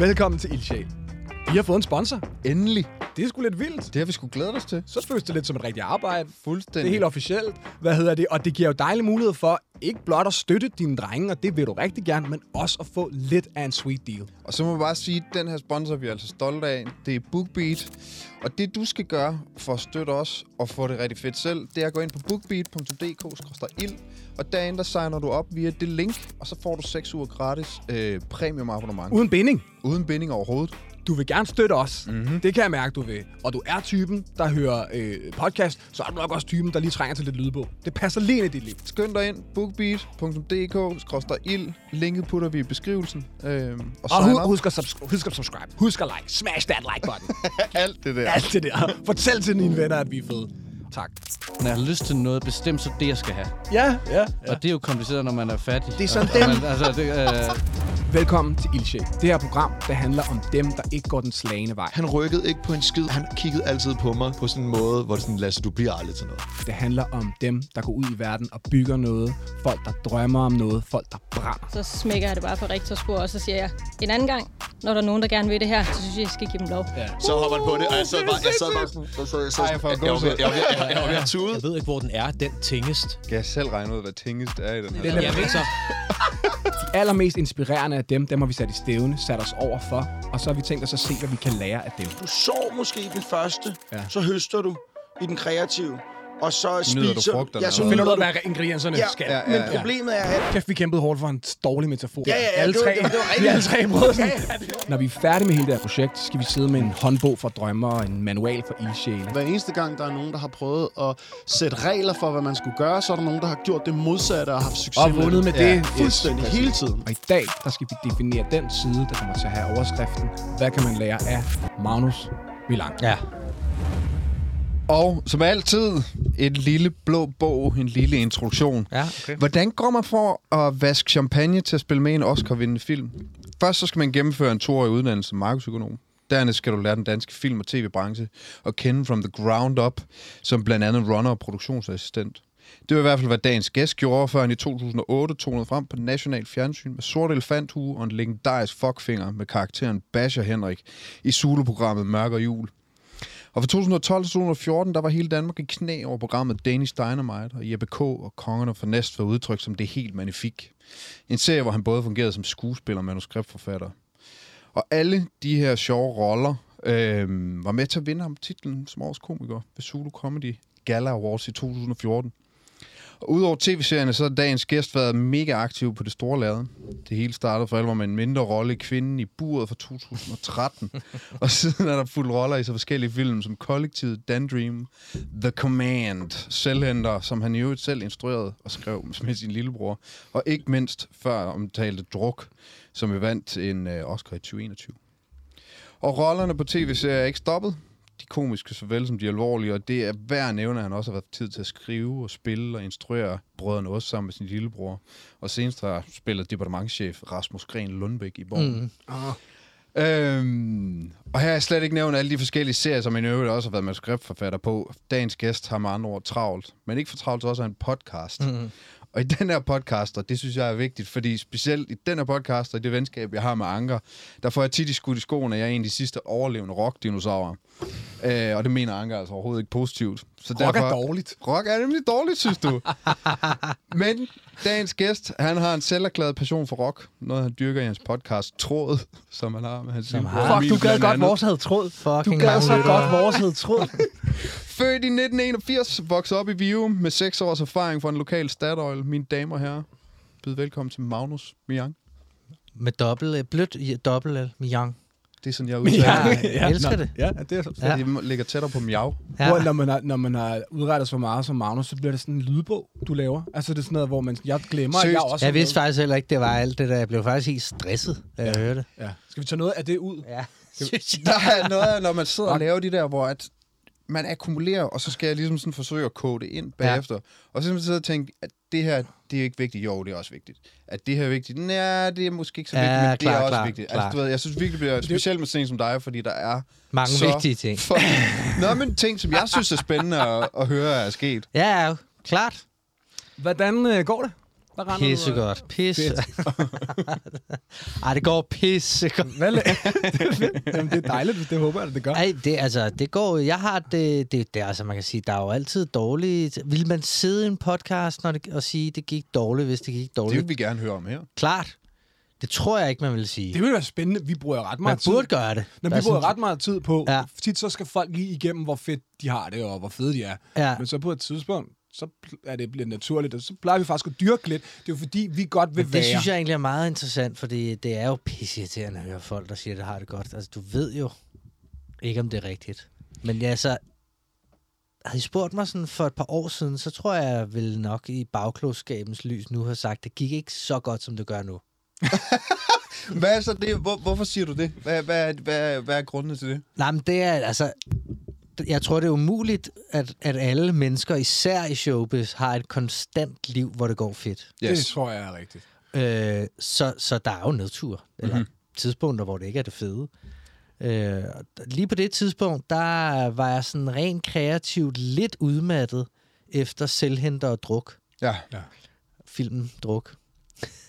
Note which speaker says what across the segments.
Speaker 1: Velkommen til Ildsjæl. Vi har fået en sponsor.
Speaker 2: Endelig.
Speaker 1: Det er sgu lidt vildt.
Speaker 2: Det har vi sgu glædet os til.
Speaker 1: Så føles det lidt som et rigtigt arbejde. Det
Speaker 2: Fuldstændig.
Speaker 1: er helt officielt. Hvad hedder det? Og det giver jo dejlig mulighed for ikke blot at støtte dine drenge, og det vil du rigtig gerne, men også at få lidt af en sweet deal.
Speaker 2: Og så må jeg bare sige, at den her sponsor, vi er altså stolte af, det er BookBeat. Og det, du skal gøre for at støtte os og få det rigtig fedt selv, det er at gå ind på bookbeat.dk-ild, og derinde der signer du op via det link, og så får du 6 uger gratis øh, premium abonnement.
Speaker 1: Uden binding.
Speaker 2: Uden binding overhovedet.
Speaker 1: Du vil gerne støtte os. Mm-hmm. Det kan jeg mærke, du vil. Og du er typen, der hører øh, podcast, så er du nok også typen, der lige trænger til lidt lydbog. Det passer lige ind i dit liv.
Speaker 2: Skynd dig ind, bookbeat.dk-ild. Linket putter vi i beskrivelsen. Øh, og
Speaker 1: Og
Speaker 2: sign
Speaker 1: hu-
Speaker 2: op.
Speaker 1: husk, at subs- husk at subscribe. Husk at like. Smash that like button.
Speaker 2: Alt det der.
Speaker 1: Alt det der. Fortæl til dine venner, at vi er fede. Tak.
Speaker 3: Når jeg har lyst til noget bestemt, så det, jeg skal have.
Speaker 1: Ja, ja.
Speaker 3: Ja. Og det er jo kompliceret, når man er fattig.
Speaker 1: Det er sådan
Speaker 3: og, og
Speaker 1: dem.
Speaker 3: man, altså, det, øh,
Speaker 1: Velkommen til Ildsjæl. Det her program, der handler om dem, der ikke går den slagende vej.
Speaker 4: Han rykkede ikke på en skid. Han kiggede altid på mig på sådan en måde, hvor det sådan, Lasse, du bliver aldrig til noget.
Speaker 1: Det handler om dem, der går ud i verden og bygger noget. Folk, der drømmer om noget. Folk, der brænder.
Speaker 5: Så smækker jeg det bare på rektorspor, og så siger jeg, en anden gang, når der er nogen, der gerne vil det her, så synes jeg, I skal give dem lov. Ja.
Speaker 4: Så hopper han på det, og jeg sad bare, jeg sad bare sådan, jeg sad, jeg sad,
Speaker 2: Ej, jeg får
Speaker 4: jeg, jeg, var ved- jeg, var ved- jeg, jeg, var ved at tude.
Speaker 6: Jeg ved ikke, hvor den er, den tingest. Altså,
Speaker 2: Kan jeg selv regne ud, hvad tingest er i den her?
Speaker 6: Jeg ved så,
Speaker 1: De allermest inspirerende af dem, dem har vi sat i stævne, sat os over for. Og så har vi tænkt os at se, hvad vi kan lære af dem.
Speaker 7: Du sår måske den første,
Speaker 1: Ja.
Speaker 7: ja. så høster du i den kreative, og så
Speaker 2: Nyder
Speaker 7: spiser
Speaker 2: du frugterne,
Speaker 7: Ja, så
Speaker 2: eller
Speaker 7: nyder du.
Speaker 1: hvad ingredienserne
Speaker 7: Ja, skal.
Speaker 2: Ja, ja,
Speaker 7: Men
Speaker 2: ja.
Speaker 7: problemet er, at
Speaker 1: Kæft, vi kæmpede hårdt for en dårlig metafor.
Speaker 7: Ja, ja, ja,
Speaker 1: alle
Speaker 7: det var-
Speaker 1: tre,
Speaker 7: det var- det var
Speaker 1: vi
Speaker 7: rigtigt.
Speaker 1: alle tre brød sådan. Når vi er færdige med hele det her projekt, skal vi sidde med en håndbog for drømmer og en manual for ildsjæle.
Speaker 8: Hver eneste gang, der er nogen, der har prøvet at sætte regler for, hvad man skulle gøre, så er der nogen, der har gjort det modsatte og haft succes
Speaker 1: Og vundet med det.
Speaker 8: Ja, fuldstændig,
Speaker 1: Yes.
Speaker 8: hele tiden.
Speaker 1: Og i dag, der skal vi definere den side, der kommer til at have overskriften. Hvad kan man lære af Magnus Milan?
Speaker 3: ja.
Speaker 2: Og som altid, et lille blå bog, en lille introduktion.
Speaker 3: Ja, okay.
Speaker 2: Hvordan går man for at vaske champagne til at spille med i en Oscar-vindende film? Først så skal man gennemføre en toårig uddannelse som markedsøkonom. Dernæst skal du lære den danske film- og tv-branche og kende from the ground up, som blandt andet runner og produktionsassistent. Det var i hvert fald, hvad dagens gæst gjorde, før han i 2008 tonede frem på national fjernsyn med sort elefanthue og en legendarisk fuckfinger med karakteren Basher Henrik i Zulu-programmet Mørk og Jul. Og fra 2012 til 2014, der var hele Danmark i knæ over programmet Danish Dynamite, og Jeppe K. og Kongerne fra Næst var udtrykt som det helt magnifik. En serie, hvor han både fungerede som skuespiller og manuskriptforfatter. Og alle de her sjove roller øh, var med til at vinde ham titlen som årets komiker ved Zulu Comedy Gala Awards i 2014. Og udover tv-serierne, så har dagens gæst været mega aktiv på det store lade. Det hele startede for alvor med en mindre rolle i Kvinden i buret fra 2013. og siden er der fuldt roller i så forskellige film som Kollektivet, Dandream, The Command, Selvhenter, som han i øvrigt selv instruerede og skrev med sin lillebror. Og ikke mindst før omtalte Druk, som jo vandt en øh, Oscar i 2021. Og rollerne på tv-serier er ikke stoppet. De komiske såvel som de alvorlige, og det er hver nævne, at han også har været tid til at skrive og spille og instruere brødrene også sammen med sin lillebror. Og senest har spillet departementchef Rasmus Gren Lundbæk i Borgen. Mm. Øhm, og her har jeg slet ikke nævnt alle de forskellige serier, som han i øvrigt også har været manuskriptforfatter på. Dagens gæst har med andre ord travlt, men ikke for travlt til også at have en podcast. Mm. Og i den her podcast, og det synes jeg er vigtigt, fordi specielt i den her podcast og i det venskab, jeg har med Anker, der får jeg tit i skudt i skoene, at jeg er en af de sidste overlevende rockdinosaurer. Øh, og det mener Anker altså overhovedet ikke positivt. Så
Speaker 1: Rock er dårligt.
Speaker 2: Rock er nemlig dårligt, synes du. Men dagens gæst, han har en selverklæret passion for rock. Noget, han dyrker i hans podcast Tråd, som han har med hans lillebror Emil blandt andet.
Speaker 3: havde tråd. Fucking
Speaker 1: vores hed tråd.
Speaker 2: Født i 1981, voksede op i Vive med 6 års erfaring fra en lokal Statoil. Mine damer og herrer, byd velkommen til Magnus Miang.
Speaker 9: Med dobbelt, øh, blødt i dobbelt øh, miang.
Speaker 2: Det er sådan, jeg udtaler. Ja.
Speaker 9: Jeg elsker det.
Speaker 1: Ja, det er så
Speaker 2: Ja. De ligger tættere på miau.
Speaker 9: Ja.
Speaker 1: Hvor, når, man har, når man har udrettet så meget som Magnus, så bliver det sådan en lydbog, du laver. Altså det er sådan noget, hvor man, jeg glemmer, at jeg
Speaker 2: Seriøst?
Speaker 1: også er
Speaker 9: Jeg vidste
Speaker 1: med.
Speaker 9: faktisk heller ikke, det var alt det der. Jeg blev faktisk helt stresset, da jeg hørte det.
Speaker 1: ja. Skal vi tage noget af det ud?
Speaker 9: Ja, synes jeg.
Speaker 2: Der er noget, af, når man sidder og laver de der, hvor at man akkumulerer, og så skal jeg ligesom sådan forsøge at kode det ind bagefter. Ja. Og så skal man sidde og tænke, at det her, det er ikke vigtigt. Jo, det er også vigtigt. At det her er vigtigt. Nej, det er måske ikke så vigtigt,
Speaker 9: Ja,
Speaker 2: men det
Speaker 9: klar,
Speaker 2: er også
Speaker 9: klar,
Speaker 2: vigtigt.
Speaker 9: klar.
Speaker 2: Altså, du ved, jeg synes virkelig, det bliver specielt med sådan en som dig, fordi der er
Speaker 9: Mange
Speaker 2: så
Speaker 9: vigtige ting.
Speaker 2: For... Nå, men ting, som jeg synes er spændende at, at høre er sket.
Speaker 9: Ja, ja, klart.
Speaker 1: Hvordan øh, går det? Der render ud
Speaker 9: Pissegodt. Pisse. Ej, det går pissegodt.
Speaker 1: af- Hvad la- det er fedt. Jamen, det er dejligt, hvis det håber jeg, at det gør.
Speaker 9: Ej, det, altså, det går Jeg har det, det, det, altså, man kan sige, der er jo altid dårligt. Vil man sidde i en podcast når det, og sige, det gik dårligt, hvis det gik
Speaker 2: Det
Speaker 9: dårligt?
Speaker 2: vil
Speaker 9: Det...
Speaker 2: vi gerne høre om her.
Speaker 9: Klart. Det tror jeg ikke, man vil sige.
Speaker 1: Det ville være spændende. Vi bruger ret
Speaker 9: man
Speaker 1: meget
Speaker 9: burde
Speaker 1: tid.
Speaker 9: gøre det.
Speaker 1: Når
Speaker 9: Der
Speaker 1: vi
Speaker 9: er
Speaker 1: bruger
Speaker 9: sådan-
Speaker 1: ret meget tid på, ja.
Speaker 9: Ja.
Speaker 1: tit så skal folk lige igennem, hvor fedt de har det, og hvor fede de er.
Speaker 9: Ja.
Speaker 1: Men så på et tidspunkt, så pl- er det blevet naturligt, og så plejer vi faktisk at dyrke lidt. Det er jo fordi, vi godt vil
Speaker 9: Men
Speaker 1: være.
Speaker 9: det synes jeg egentlig er meget interessant, fordi det er jo pisseirriterende at høre folk, der siger, at det har det godt. Altså, du ved jo ikke, om det er rigtigt. Men ja, altså, havde I spurgt mig sådan for et par år siden, så tror jeg, jeg ville nok i bagklogskabens lys nu have sagt, det gik ikke så godt, som det gør nu.
Speaker 2: Hvad er så det? Hvor, hvorfor siger du det? Hvad, hvad, er- hvad, er- hvad er grundene til det?
Speaker 9: Nej, men det er altså... Jeg tror, det er umuligt, at, at alle mennesker, især i showbiz, har et konstant liv, hvor det går fedt.
Speaker 1: Yes. Det tror jeg er rigtigt.
Speaker 9: Øh, så, så der er jo nedtur, eller
Speaker 1: Mhm.
Speaker 9: mm-hmm. tidspunkter, hvor det ikke er det fede. Øh, og d- lige på det tidspunkt, der var jeg sådan rent kreativt lidt udmattet efter Selvhenter og Druk.
Speaker 2: Ja.
Speaker 9: Filmen Druk.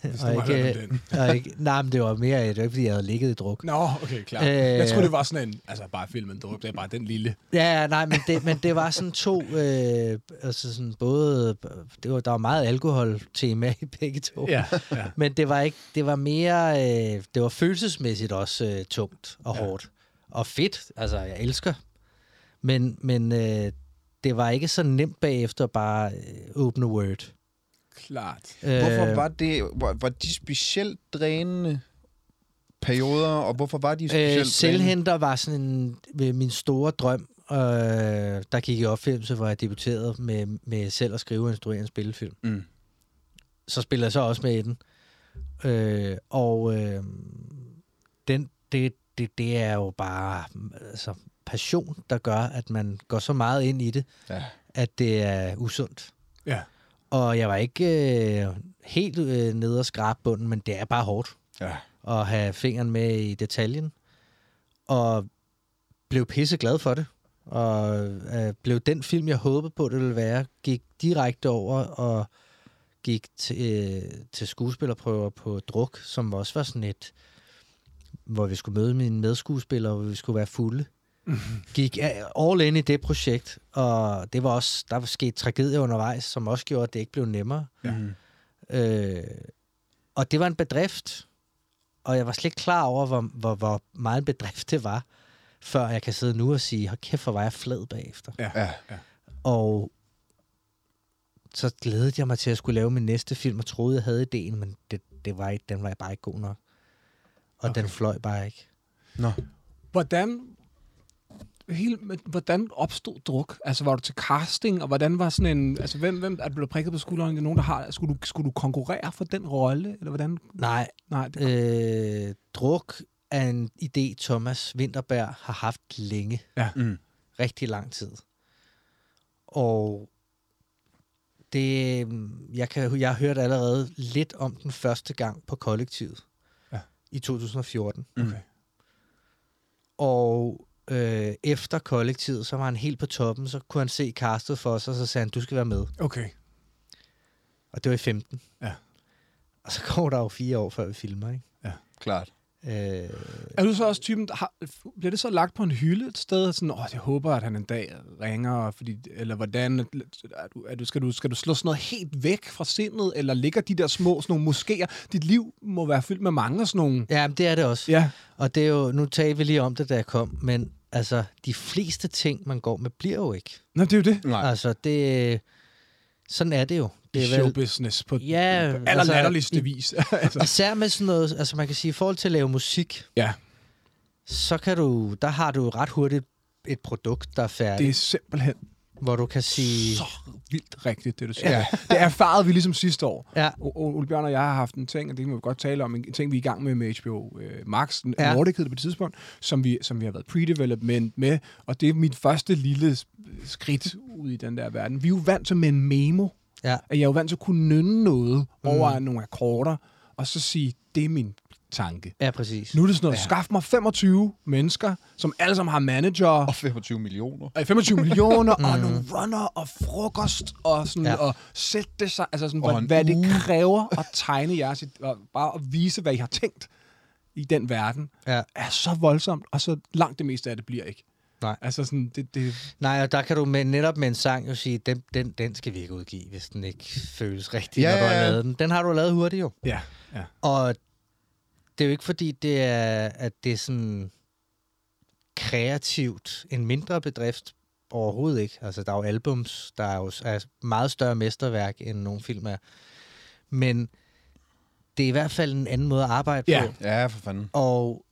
Speaker 1: Hvis du har hørt om den.
Speaker 9: og ikke, nej, men det var mere, det var ikke, fordi jeg havde ligget i druk.
Speaker 1: Nå, okay, klar. Øh,
Speaker 9: Øh,
Speaker 1: jeg tror det var sådan en, altså bare filmen, du det er bare den lille.
Speaker 9: Ja, ja, nej, men det, men det var sådan to, øh, altså sådan både, det var, der var meget alkohol-tema i begge to.
Speaker 1: Ja, ja.
Speaker 9: Men det var ikke, det var mere, øh, det var følelsesmæssigt også øh, tungt og ja. hårdt. Og fedt, altså jeg elsker. Men, men øh, det var ikke så nemt bagefter bare øh, åbne Word.
Speaker 1: Klart.
Speaker 9: Øh.
Speaker 2: Hvorfor var det... Var, var de specielt drænende perioder, og hvorfor var de specielt
Speaker 9: Øh,
Speaker 2: øh, drænende?
Speaker 9: selvhenter var sådan en, ved min store drøm, øh, der gik i opfilmelse, hvor jeg debuterede med, med selv at skrive og instruere en spillefilm.
Speaker 2: Mm.
Speaker 9: Så spiller jeg så også med i den. Øh, og øh, den, det, det, det er jo bare altså, passion, der gør, at man går så meget ind i det,
Speaker 2: Ja.
Speaker 9: at det er usundt.
Speaker 1: Ja.
Speaker 9: Og jeg var ikke øh, helt øh, nede og skrabe bunden, men det er bare hårdt
Speaker 2: Ja.
Speaker 9: at have fingeren med i detaljen. Og blev pisse glad for det. Og øh, blev den film, jeg håbede på, det ville være, gik direkte over og gik til, øh, til skuespillerprøver på druk, som også var sådan et, hvor vi skulle møde mine medskuespillere, hvor vi skulle være fulde. Gik a- all in i det projekt, og det var også, der var sket tragedier undervejs, som også gjorde, at det ikke blev nemmere. Ja. Øh, og det var en bedrift, og jeg var slet ikke klar over, hvor, hvor, hvor meget en bedrift det var, før jeg kan sidde nu og sige, hold kæft, hvor var jeg flad bagefter.
Speaker 1: Ja.
Speaker 2: Ja.
Speaker 9: Og så glædede jeg mig til at skulle lave min næste film, og troede, jeg havde ideen, men det, det var ikke, den var jeg bare ikke god nok. Og okay. den fløj bare ikke.
Speaker 1: Hvordan, helt, men hvordan opstod druk? Altså, var du til casting, og hvordan var sådan en... Altså, hvem, hvem er blevet prikket på skulderen? Er der nogen, der har... Skulle du, skulle du konkurrere for den rolle? Eller hvordan?
Speaker 9: Nej,
Speaker 1: Nej, det,
Speaker 9: øh, druk er en idé, Thomas Winterberg har haft længe.
Speaker 1: Ja.
Speaker 2: Mm.
Speaker 9: Rigtig lang tid. Og det, mm, jeg, kan, jeg hørte allerede lidt om den første gang på kollektivet
Speaker 1: Ja.
Speaker 9: i 2014.
Speaker 1: okay.
Speaker 9: Og øh, efter kollektivet, så var han helt på toppen, så kunne han se castet for sig, og så sagde han, du skal være med.
Speaker 1: Okay.
Speaker 9: Og det var i 15.
Speaker 1: Ja.
Speaker 9: Og så går der jo fire år, før vi filmer,
Speaker 2: Klart.
Speaker 9: ikke? Øh,
Speaker 1: Er du så også typen, der har, bliver det så lagt på en hylde et sted, sådan, åh, jeg håber, at han en dag ringer, fordi, eller hvordan, er du, er du, skal, du, skal du slå sådan noget helt væk fra sindet, eller ligger de der små, sådan nogle moskéer? Dit liv må være fyldt med mange af sådan nogle...
Speaker 9: Ja, men det er det også. Ja.
Speaker 1: Ja,
Speaker 9: Og det er jo, nu talte vi lige om det, da jeg kom, men altså, de fleste ting, man går med, bliver jo ikke.
Speaker 1: Nå, det er jo det.
Speaker 2: Nej.
Speaker 9: Altså, det... Sådan er det jo.
Speaker 1: Det
Speaker 9: Det
Speaker 1: er
Speaker 9: er vel,
Speaker 1: showbusiness på
Speaker 9: Ja,
Speaker 1: på
Speaker 9: altså,
Speaker 1: allerlatterligste
Speaker 9: i-
Speaker 1: altså, vis. altså,
Speaker 9: især med sådan noget, altså man kan sige, i forhold til at lave musik,
Speaker 1: ja,
Speaker 9: så kan du, der har du ret hurtigt et produkt, der er færdigt,
Speaker 1: det er simpelthen
Speaker 9: hvor du kan sige...
Speaker 1: så vildt rigtigt, det du siger. Ja. Det erfarede vi ligesom sidste år.
Speaker 9: Ja,
Speaker 1: O- O- Ole Bjørn og jeg har haft en ting, og det kan vi godt tale om, en ting, vi er i gang med med HBO øh, Max, ja.
Speaker 9: Ja.
Speaker 1: Nordic hed det på et tidspunkt, som vi, som vi har været pre-development med, og det er mit første lille s- skridt ud i den der verden. Vi er jo vant til med en memo,
Speaker 9: ja.
Speaker 1: at jeg er jo vant til at kunne nynne noget mm. over nogle akkorder, og så sige, det er min tanke.
Speaker 9: Ja, præcis.
Speaker 1: Nu er det sådan noget, ja. skaf mig 25 mennesker, som alle sammen har manager,
Speaker 2: Og 25 millioner.
Speaker 1: og 25 millioner, og nogle runner, og frokost, og, sådan,
Speaker 9: Mm. Ja.
Speaker 1: ja. og sætte det sig, altså sådan,
Speaker 2: Og
Speaker 1: hvad,
Speaker 2: en
Speaker 1: hvad det kræver at tegne jeres, id- og bare at vise, hvad I har tænkt i den verden,
Speaker 9: Ja.
Speaker 1: er så voldsomt, og så langt det meste af det bliver ikke.
Speaker 9: Nej.
Speaker 1: Altså sådan, det, det,
Speaker 9: Nej, og der kan du med, netop med en sang jo sige, den, den, den skal vi ikke udgive, hvis den ikke føles rigtig,
Speaker 2: Ja,
Speaker 9: ja, når du
Speaker 2: ja,
Speaker 9: har
Speaker 2: ja.
Speaker 9: lavet den. Den har du lavet hurtigt jo.
Speaker 1: ja, ja.
Speaker 9: Og det er jo ikke fordi, det er, at det er sådan kreativt en mindre bedrift overhovedet ikke. Altså, der er jo albums, der er jo s- er meget større mesterværk, end nogle film er. Men det er i hvert fald en anden måde at arbejde
Speaker 1: Ja.
Speaker 9: på.
Speaker 2: Ja, for fanden.
Speaker 9: Og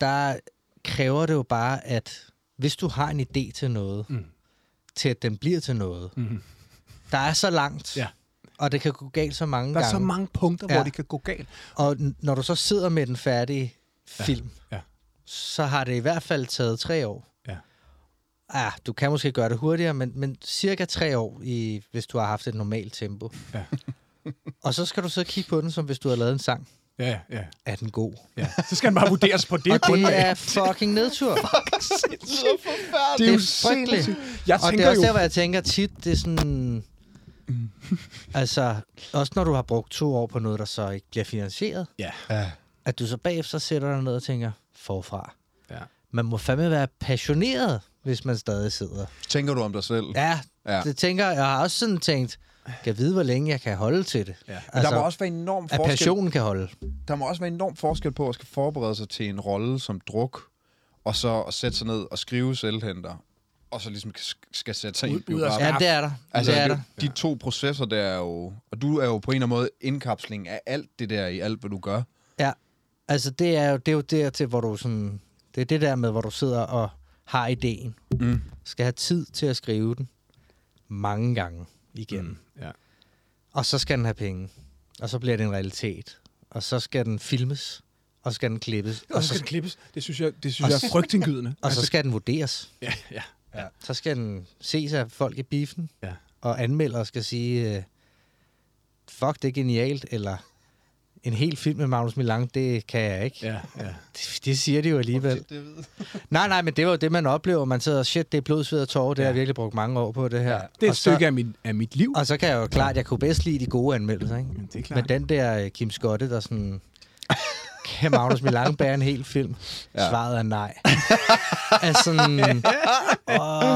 Speaker 9: der kræver det jo bare, at hvis du har en idé til noget, mm.
Speaker 1: Mm.
Speaker 9: til at den bliver til noget,
Speaker 1: Mhm.
Speaker 9: der er så langt,
Speaker 1: Ja.
Speaker 9: og det kan gå galt så mange
Speaker 1: Der er
Speaker 9: gange.
Speaker 1: så mange punkter, ja.
Speaker 9: Ja.
Speaker 1: hvor det kan gå galt.
Speaker 9: Og n- når du så sidder med den færdige film,
Speaker 1: ja.
Speaker 9: så har det i hvert fald taget tre år.
Speaker 1: Ja.
Speaker 9: Ah, du kan måske gøre det hurtigere, men, men cirka tre år, i, hvis du har haft et normalt tempo.
Speaker 1: Ja.
Speaker 9: og så skal du så kigge på den, som hvis du har lavet en sang.
Speaker 1: Ja, ja,
Speaker 9: Er den god?
Speaker 1: ja. Så skal den bare vurderes på det.
Speaker 9: og
Speaker 1: grundlag.
Speaker 9: det er fucking nedtur.
Speaker 1: det er jo
Speaker 9: det er frygteligt.
Speaker 1: sindssygt. Jeg
Speaker 9: og det
Speaker 1: tænker
Speaker 9: er også
Speaker 1: jo,
Speaker 9: der, hvor jeg tænker tit, det er sådan...
Speaker 1: Mm.
Speaker 9: altså, også når du har brugt to år på noget, der så ikke bliver finansieret.
Speaker 1: Ja.
Speaker 2: Ja.
Speaker 9: At du så bagefter sætter dig ned og tænker, forfra.
Speaker 1: Ja.
Speaker 9: Man må fandme være passioneret, hvis man stadig sidder.
Speaker 2: Tænker du om dig selv?
Speaker 9: Ja,
Speaker 2: Ja.
Speaker 9: ja. det tænker jeg. Jeg har også sådan tænkt, kan jeg vide, hvor længe jeg kan holde til det? Ja.
Speaker 2: Altså,
Speaker 9: Altså,
Speaker 2: der må også være enorm
Speaker 9: at
Speaker 2: forskel.
Speaker 9: passionen kan holde.
Speaker 2: Der må også være enorm forskel på at skal forberede sig til en rolle som druk, og så at sætte sig ned og skrive selvhenter, og så ligesom sk- skal sætte sig ind i
Speaker 1: Ud- ud af-
Speaker 2: biografen.
Speaker 9: Ja, det er der.
Speaker 2: Altså,
Speaker 9: Altså, det er
Speaker 2: det,
Speaker 9: der.
Speaker 2: de to processer der er jo... Og du er jo på en eller anden måde indkapsling af alt det der i alt, hvad du gør.
Speaker 9: Ja, altså det er jo, det er jo dertil, hvor du sådan... Det er det der med, hvor du sidder og har ideen.
Speaker 2: Mm.
Speaker 9: Skal have tid til at skrive den mange gange igennem. Mm.
Speaker 1: ja.
Speaker 9: Og så skal den have penge. Og så bliver det en realitet. Og så skal den filmes. Og så skal den klippes.
Speaker 1: og så skal den klippes. Det synes jeg, det synes jeg er frygtindgydende. Altså,
Speaker 9: og så skal den vurderes.
Speaker 1: ja, ja.
Speaker 9: Så skal den ses af folk i biffen.
Speaker 1: Ja.
Speaker 9: Og anmelder skal sige, øh, fuck, det er genialt. Eller en hel film med Magnus Milang, det kan jeg ikke.
Speaker 1: Ja, ja.
Speaker 9: Det, det siger de jo alligevel. Nej, nej, men det var jo det, man oplever. Man sidder og, shit, det er blod, sved og tårer. Det har jeg virkelig brugt mange år på, det her.
Speaker 1: Det er
Speaker 9: og
Speaker 1: et stykke af, min, af mit liv.
Speaker 9: Så, og så kan jeg jo klart, jeg kunne bedst lide de gode anmeldelser, ikke?
Speaker 1: Men det er klart.
Speaker 9: Men den der øh, Kim Skotte, der sådan... Kan Magnus Milang bære en hel film? Ja. Svaret er nej. altså sådan...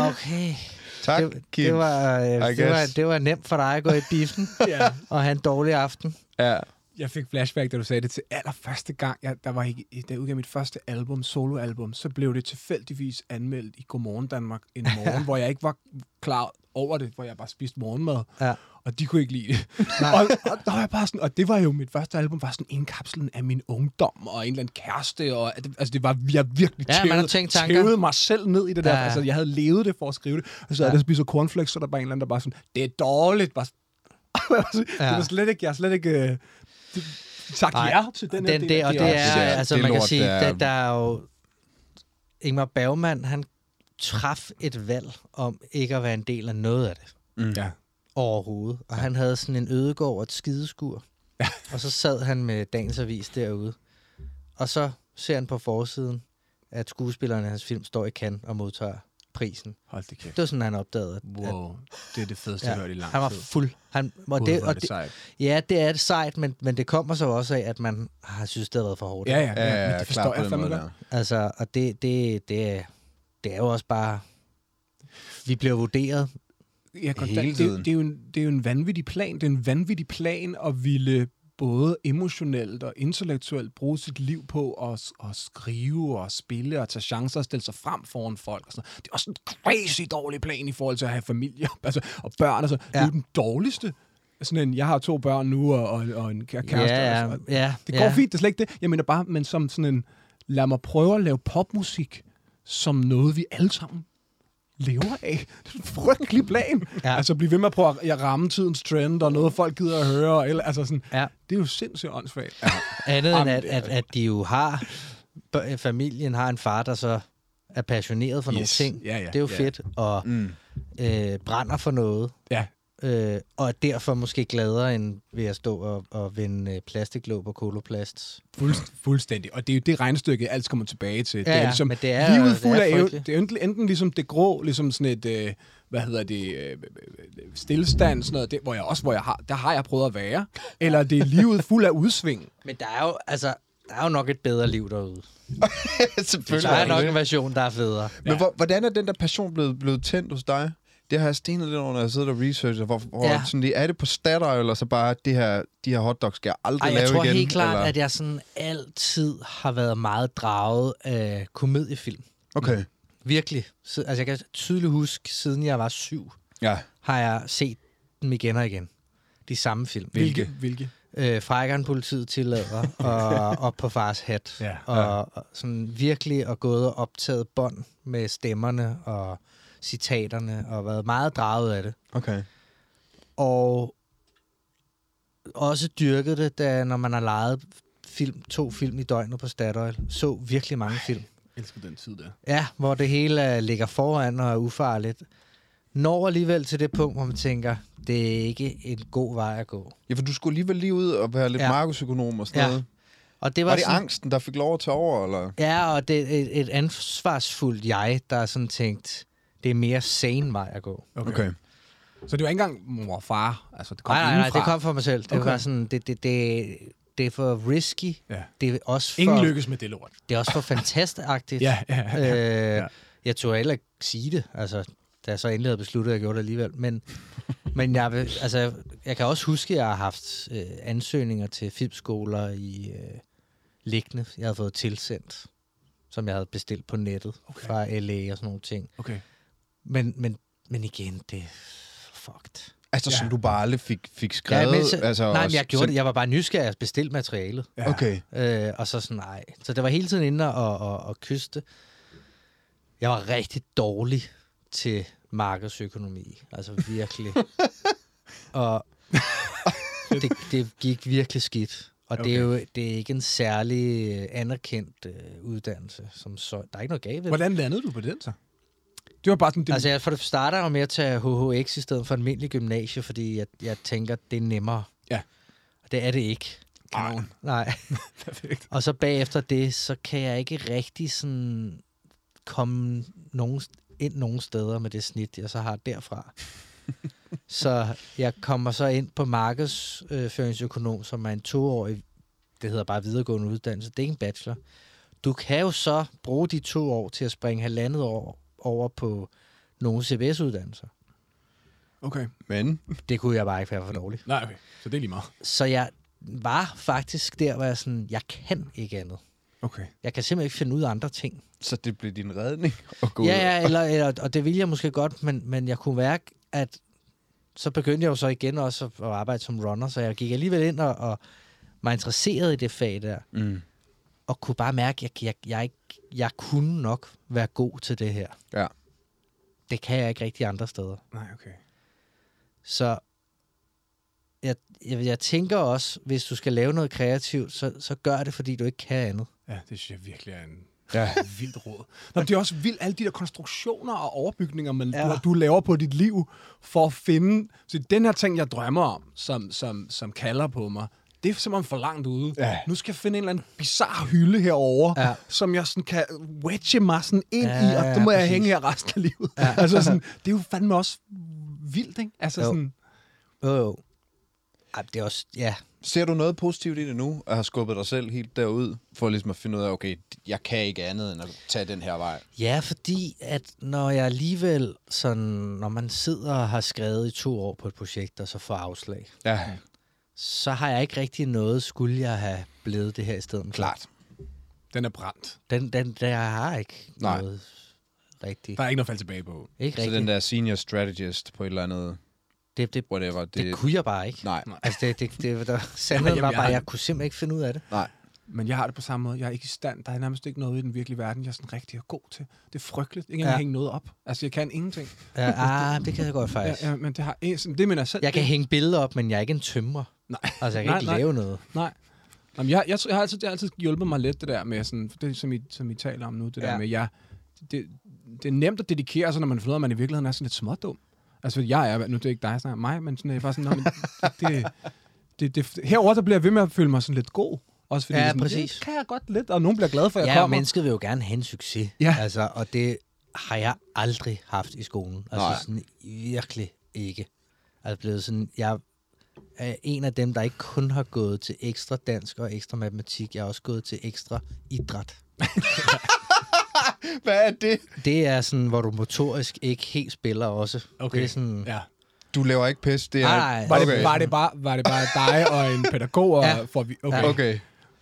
Speaker 9: Okay.
Speaker 2: Tak,
Speaker 9: det, det, var, øh,
Speaker 2: I
Speaker 9: det, var,
Speaker 2: guess.
Speaker 9: det var nemt for dig at gå i biffen
Speaker 1: Ja.
Speaker 9: og have en dårlig aften.
Speaker 2: Ja.
Speaker 1: Jeg fik flashback, da du sagde det til allerførste gang, jeg, der var, i- da jeg udgav mit første album, soloalbum, så blev det tilfældigvis anmeldt i Godmorgen Danmark en morgen, hvor jeg ikke var klar over det, hvor jeg bare spiste morgenmad,
Speaker 9: Ja.
Speaker 1: og de kunne ikke lide det. og, og, der var jeg bare sådan, og det var jo mit første album, var sådan indkapslen af min ungdom og en eller anden kæreste, og at- altså det var, jeg virkelig
Speaker 9: Ja, man har tænkt tanker.
Speaker 1: tævede mig selv ned i det der,
Speaker 9: Ja.
Speaker 1: ja. altså jeg havde levet det for at skrive det, og så ja.
Speaker 9: Ja.
Speaker 1: der spiser cornflakes, så er der bare en eller anden, der bare sådan, det er dårligt, bare, det var slet ikke, jeg har slet ikke... øh, sagt
Speaker 9: Nej.
Speaker 1: Nej. ja til den her del.
Speaker 9: den der, og det er,
Speaker 2: det er-
Speaker 9: altså
Speaker 2: det er
Speaker 9: man kan
Speaker 2: lort,
Speaker 9: sige,
Speaker 2: det er-
Speaker 9: der, der er jo, Ingmar Bergman, han traf et valg om ikke at være en del af noget af det
Speaker 2: Mm.
Speaker 1: Ja.
Speaker 9: overhovedet. Og han havde sådan en ødegård og et skideskur. og så sad han med dagens avis derude. Og så ser han på forsiden, at skuespilleren i hans film står i kan og modtager prisen.
Speaker 1: Hold det kæft.
Speaker 9: Det var sådan, han opdagede, at, at
Speaker 1: Wow. Det er det fedeste, jeg har hørt i lang
Speaker 9: han var
Speaker 1: tid.
Speaker 9: fuld. Han, og
Speaker 1: Gud,
Speaker 9: det,
Speaker 1: hvor er
Speaker 9: og
Speaker 1: det
Speaker 9: det,
Speaker 1: sejt.
Speaker 9: ja, det er det sejt, men, men det kommer så også af, at man har synes, det har været for hårdt.
Speaker 1: Ja, ja,
Speaker 2: Ja,
Speaker 1: ja,
Speaker 2: ja,
Speaker 1: men
Speaker 2: ja,
Speaker 1: det
Speaker 2: klart
Speaker 1: forstår
Speaker 2: på
Speaker 1: jeg
Speaker 2: den
Speaker 1: fandme
Speaker 2: måde
Speaker 1: godt.
Speaker 2: der.
Speaker 9: Altså, og det, det, det, er- det er jo også bare... Vi bliver vurderet.
Speaker 1: Ja, godt,
Speaker 2: Hele
Speaker 1: det, det, er jo-
Speaker 2: tiden.
Speaker 1: det, er jo en, det er jo en vanvittig plan. Det er en vanvittig plan at ville både emotionelt og intellektuelt bruge sit liv på at, s- at skrive og spille og tage chancer og stille sig frem foran folk. Og sådan. noget. Det er også en crazy dårlig plan i forhold til at have familie altså, og børn. Altså. Ja. Det er
Speaker 9: Ja.
Speaker 1: jo den dårligste. Sådan en, jeg har to børn nu og, og, og en kæreste.
Speaker 9: ja,
Speaker 1: og,
Speaker 9: ja,
Speaker 1: og,
Speaker 9: ja,
Speaker 1: Det går
Speaker 9: ja.
Speaker 1: ja. fint, det er slet ikke det. Jeg mener bare, men som sådan en, lad mig prøve at lave popmusik som noget, vi alle sammen lever af. Det er en frygtelig plan.
Speaker 9: Ja.
Speaker 1: ja. Altså, blive ved med at prøve at at ramme tidens trend, og noget, folk gider at høre. og Eller, altså sådan,
Speaker 9: Ja.
Speaker 1: Det er jo sindssygt åndssvagt. Ja.
Speaker 9: Andet end,
Speaker 1: Jamen,
Speaker 9: at,
Speaker 1: det er-
Speaker 9: at, at de jo har... bør- Familien har en far, der så er passioneret for nogle
Speaker 1: Yes.
Speaker 9: ting.
Speaker 1: Ja, ja,
Speaker 9: det er jo
Speaker 1: ja.
Speaker 9: fedt. Og
Speaker 2: Mm.
Speaker 9: øh, brænder for noget.
Speaker 1: ja.
Speaker 9: øh, og er derfor måske gladere end ved at stå og, og vende øh, plastiklåb og koloplast.
Speaker 1: Fuldst, fuldstændig. Og det er jo det regnestykke, alt kommer tilbage til.
Speaker 9: Ja,
Speaker 1: det
Speaker 9: ja,
Speaker 1: er ligesom,
Speaker 9: men det er-
Speaker 1: livet
Speaker 9: det
Speaker 1: fuld
Speaker 9: er
Speaker 1: af ev-
Speaker 9: frygteligt.
Speaker 1: Det er enten, enten ligesom det grå, ligesom sådan et, øh, hvad hedder det, øh, stillestand, sådan noget, det, hvor jeg også, hvor jeg har, der har jeg prøvet at være. Eller det er livet fuld af udsving.
Speaker 9: Men der er jo, altså, der er jo nok et bedre liv derude.
Speaker 2: Selvfølgelig.
Speaker 9: Der er nok en version, der er federe.
Speaker 2: Men hvor, hvordan er den der passion blevet, blevet tændt hos dig? Det har jeg stenet lidt over, når jeg sidder og researcher. Hvor, hvor ja.
Speaker 9: Ja.
Speaker 2: sådan, lige, er det på statter, eller så bare, det her, de her hotdogs skal jeg aldrig
Speaker 9: Ej,
Speaker 2: lave
Speaker 9: jeg tror
Speaker 2: igen?
Speaker 9: helt klart,
Speaker 2: eller?
Speaker 9: eller? at jeg sådan altid har været meget draget af komediefilm.
Speaker 2: Okay,
Speaker 9: Virkelig. Si- Altså, jeg kan tydeligt huske, siden jeg var syv,
Speaker 2: ja.
Speaker 9: har jeg set dem igen og igen. De samme film.
Speaker 1: Hvilke?
Speaker 9: Øh, Frækkeren politiet tillader, og op på fars hat.
Speaker 1: Ja.
Speaker 9: og, og sådan virkelig og gået og optaget bånd med stemmerne og citaterne, og været meget draget af det.
Speaker 2: Okay.
Speaker 9: og også dyrket det, da, når man har lejet film, to film i døgnet på Statoil. Så virkelig mange Ej. film.
Speaker 1: Jeg elsker den tid der.
Speaker 9: Ja, hvor det hele øh, ligger foran og er ufarligt. Når alligevel til det punkt, hvor man tænker, det er ikke en god vej at gå.
Speaker 2: Ja, for du skulle alligevel lige ud og være lidt ja.
Speaker 9: Ja.
Speaker 2: markedsøkonom og sådan ja.
Speaker 9: Ja.
Speaker 2: noget.
Speaker 9: Og det
Speaker 2: Var,
Speaker 9: var,
Speaker 2: var det
Speaker 9: sådan,
Speaker 2: angsten, der fik lov at tage over, eller?
Speaker 9: Ja, og det er et, et ansvarsfuldt jeg, der er sådan tænkt, det er mere sane vej at gå.
Speaker 1: Okay. okay. Så det var ikke engang mor og far? Altså, det kom
Speaker 9: Nej, nej, nej,
Speaker 1: indenfra.
Speaker 9: det kom fra mig selv. Det
Speaker 1: Okay.
Speaker 9: okay. var sådan, det, det, det, det er for risky.
Speaker 1: Ja.
Speaker 9: Det er også for...
Speaker 1: Ingen lykkes med det lort.
Speaker 9: Det er også for fantastagtigt.
Speaker 1: Ja, ja, ja.
Speaker 9: Øh,
Speaker 1: ja.
Speaker 9: Jeg turde heller ikke sige det, altså, da jeg så endelig havde besluttet, at jeg gjorde det alligevel. Men, men jeg, vil- altså, jeg kan også huske, at jeg har haft øh, ansøgninger til filmskoler i øh, liggende, jeg havde fået tilsendt, som jeg havde bestilt på nettet okay. fra LA og sådan nogle ting.
Speaker 1: Okay.
Speaker 9: Men, men, men igen, det er fucked.
Speaker 2: Altså, ja. som du bare aldrig fik, fik skrevet?
Speaker 9: Ja, men, så,
Speaker 2: altså,
Speaker 9: altså, nej, men
Speaker 2: og
Speaker 9: jeg gjorde
Speaker 2: sen-
Speaker 9: det. Jeg var bare nysgerrig at bestille materialet.
Speaker 1: Ja.
Speaker 2: Okay.
Speaker 9: Øh, og så sådan, nej. Så det var hele tiden inde og, og, og kyste. Jeg var rigtig dårlig til markedsøkonomi. Altså virkelig. og det, det gik virkelig skidt. Og okay. det er jo det er ikke en særlig øh, anerkendt øh, uddannelse. Som så, der er ikke noget galt ved det.
Speaker 1: Hvordan landede du på den så? Det var bare sådan... Det,
Speaker 9: Altså jeg for det starter jo med at tage HHX i stedet for almindelig gymnasie, fordi jeg, jeg tænker, det er nemmere.
Speaker 1: Ja.
Speaker 9: Og det er det ikke.
Speaker 1: Kanon.
Speaker 9: Nej.
Speaker 1: Perfekt.
Speaker 9: Og så bagefter det, så kan jeg ikke rigtig sådan komme nogen, ind nogen steder med det snit, jeg så har derfra. så jeg kommer så ind på markedsføringsøkonom, som er en toårig, det hedder bare videregående uddannelse, det er ikke en bachelor. Du kan jo så bruge de to år til at springe halvandet år over på nogle CBS-uddannelser.
Speaker 1: Okay.
Speaker 2: Men,
Speaker 9: Det kunne jeg bare ikke være for dårlig.
Speaker 1: Nej, okay. Så det er lige meget.
Speaker 9: Så jeg var faktisk der, hvor jeg sådan, jeg kan ikke andet.
Speaker 1: Okay.
Speaker 9: Jeg kan simpelthen ikke finde ud af andre ting.
Speaker 2: så det blev din redning at gå ud.
Speaker 9: Ja, ja eller, eller, og det ville jeg måske godt, men, men jeg kunne mærke, at så begyndte jeg jo så igen også at at arbejde som runner, så jeg gik alligevel ind og, og var interesseret i det fag der,
Speaker 2: Mm.
Speaker 9: og kunne bare mærke, at jeg, jeg, jeg, ikke, jeg kunne nok være god til det her.
Speaker 2: Ja.
Speaker 9: Det kan jeg ikke rigtig andre steder.
Speaker 1: Nej, okay.
Speaker 9: Så jeg, jeg, jeg tænker også, hvis du skal lave noget kreativt, så, så gør det, fordi du ikke kan andet.
Speaker 1: Ja, det synes jeg virkelig er en ja. vildt råd. Nå, men det er også vildt, alle de der konstruktioner og overbygninger, man, ja.
Speaker 9: Ja.
Speaker 1: du, du laver på dit liv, for at finde... Så den her ting, jeg drømmer om, som, som, som kalder på mig, det er simpelthen for langt ude. Ja. Nu skal jeg finde en eller anden bizarre hylde herover, ja.
Speaker 9: Ja.
Speaker 1: som jeg sådan kan wedge mig sådan ind ja,
Speaker 9: Ja,
Speaker 1: i, og
Speaker 9: ja,
Speaker 1: det må jeg
Speaker 9: præcis.
Speaker 1: hænge her resten af livet. Ja. Altså sådan, det er jo fandme også vildt, ikke? Altså
Speaker 9: Jo.
Speaker 1: sådan,
Speaker 9: Jo, jo. Ej, det er også, ja,
Speaker 2: Ser du noget positivt i det nu, at have skubbet dig selv helt derud, for ligesom at finde ud af, okay, jeg kan ikke andet end at tage den her vej?
Speaker 9: Ja, fordi at når jeg alligevel sådan, når man sidder og har skrevet i to år på et projekt, og så får afslag,
Speaker 2: Ja,
Speaker 9: så har jeg ikke rigtig noget, skulle jeg have blevet det her i stedet. for.
Speaker 2: klart.
Speaker 1: den er brændt.
Speaker 9: Den, den, der jeg har ikke
Speaker 2: Nej.
Speaker 9: Nej. noget rigtigt.
Speaker 1: Der er ikke noget at falde tilbage på.
Speaker 9: Ikke
Speaker 2: Så
Speaker 9: rigtigt.
Speaker 2: den der senior strategist på et eller andet,
Speaker 9: det, det,
Speaker 2: whatever, det...
Speaker 9: det, det, kunne jeg bare ikke.
Speaker 2: Nej,
Speaker 9: Altså, det, det, det, der, sandheden
Speaker 1: Jamen,
Speaker 9: var
Speaker 1: jeg
Speaker 9: bare,
Speaker 1: har-
Speaker 9: at jeg kunne simpelthen ikke finde ud af det.
Speaker 2: nej.
Speaker 1: Men jeg har det på samme måde. Jeg er ikke i stand. Der er nærmest ikke noget i den virkelige verden, jeg er sådan rigtig er god til. Det er frygteligt. Ikke engang
Speaker 9: Ja.
Speaker 1: ja. hænge noget op. Altså, jeg kan ingenting.
Speaker 9: Ja, ah, det kan jeg godt
Speaker 1: Ja,
Speaker 9: faktisk.
Speaker 1: ja, men det har eh, sådan- det mener jeg selv.
Speaker 9: Jeg kan
Speaker 1: det,
Speaker 9: hænge billeder op, men jeg er ikke en tømrer.
Speaker 1: Nej.
Speaker 9: Altså, jeg kan
Speaker 1: Nej,
Speaker 9: ikke
Speaker 1: nej.
Speaker 9: lave noget.
Speaker 1: Nej. Jamen, jeg, jeg, tror- jeg, har altid, det har altid hjulpet mig lidt, det der med, sådan, for det, som, I, som I taler om nu, det ja. der
Speaker 9: Ja.
Speaker 1: med, jeg, det, det er nemt at dedikere sig, når man finder ud af, at man i virkeligheden er sådan lidt smådum. Altså, fordi jeg er, nu er det ikke dig, jeg snakker om mig, men sådan, jeg er bare sådan, "Nå, men det, det, det, det, herover der bliver jeg ved med at føle mig sådan lidt god. Også fordi
Speaker 9: Ja,
Speaker 1: jeg sådan,
Speaker 9: præcis.
Speaker 1: Det kan jeg godt lidt, og nogen bliver glade for, at jeg
Speaker 9: Ja, og
Speaker 1: kommer.
Speaker 9: mennesket vil jo gerne have en succes.
Speaker 1: Ja.
Speaker 9: Altså, og det har jeg aldrig haft i skolen. Altså
Speaker 2: Nej.
Speaker 9: sådan virkelig ikke. Altså blevet sådan, jeg er en af dem, der ikke kun har gået til ekstra dansk og ekstra matematik. Jeg har også gået til ekstra idræt.
Speaker 2: Hvad er det?
Speaker 9: Det er sådan, hvor du motorisk ikke helt spiller også. Okay. Det er sådan,
Speaker 1: Ja.
Speaker 2: Du laver ikke pis, det er...
Speaker 9: Nej, nej.
Speaker 1: Var, okay.
Speaker 2: Okay.
Speaker 1: det, var, det bare, var det bare dig og en pædagog? Og,
Speaker 9: Ja.
Speaker 1: ja. for, vi- okay.
Speaker 2: Okay.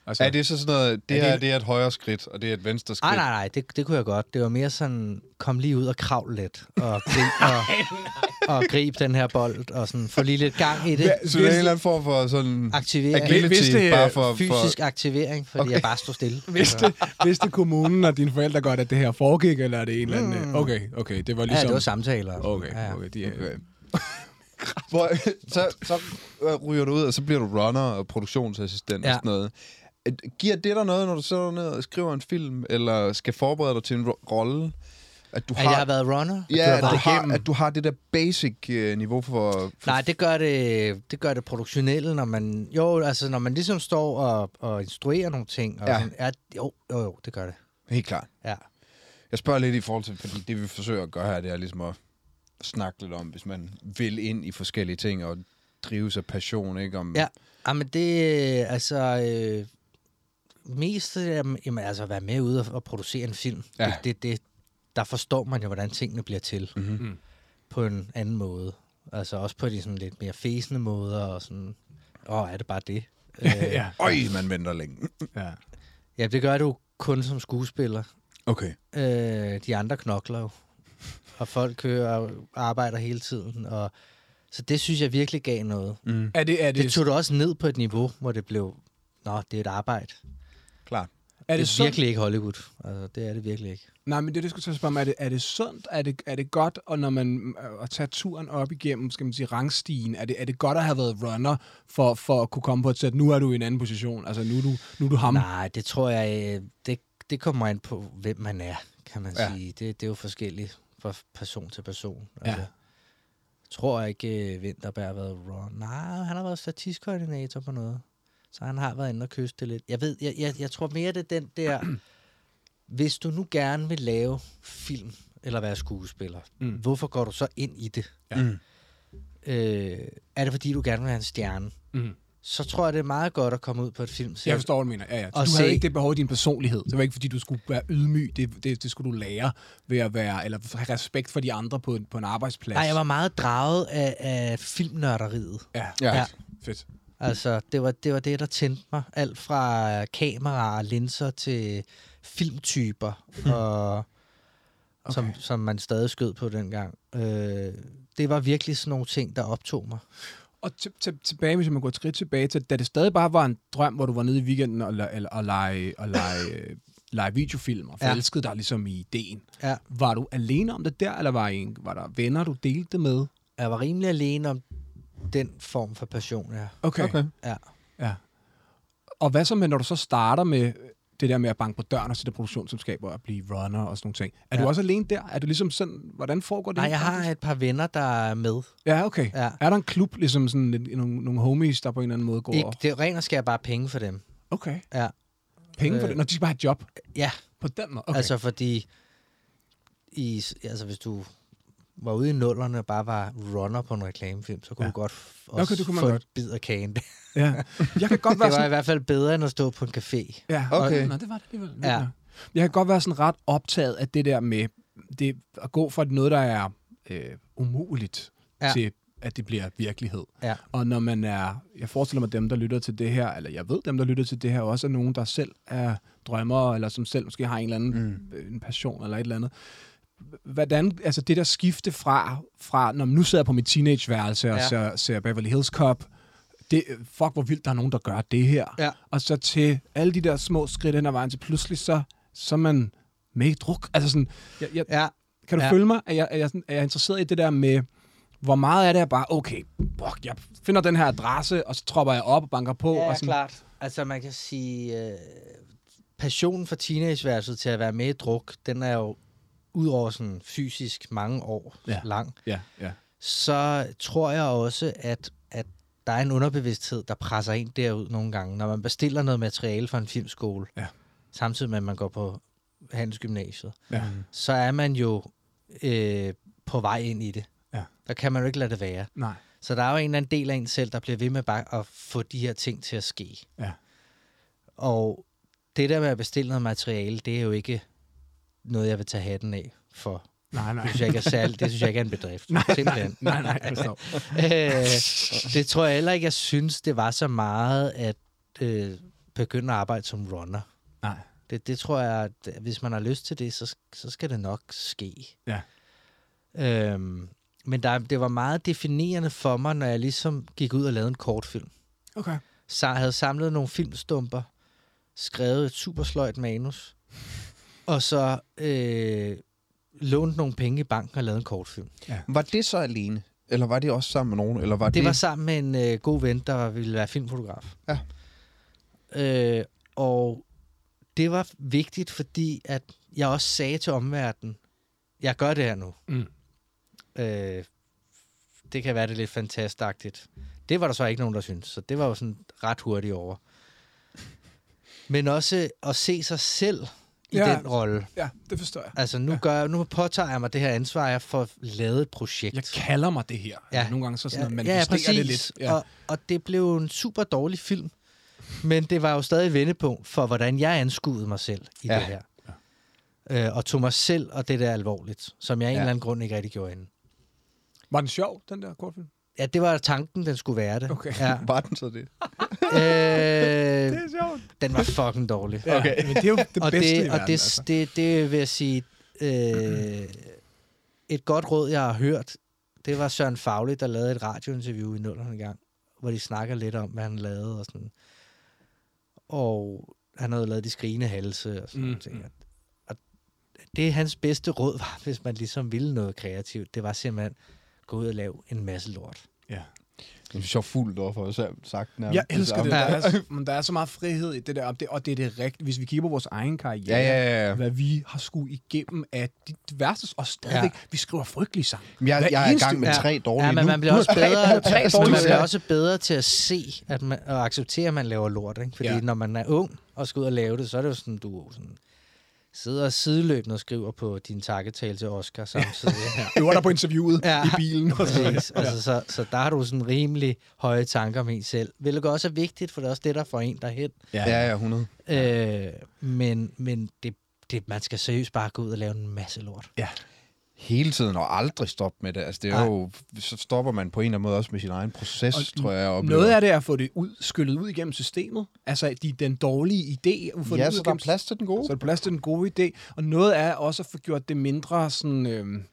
Speaker 1: Altså,
Speaker 2: Er det så sådan noget, det
Speaker 1: Er det-
Speaker 2: her det er et højre skridt, og det er et venstre skridt?
Speaker 9: Ej, nej, nej, det, det kunne jeg godt. Det var mere sådan, kom lige ud og kravl lidt, og, grib, og, og grib den her bold, og sådan, få lige lidt gang i det.
Speaker 2: Så det er en eller anden form for sådan...
Speaker 9: Aktivering.
Speaker 1: Hvis
Speaker 2: Agility,
Speaker 1: det er
Speaker 2: bare for... for
Speaker 9: Fysisk aktivering, fordi okay. jeg bare stod stille.
Speaker 1: vidste, vidste kommunen og dine forældre godt, at det her foregik, eller er det en eller anden... Okay, okay, det var
Speaker 9: Mm. Ja,
Speaker 1: ligesom...
Speaker 9: det var samtaler. og sådan. Ja,
Speaker 1: Okay,
Speaker 9: ja.
Speaker 1: okay, de er, okay.
Speaker 2: Hvor, så, så øh, ryger du ud, og så bliver du runner og produktionsassistent ja.
Speaker 9: Ja.
Speaker 2: og sådan noget. Et- Giver det dig noget, når du sidder ned og skriver en film, eller skal forberede dig til en ro- rolle? At du
Speaker 9: At
Speaker 2: har,
Speaker 9: jeg har været runner?
Speaker 2: ja,
Speaker 9: har
Speaker 2: at
Speaker 9: været
Speaker 2: du, har,
Speaker 9: igennem?
Speaker 2: at du har det der basic øh, niveau for... for
Speaker 9: Nej, det gør det, det gør det produktionelle, når man... Jo, altså, når man ligesom står og, og instruerer nogle ting. Og
Speaker 2: Ja.
Speaker 9: ja. Sådan, ja, jo, jo, jo, det gør det.
Speaker 2: Helt klart.
Speaker 9: Ja.
Speaker 2: Jeg spørger lidt i forhold til, fordi det vi forsøger at gøre her, det er ligesom at snakke lidt om, hvis man vil ind i forskellige ting og drives af passion, ikke? Om,
Speaker 9: Ja. Jamen, Ah, det øh, altså... Øh, mest øh, jamen, altså, at være med ude og, og producere en film.
Speaker 2: Ja.
Speaker 9: Ja. Det, det, det, der forstår man jo, hvordan tingene bliver til.
Speaker 2: Mhm.
Speaker 1: Mm.
Speaker 9: På en anden måde. Altså også på de sådan lidt mere fæsende måder, og sådan... Åh, er det bare det? Øh,
Speaker 1: ja.
Speaker 2: Øj, man venter længe.
Speaker 1: ja.
Speaker 9: ja, det gør du kun som skuespiller.
Speaker 2: Okay.
Speaker 9: Øh, de andre knokler jo. Og folk kører og arbejder hele tiden. Og, så det synes jeg virkelig gav noget.
Speaker 2: Mm.
Speaker 1: Er det, er det,
Speaker 9: Det tog du også ned på et niveau, hvor det blev... Nå, det er et arbejde.
Speaker 2: Klart.
Speaker 1: er
Speaker 9: det
Speaker 1: det
Speaker 9: er
Speaker 1: sundt?
Speaker 9: virkelig ikke Hollywood. Altså, det er det virkelig ikke.
Speaker 1: Nej, men det, er det jeg skulle til at spørge mig, er det, er det sundt? Er det, er det godt, og når man øh, at tage turen op igennem, skal man sige, rangstigen, er det, er det godt at have været runner for, for at kunne komme på et sæt? Nu er du i en anden position, altså nu er du, nu er du ham.
Speaker 9: Nej, det tror jeg... øh, Det, det kommer an på, hvem man er, kan man
Speaker 2: Ja.
Speaker 9: ja. sige. Det, det er jo forskelligt fra person til person.
Speaker 1: Ja.
Speaker 9: Altså, jeg tror ikke, øh, Vinterberg har været run. Nej, han har været statistkoordinator på noget. Så han har været inde og kysse det lidt. Jeg ved, jeg, jeg, jeg tror mere, det er den der... hvis du nu gerne vil lave film, eller være skuespiller,
Speaker 1: Mm.
Speaker 9: mm. hvorfor går du så ind i det?
Speaker 1: Ja.
Speaker 2: Mm.
Speaker 9: Øh, er det, fordi du gerne vil være en stjerne?
Speaker 1: Mm.
Speaker 9: Så tror jeg, det er meget godt at komme ud på et filmsæt.
Speaker 1: Jeg forstår, hvad du mener. Ja, ja. Du
Speaker 9: Og
Speaker 1: havde
Speaker 9: se-
Speaker 1: ikke det behov i din personlighed. Det var ikke, fordi du skulle være ydmyg. Det, det, det skulle du lære ved at være, eller have respekt for de andre på en, på en arbejdsplads.
Speaker 9: Nej, jeg var meget draget af, af filmnørderiet.
Speaker 1: Ja,
Speaker 2: Ja.
Speaker 9: Ja.
Speaker 1: fedt.
Speaker 9: Altså, det var, det var det, der tændte mig. Alt fra øh, kameraer og linser til filmtyper, og, okay. som, som man stadig skød på dengang. Øh, det var virkelig sådan nogle ting, der optog mig.
Speaker 1: Og til, til, tilbage, hvis man går et skridt tilbage til, da det stadig bare var en drøm, hvor du var nede i weekenden og, la- eller, og lege, og lege, øh, lege videofilm og
Speaker 9: Ja.
Speaker 1: forelskede dig ligesom i ideen.
Speaker 9: Ja.
Speaker 1: Var du alene om det der, eller var, I en, var der venner, du delte det med?
Speaker 9: Jeg var rimelig alene om den form for passion, ja.
Speaker 1: Okay.
Speaker 2: Okay.
Speaker 9: ja.
Speaker 1: Ja. Og hvad så med, når du så starter med det der med at banke på døren og sætte produktionsselskaber og blive runner og sådan nogle ting. Er ja. du
Speaker 9: Ja.
Speaker 1: også alene der? Er du ligesom sådan, hvordan foregår det?
Speaker 9: Nej,
Speaker 1: helt
Speaker 9: jeg har et par venner, der er med.
Speaker 1: Ja, okay. Ja.
Speaker 9: Ja.
Speaker 1: Er der en klub, ligesom sådan en, nogle, nogle homies, der på en eller anden måde går
Speaker 9: Ikke,
Speaker 1: over?
Speaker 9: det er rent og skære bare penge for dem.
Speaker 1: Okay.
Speaker 9: Ja.
Speaker 1: Penge for
Speaker 9: Øh.
Speaker 1: det? Når de skal bare have et job?
Speaker 9: Ja.
Speaker 1: På den måde?
Speaker 9: Okay.
Speaker 1: Okay.
Speaker 9: Altså fordi, i, altså hvis du var ude i nullerne og bare var runner på en reklamefilm, så
Speaker 1: Ja.
Speaker 9: kunne ja. du godt f-
Speaker 1: Okay,
Speaker 9: også
Speaker 1: det kunne man
Speaker 9: få
Speaker 1: godt.
Speaker 9: en bid af kagen. Det
Speaker 1: ja. Jeg kan godt være
Speaker 9: var
Speaker 1: sådan...
Speaker 9: i hvert fald bedre end at stå på en café.
Speaker 1: Ja,
Speaker 2: Okay.
Speaker 1: Nå, det var det alligevel.
Speaker 9: Ja.
Speaker 1: Jeg kan godt være sådan ret optaget af det der med det, at gå fra noget, der er øh, umuligt, ja.
Speaker 9: Ja.
Speaker 1: til at det bliver virkelighed.
Speaker 9: Ja.
Speaker 1: Og når man er, jeg forestiller mig dem, der lytter til det her, eller jeg ved dem, der lytter til det her, også er nogen, der selv er drømmer, eller som selv måske har en eller anden mm. en passion, eller et eller andet. Hvordan, altså det der skifte fra, fra når man nu sidder jeg på mit teenageværelse og ja.
Speaker 9: Ja.
Speaker 1: ser, ser Beverly Hills Cop, det, øh, fuck hvor vildt, der er nogen, der gør det her.
Speaker 9: Ja.
Speaker 1: Og så til alle de der små skridt hen ad vejen, til pludselig så, så er man med i druk. Altså sådan, jeg, jeg,
Speaker 9: Ja,
Speaker 1: kan du ja.
Speaker 9: Ja.
Speaker 1: følge mig? Er jeg, er, jeg sådan, er jeg interesseret i det der med, hvor meget er det, jeg bare, okay, fuck, jeg finder den her adresse, og så tropper jeg op og banker på. og sådan,
Speaker 9: klart. Altså man kan sige, øh, passionen for teenageværelset til at være med i druk, den er jo udover sådan fysisk mange år
Speaker 1: Ja.
Speaker 9: lang,
Speaker 1: Ja, ja.
Speaker 9: så tror jeg også, at, at der er en underbevidsthed, der presser en derud nogle gange, når man bestiller noget materiale fra en filmskole,
Speaker 1: Ja.
Speaker 9: samtidig med, at man går på handelsgymnasiet,
Speaker 1: Ja.
Speaker 9: så er man jo øh, på vej ind i det.
Speaker 1: Ja.
Speaker 9: Der kan man jo ikke lade det være.
Speaker 1: Nej.
Speaker 9: Så der er jo en eller anden del af en selv, der bliver ved med bare at få de her ting til at ske.
Speaker 1: Ja.
Speaker 9: Og det der med at bestille noget materiale, det er jo ikke noget, jeg vil tage hatten af for.
Speaker 1: Nej, nej.
Speaker 9: Det synes jeg ikke er særligt. Det synes jeg ikke er en bedrift. Nej, Simpelthen.
Speaker 1: nej, nej, jeg forstår.
Speaker 9: Øh, det tror jeg heller ikke, jeg synes, det var så meget at øh, begynde at arbejde som runner.
Speaker 1: Nej.
Speaker 9: Det, det tror jeg, at hvis man har lyst til det, så, så skal det nok ske.
Speaker 1: Ja.
Speaker 9: Øhm, men der, det var meget definerende for mig, når jeg ligesom gik ud og lavede en kortfilm.
Speaker 1: Okay.
Speaker 9: Så jeg havde samlet nogle filmstumper, skrevet et supersløjt manus, og så øh, lånt nogle penge i banken og lavet en kortfilm.
Speaker 2: Var det så alene? Eller var det også sammen med nogen? Eller var det,
Speaker 9: Det var sammen med en øh, god ven, der ville være filmfotograf.
Speaker 2: Ja.
Speaker 9: Øh, og det var vigtigt, fordi at jeg også sagde til omverdenen, jeg gør det her nu.
Speaker 1: Mm.
Speaker 9: Øh, det kan være, det er lidt fantastisk. Det var der så ikke nogen, der syntes, så det var jo sådan ret hurtigt over. Men også at se sig selv i
Speaker 1: Ja.
Speaker 9: ja. den rolle.
Speaker 1: Ja, det forstår jeg.
Speaker 9: Altså nu, ja. gør, jeg- nu påtager jeg mig det her ansvar, jeg får lavet et projekt.
Speaker 1: Jeg kalder mig det her. Ja.
Speaker 9: Ja.
Speaker 1: Nogle gange så sådan, at man ja, ja, det lidt.
Speaker 9: Ja. Og, og det blev jo en super dårlig film, men det var jo stadig et vendepunkt for, hvordan jeg anskuede mig selv i
Speaker 2: Ja.
Speaker 9: ja. det her. Ja. Øh, og tog mig selv og det der alvorligt, som jeg af ja. en
Speaker 2: Ja.
Speaker 9: eller anden grund ikke rigtig gjorde inden.
Speaker 1: Var den sjov, den der kortfilm?
Speaker 9: Ja, det var tanken, den skulle være det.
Speaker 1: Okay.
Speaker 9: Ja.
Speaker 2: Var den så det?
Speaker 9: Øh,
Speaker 1: sjovt.
Speaker 9: den var fucking dårlig.
Speaker 1: Ja, okay. men det er jo det
Speaker 9: og
Speaker 1: bedste
Speaker 9: det,
Speaker 1: i verden,
Speaker 9: og det,
Speaker 1: altså.
Speaker 9: det, det vil jeg sige, øh, et godt råd, jeg har hørt, det var Søren Fagli, der lavede et radiointerview i nullerne gang, hvor de snakker lidt om, hvad han lavede og sådan. Og han havde lavet de skrigende halse og sådan
Speaker 1: Mm,
Speaker 9: mm. ting. Og det hans bedste råd var, hvis man ligesom ville noget kreativt, det var simpelthen gå ud og lave en masse lort.
Speaker 2: Det er så fuldt over for os sagt nærmest.
Speaker 1: Jeg elsker det. Der
Speaker 2: samme.
Speaker 1: er, så- men der er så meget frihed i det der, og det, og det er det rigtige. Hvis vi kigger på vores egen karriere,
Speaker 2: Ja, ja, ja.
Speaker 1: hvad vi har skulle igennem af de diverse, og stadigvæk, ja. vi skriver frygtelige sange.
Speaker 2: Men Jeg,
Speaker 1: Hver
Speaker 2: jeg er i
Speaker 1: eneste-
Speaker 2: gang med
Speaker 9: Ja.
Speaker 2: tre dårlige
Speaker 9: Ja, men
Speaker 2: nu.
Speaker 9: man bliver også bedre,
Speaker 2: tre
Speaker 9: man
Speaker 2: dårlige
Speaker 9: bliver
Speaker 2: serier.
Speaker 9: også bedre til at se at man, og acceptere, at man laver lort. Ikke? Fordi
Speaker 1: Ja.
Speaker 9: ja. når man er ung og skal ud og lave det, så er det jo sådan, du er sådan, sidder sideløbende og skriver på din takketale til Oscar samtidig. Ja.
Speaker 1: Øver dig på interviewet ja.
Speaker 9: Ja.
Speaker 1: i bilen. Og så.
Speaker 9: Præcis. Altså, så, så der har du sådan rimelig høje tanker om en selv. Hvilket også er vigtigt, for det er også det, der får en derhen.
Speaker 2: Ja, ja, 100.
Speaker 9: Øh, men men det, det, man skal seriøst bare gå ud og lave en masse lort.
Speaker 2: hele tiden og aldrig stoppe med det. Altså, det er
Speaker 9: Nej.
Speaker 2: jo, så stopper man på en eller anden måde også med sin egen proces, og tror jeg. jeg oplever.
Speaker 1: Noget af det er at få det ud, skyllet ud igennem systemet. Altså de, den dårlige idé. at få den
Speaker 2: Ja,
Speaker 1: ud
Speaker 2: så der er
Speaker 1: igennem-
Speaker 2: plads til den gode.
Speaker 1: Så er der plads til den gode idé. Og noget er også at få gjort det mindre sådan... Øhm,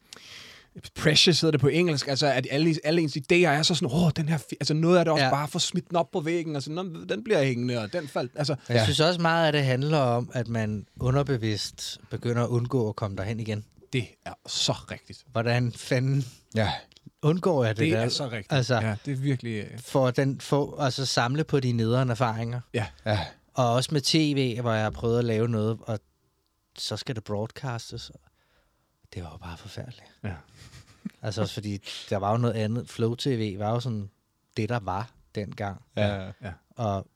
Speaker 1: precious hedder det på engelsk, altså at alle, alle ens idéer er så sådan, åh, den her, fi-" altså noget er det også ja.
Speaker 9: Ja.
Speaker 1: bare at få smidt den op på væggen, og sådan, "Nå, den bliver hængende, og den faldt, altså,
Speaker 9: Men Jeg synes også meget, at det handler om, at man underbevidst begynder at undgå at komme derhen igen.
Speaker 1: det er så rigtigt.
Speaker 9: Hvordan fanden
Speaker 2: Ja.
Speaker 9: undgår jeg det,
Speaker 1: Det
Speaker 9: der?
Speaker 1: er så rigtigt.
Speaker 9: Altså, ja.
Speaker 1: Ja, det er virkelig... øh,
Speaker 9: for, den, for altså samle på de nederen erfaringer.
Speaker 1: Ja.
Speaker 2: Ja.
Speaker 9: Og også med tv, hvor jeg har prøvet at lave noget, og så skal det broadcastes. Det var jo bare forfærdeligt.
Speaker 1: Ja.
Speaker 9: altså også fordi, der var jo noget andet. Flow TV var jo sådan det, der var dengang.
Speaker 2: ja.
Speaker 9: Og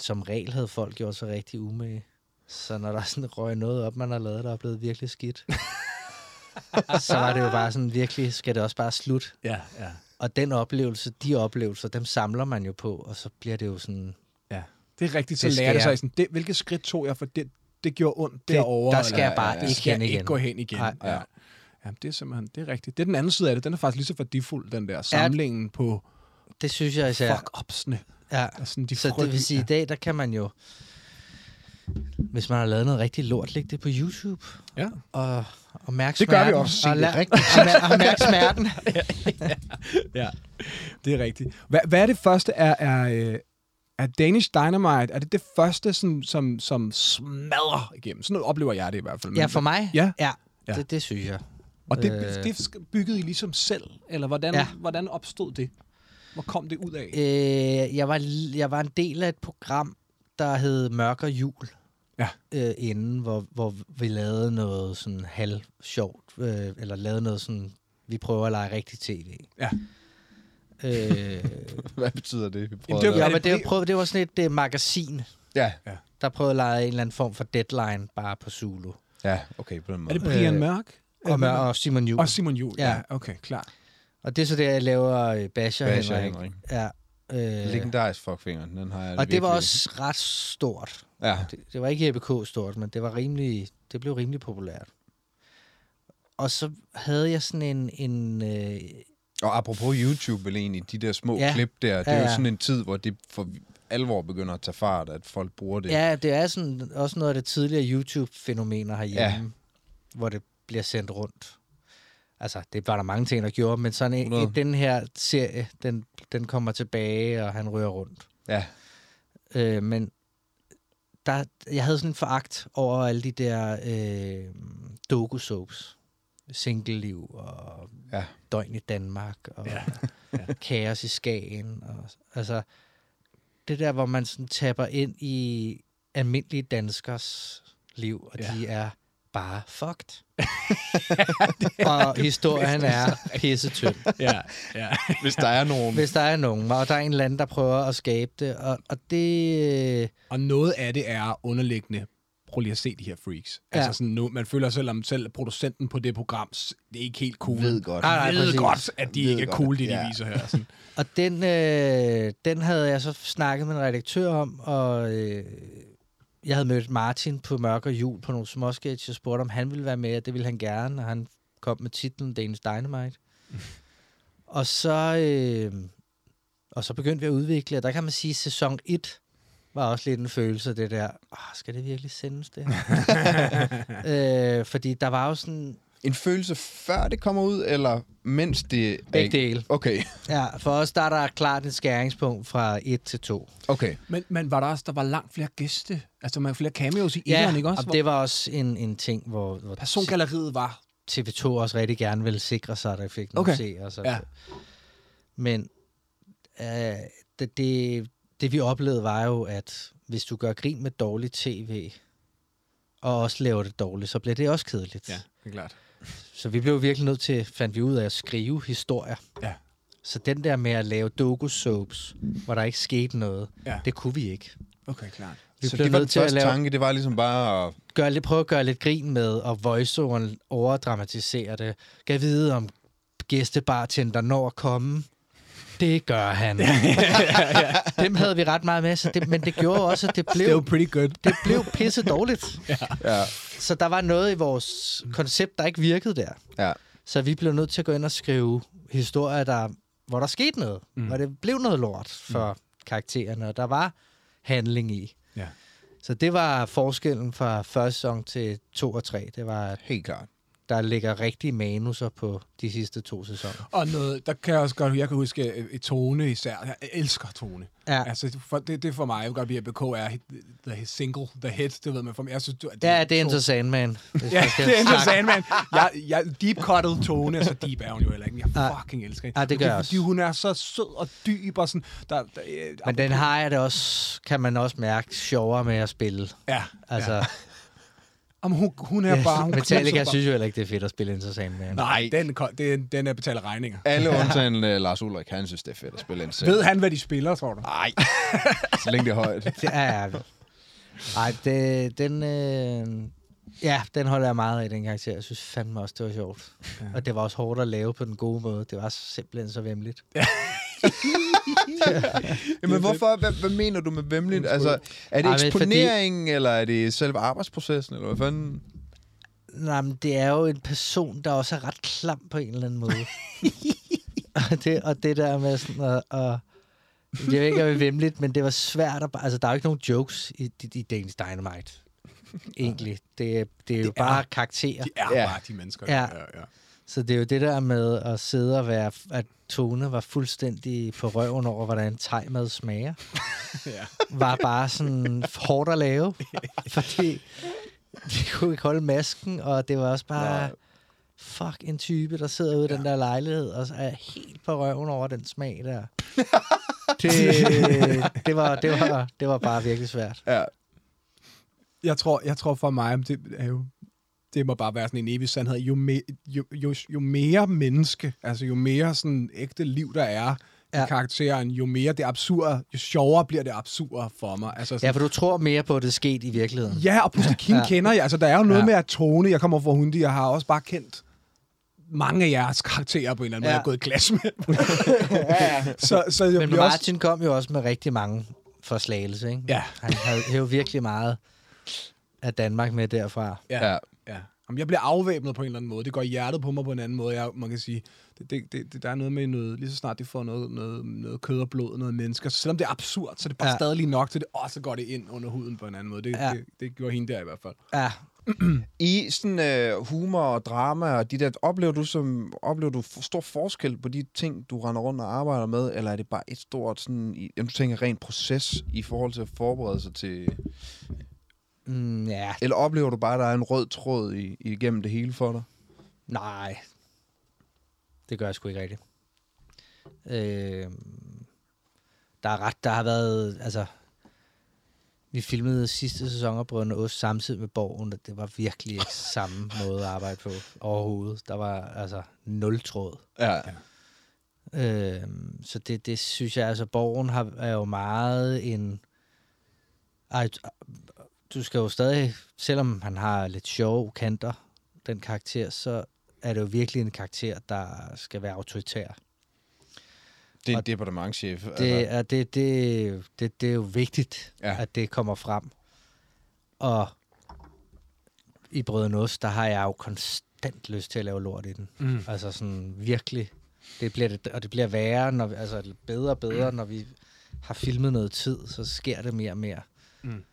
Speaker 9: som regel havde folk gjort sig rigtig umage. Så når der sådan røg noget op, man har lavet, der er blevet virkelig skidt, så var det jo bare sådan, virkelig skal det også bare slut.
Speaker 1: Ja, ja.
Speaker 9: Og den oplevelse, de oplevelser, dem samler man jo på, og så bliver det jo sådan...
Speaker 1: Det er rigtigt, så
Speaker 9: Det
Speaker 1: lærer det
Speaker 9: skal
Speaker 1: sig sådan, det, hvilket skridt tog jeg, for det, det gjorde ondt
Speaker 9: Det-
Speaker 1: derovre.
Speaker 9: der skal jeg bare
Speaker 1: det
Speaker 9: ikke
Speaker 1: skal
Speaker 9: hen
Speaker 1: jeg ikke
Speaker 9: igen.
Speaker 1: gå hen igen.
Speaker 9: Nej.
Speaker 1: Ja. Ja, det er simpelthen, det er rigtigt. Det er den anden side af det, den er faktisk lige så værdifuld, den der samlingen på
Speaker 9: Det synes jeg især...
Speaker 1: fuck-upsene.
Speaker 9: Ja.
Speaker 1: Og sådan Altså, de
Speaker 9: Så det vil sige, i dag, der kan man jo... Hvis man har lavet noget rigtig lort, lægge det på YouTube.
Speaker 1: Ja.
Speaker 9: Og, og mærke
Speaker 1: Det gør vi
Speaker 9: smerten.
Speaker 1: også,
Speaker 9: Og,
Speaker 1: Signe.
Speaker 9: la- og, mær- og mærke smerten.
Speaker 1: Det er rigtigt. Hvad, hvad er det første? Er, er, øh, er Danish Dynamite, er det det første, som, som, som smadrer igennem? Sådan noget oplever jeg det i hvert fald.
Speaker 9: Ja, for mig?
Speaker 1: Ja.
Speaker 9: ja.
Speaker 1: Ja.
Speaker 9: Det, det synes jeg.
Speaker 1: Og det,
Speaker 9: Øh.
Speaker 1: det byggede I ligesom selv? Eller hvordan, ja.
Speaker 9: Ja.
Speaker 1: hvordan opstod det? Hvor kom det ud af?
Speaker 9: Øh, jeg, var, l- jeg var en del af et program, der hed Mørk og Jul.
Speaker 1: Ja.
Speaker 9: Øh, inden, hvor, hvor vi lavede noget sådan halv sjovt, øh, eller lavede noget sådan Vi prøver at lege rigtig tv.
Speaker 1: Ja.
Speaker 9: Øh,
Speaker 2: Hvad betyder det? Vi
Speaker 1: Jamen,
Speaker 2: prøver
Speaker 1: det
Speaker 2: at
Speaker 1: var-
Speaker 9: ja,
Speaker 2: lave-
Speaker 9: men det, jeg prøvede, det var sådan et uh, magasin,
Speaker 2: ja,
Speaker 9: der prøvede at lege en eller anden form for deadline bare på Zulu.
Speaker 2: ja, okay, på den
Speaker 1: Er
Speaker 2: måde.
Speaker 1: det Brian
Speaker 9: Øh,
Speaker 1: Mørk?
Speaker 9: Og, med, og Simon Juhl.
Speaker 1: og Simon Juhl. Ja.
Speaker 9: Ja.
Speaker 1: ja, okay, klar.
Speaker 9: Og det er så der, jeg laver øh, Basher,
Speaker 2: Basher
Speaker 9: Basher Henrik.
Speaker 2: Henrik.
Speaker 9: Ja. Øh,
Speaker 2: Legendarisk fuckfinger, den har jeg
Speaker 9: og det
Speaker 2: virkelig-
Speaker 9: var også ret stort.
Speaker 2: Ja,
Speaker 9: Det, det var ikke EBK stort, men det var rimelig, det blev rimelig populært. Og så havde jeg sådan en... en øh,
Speaker 2: og apropos YouTube vel egentlig, de der små ja.
Speaker 9: Ja.
Speaker 2: klip der, det er
Speaker 9: Ja,
Speaker 2: jo
Speaker 9: ja.
Speaker 2: sådan en tid, hvor det for alvor begynder at tage fart, at folk bruger det.
Speaker 9: ja, det er sådan, også noget af det tidligere YouTube-fænomener herhjemme, ja. hvor det bliver sendt rundt. Altså, det var der mange ting, der gjorde, men sådan en,
Speaker 2: 100.
Speaker 9: en, den her serie, den, den kommer tilbage, og han rører rundt.
Speaker 2: ja.
Speaker 9: Øh, men der, jeg havde sådan en foragt over alle de der øh, doku-soaps. Single-liv og
Speaker 2: Ja.
Speaker 9: ja. Døgn i Danmark og ja. Kaos i Skagen. Og, altså, det der, hvor man sådan tapper ind i almindelige danskers liv, og ja. de er bare fucked. og historien er pissetynd
Speaker 6: Ja, ja.
Speaker 2: Hvis der er nogen...
Speaker 9: hvis der er nogen, og der er en eller anden, der prøver at skabe det, og, og det... øh,
Speaker 1: Og noget af det er underliggende. Prøv lige at se de her freaks. Ja. Altså
Speaker 9: Ja.
Speaker 1: sådan, nu, man føler selv, om selv producenten på det program, s- det er ikke helt cool.
Speaker 4: Ved godt.
Speaker 9: Nej, nej,
Speaker 1: ved
Speaker 9: præcis.
Speaker 1: godt, at de
Speaker 4: Ved
Speaker 1: ikke er
Speaker 4: godt,
Speaker 1: cool, det de
Speaker 4: ja.
Speaker 1: viser her. Sådan.
Speaker 9: Og den, øh, den havde jeg så snakket med en redaktør om, og øh, jeg havde mødt Martin på Mørk og Jul på nogle småsketch, og spurgte, om han ville være med, og det ville han gerne, og han kom med titlen Danish Dynamite. og så... Øh, og så begyndte vi at udvikle, og der kan man sige, at sæson 1 var også lidt en følelse af det der, oh, skal det virkelig sendes det her? øh, fordi der var jo sådan
Speaker 2: En følelse før det kommer ud, eller mens det... er
Speaker 9: begge
Speaker 2: ikke-
Speaker 9: dele.
Speaker 2: Okay,
Speaker 9: Ja, for os der er der klart et skæringspunkt fra 1 til 2.
Speaker 2: okay.
Speaker 1: Men, men var der også, der var langt flere gæste, altså der var flere cameos i ja,
Speaker 9: Ja,
Speaker 1: England, ikke også?
Speaker 9: og det var også en, en ting, hvor, hvor
Speaker 1: Persongalleriet var
Speaker 9: TV2 også rigtig gerne ville sikre sig, at der fik nogle
Speaker 1: Okay.
Speaker 9: okay. seere. Så.
Speaker 1: Ja.
Speaker 9: Men øh, det, det, det vi oplevede var jo, at hvis du gør grin med dårlig tv, og også laver det dårligt, så bliver det også kedeligt.
Speaker 1: Ja, det er klart.
Speaker 9: Så vi blev virkelig nødt til, fandt vi ud af, at skrive historier.
Speaker 1: Ja.
Speaker 9: Så den der med at lave doku-soaps, hvor der ikke skete noget,
Speaker 1: Ja.
Speaker 9: det kunne vi ikke.
Speaker 1: Okay, klart.
Speaker 9: Vi
Speaker 2: Så
Speaker 9: blev
Speaker 2: det var
Speaker 9: nødt
Speaker 2: den
Speaker 9: til at
Speaker 2: første
Speaker 9: lave
Speaker 2: tanke, det var ligesom bare at...
Speaker 9: gør lidt, prøve at gøre lidt grin med, og voiceoveren overdramatisere det. Kan vide, om gæstebartender når at komme. Det gør han. Dem havde vi ret meget med, så det, men det gjorde også, at det
Speaker 1: Det var
Speaker 9: blev,
Speaker 1: pretty good.
Speaker 9: det blev pisse dårligt.
Speaker 2: Ja,
Speaker 9: Så der var noget i vores koncept, der ikke virkede der.
Speaker 2: ja.
Speaker 9: Så vi blev nødt til at gå ind og skrive historier, der, hvor der skete noget. Mm. Hvor det blev noget lort for mm. karaktererne, og der var handling i.
Speaker 1: Ja.
Speaker 9: Så det var forskellen fra første sæson til 2 og 3. Det var, at
Speaker 2: Helt klart.
Speaker 9: der ligger rigtige manuser på de sidste to sæsoner.
Speaker 1: Og noget, der kan jeg også godt, jeg kan huske øh, i Tone især. Jeg elsker Tone.
Speaker 9: Ja.
Speaker 1: Altså, for, det, det er for mig, jeg kan godt lide, at BK er hit- the single, the hit, det ved man for mig. Jeg synes, du,
Speaker 9: Ja, det er Enter Sandman. Hvis
Speaker 1: Ja,
Speaker 9: man skal
Speaker 1: det er
Speaker 9: snakke-
Speaker 1: interessant, mand. Jeg, jeg deep cuttet Tone, altså deep er hun jo heller ikke. men Jeg
Speaker 9: Nej.
Speaker 1: fucking elsker hende.
Speaker 9: Nej, det gør jeg
Speaker 1: Fordi
Speaker 9: også.
Speaker 1: hun er så sød og dyb og sådan. Der, der, øh,
Speaker 9: Men den har jeg det også, kan man også mærke, sjovere med at spille.
Speaker 1: Ja, altså,
Speaker 9: Altså,
Speaker 1: ja.
Speaker 9: ja.
Speaker 1: Jamen, hun, hun er bare... Hun
Speaker 9: Metallica
Speaker 1: knipser
Speaker 9: synes jo heller ikke, det er fedt at spille Enter Sandman.
Speaker 1: Nej, den, ko- det, er- den er betalt regninger.
Speaker 2: Alle undtagen uh, Lars Ulrik, han synes, det er fedt at spille en selv.
Speaker 1: Ved han, hvad de spiller, tror du?
Speaker 2: Nej, så længe det er højt.
Speaker 9: Det er... Ej, det, den... Øh... Ja, den holder jeg meget af, den karakter. Jeg synes fandme også, det var sjovt. Ja. Og det var også hårdt at lave på den gode måde. Det var simpelthen så vemmeligt.
Speaker 2: Jamen, hvorfor? Hvad, hvad mener du med vemmeligt? Altså, er
Speaker 9: Ej,
Speaker 2: det
Speaker 9: men fordi-
Speaker 2: eksponeringen, eller er det selve arbejdsprocessen, eller hvad fanden?
Speaker 9: Nej, men det er jo en person, der også er ret klam på en eller anden måde. og, det, og det der med sådan at... at jeg ved ikke, om det er vemmeligt, men det var svært at... bare- Altså, der er jo ikke nogen jokes i, i, i Danish Dynamite. Egentlig. Det, er- det er jo det
Speaker 1: er-
Speaker 9: bare karakterer.
Speaker 1: De er
Speaker 2: Ja.
Speaker 1: bare de mennesker.
Speaker 9: Ja.
Speaker 1: Ja, ja.
Speaker 9: Så det er jo det der med at sidde og være, at Tone var fuldstændig på røven over, hvordan tegmad smager.
Speaker 1: Ja.
Speaker 9: Var bare sådan hårdt at lave, fordi de kunne ikke holde masken, og det var også bare, fuck, en type, der sidder ude i den der lejlighed og er helt på røven over den smag der. Det, det, var, det, var,
Speaker 1: Altså-
Speaker 9: det var bare virkelig svært.
Speaker 2: Ja,
Speaker 1: Jeg tror, jeg tror for mig, det er jo det må bare være sådan en evig sandhed, jo, me, jo, jo, jo mere menneske, altså jo mere sådan ægte liv, der er ja.
Speaker 9: Ja.
Speaker 1: i karakteren, jo mere det absurde, jo sjovere bliver det absurde for mig. Altså,
Speaker 9: Ja,
Speaker 1: sådan,
Speaker 9: for du tror mere på, at det er sket i virkeligheden.
Speaker 1: ja, og pludselig Kim ja.
Speaker 9: Ja.
Speaker 1: kender jeg. Altså, der er jo noget ja.
Speaker 9: Ja.
Speaker 1: med at Tone, jeg kommer fra Hundi, jeg har også bare kendt mange af jeres karakterer på en eller anden ja. måde,
Speaker 9: Ja.
Speaker 1: jeg har gået i klasse med. så, så jeg
Speaker 9: Men
Speaker 1: bliver også...
Speaker 9: Martin kom jo også med rigtig mange for slagelse, ikke?
Speaker 1: Ja.
Speaker 9: Han havde hævet virkelig meget af Danmark med derfra.
Speaker 1: Ja. ja. ja. Jamen, jeg bliver afvæbnet på en eller anden måde. Det går i hjertet på mig på en anden måde. Jeg, man kan sige, det, det, det, det- der er noget med noget, lige så snart det får noget, noget, noget kød og blod, noget mennesker. Så selvom det er absurd, så er det bare ja.
Speaker 9: Ja.
Speaker 1: stadig lige nok til det, og så går det ind under huden på en anden måde. Det, ja.
Speaker 9: Ja.
Speaker 1: det, det gjorde hende der i hvert fald.
Speaker 9: Ja,
Speaker 2: I sådan øh, humor og drama og de der, oplever du, som, oplever du f- stor forskel på de ting, du render rundt og arbejder med, eller er det bare et stort, sådan, i, jamen, du tænker rent proces i forhold til at forberede sig til...
Speaker 9: mm, ja.
Speaker 2: Eller oplever du bare, at der er en rød tråd i, igennem det hele for dig?
Speaker 9: nej. Det gør jeg sgu ikke rigtigt. Øh, der er ret, der har været, altså... Vi filmede sidste sæson af Brødrene Ost samtidig med Borgen, og det var virkelig ikke samme måde at arbejde på overhovedet. Der var altså nul tråd.
Speaker 2: Ja.
Speaker 9: Øh, så det, det synes jeg, altså borgen har, er jo meget en... Ej, du skal jo stadig, selvom han har lidt sjove kanter, den karakter, så er det jo virkelig en karakter, der skal være autoritær.
Speaker 2: Det er en
Speaker 9: Og
Speaker 2: departementchef.
Speaker 9: Det
Speaker 2: altså.
Speaker 9: er, det, det, det, det er jo vigtigt,
Speaker 2: Ja.
Speaker 9: ja. at det kommer frem. Og i Brødren Ost, der har jeg jo konstant lyst til at lave lort i den. Mm. Altså sådan virkelig. Det bliver det, og det bliver værre, når vi, altså eller bedre og bedre, når vi har filmet noget tid, så sker det mere og mere. Mm.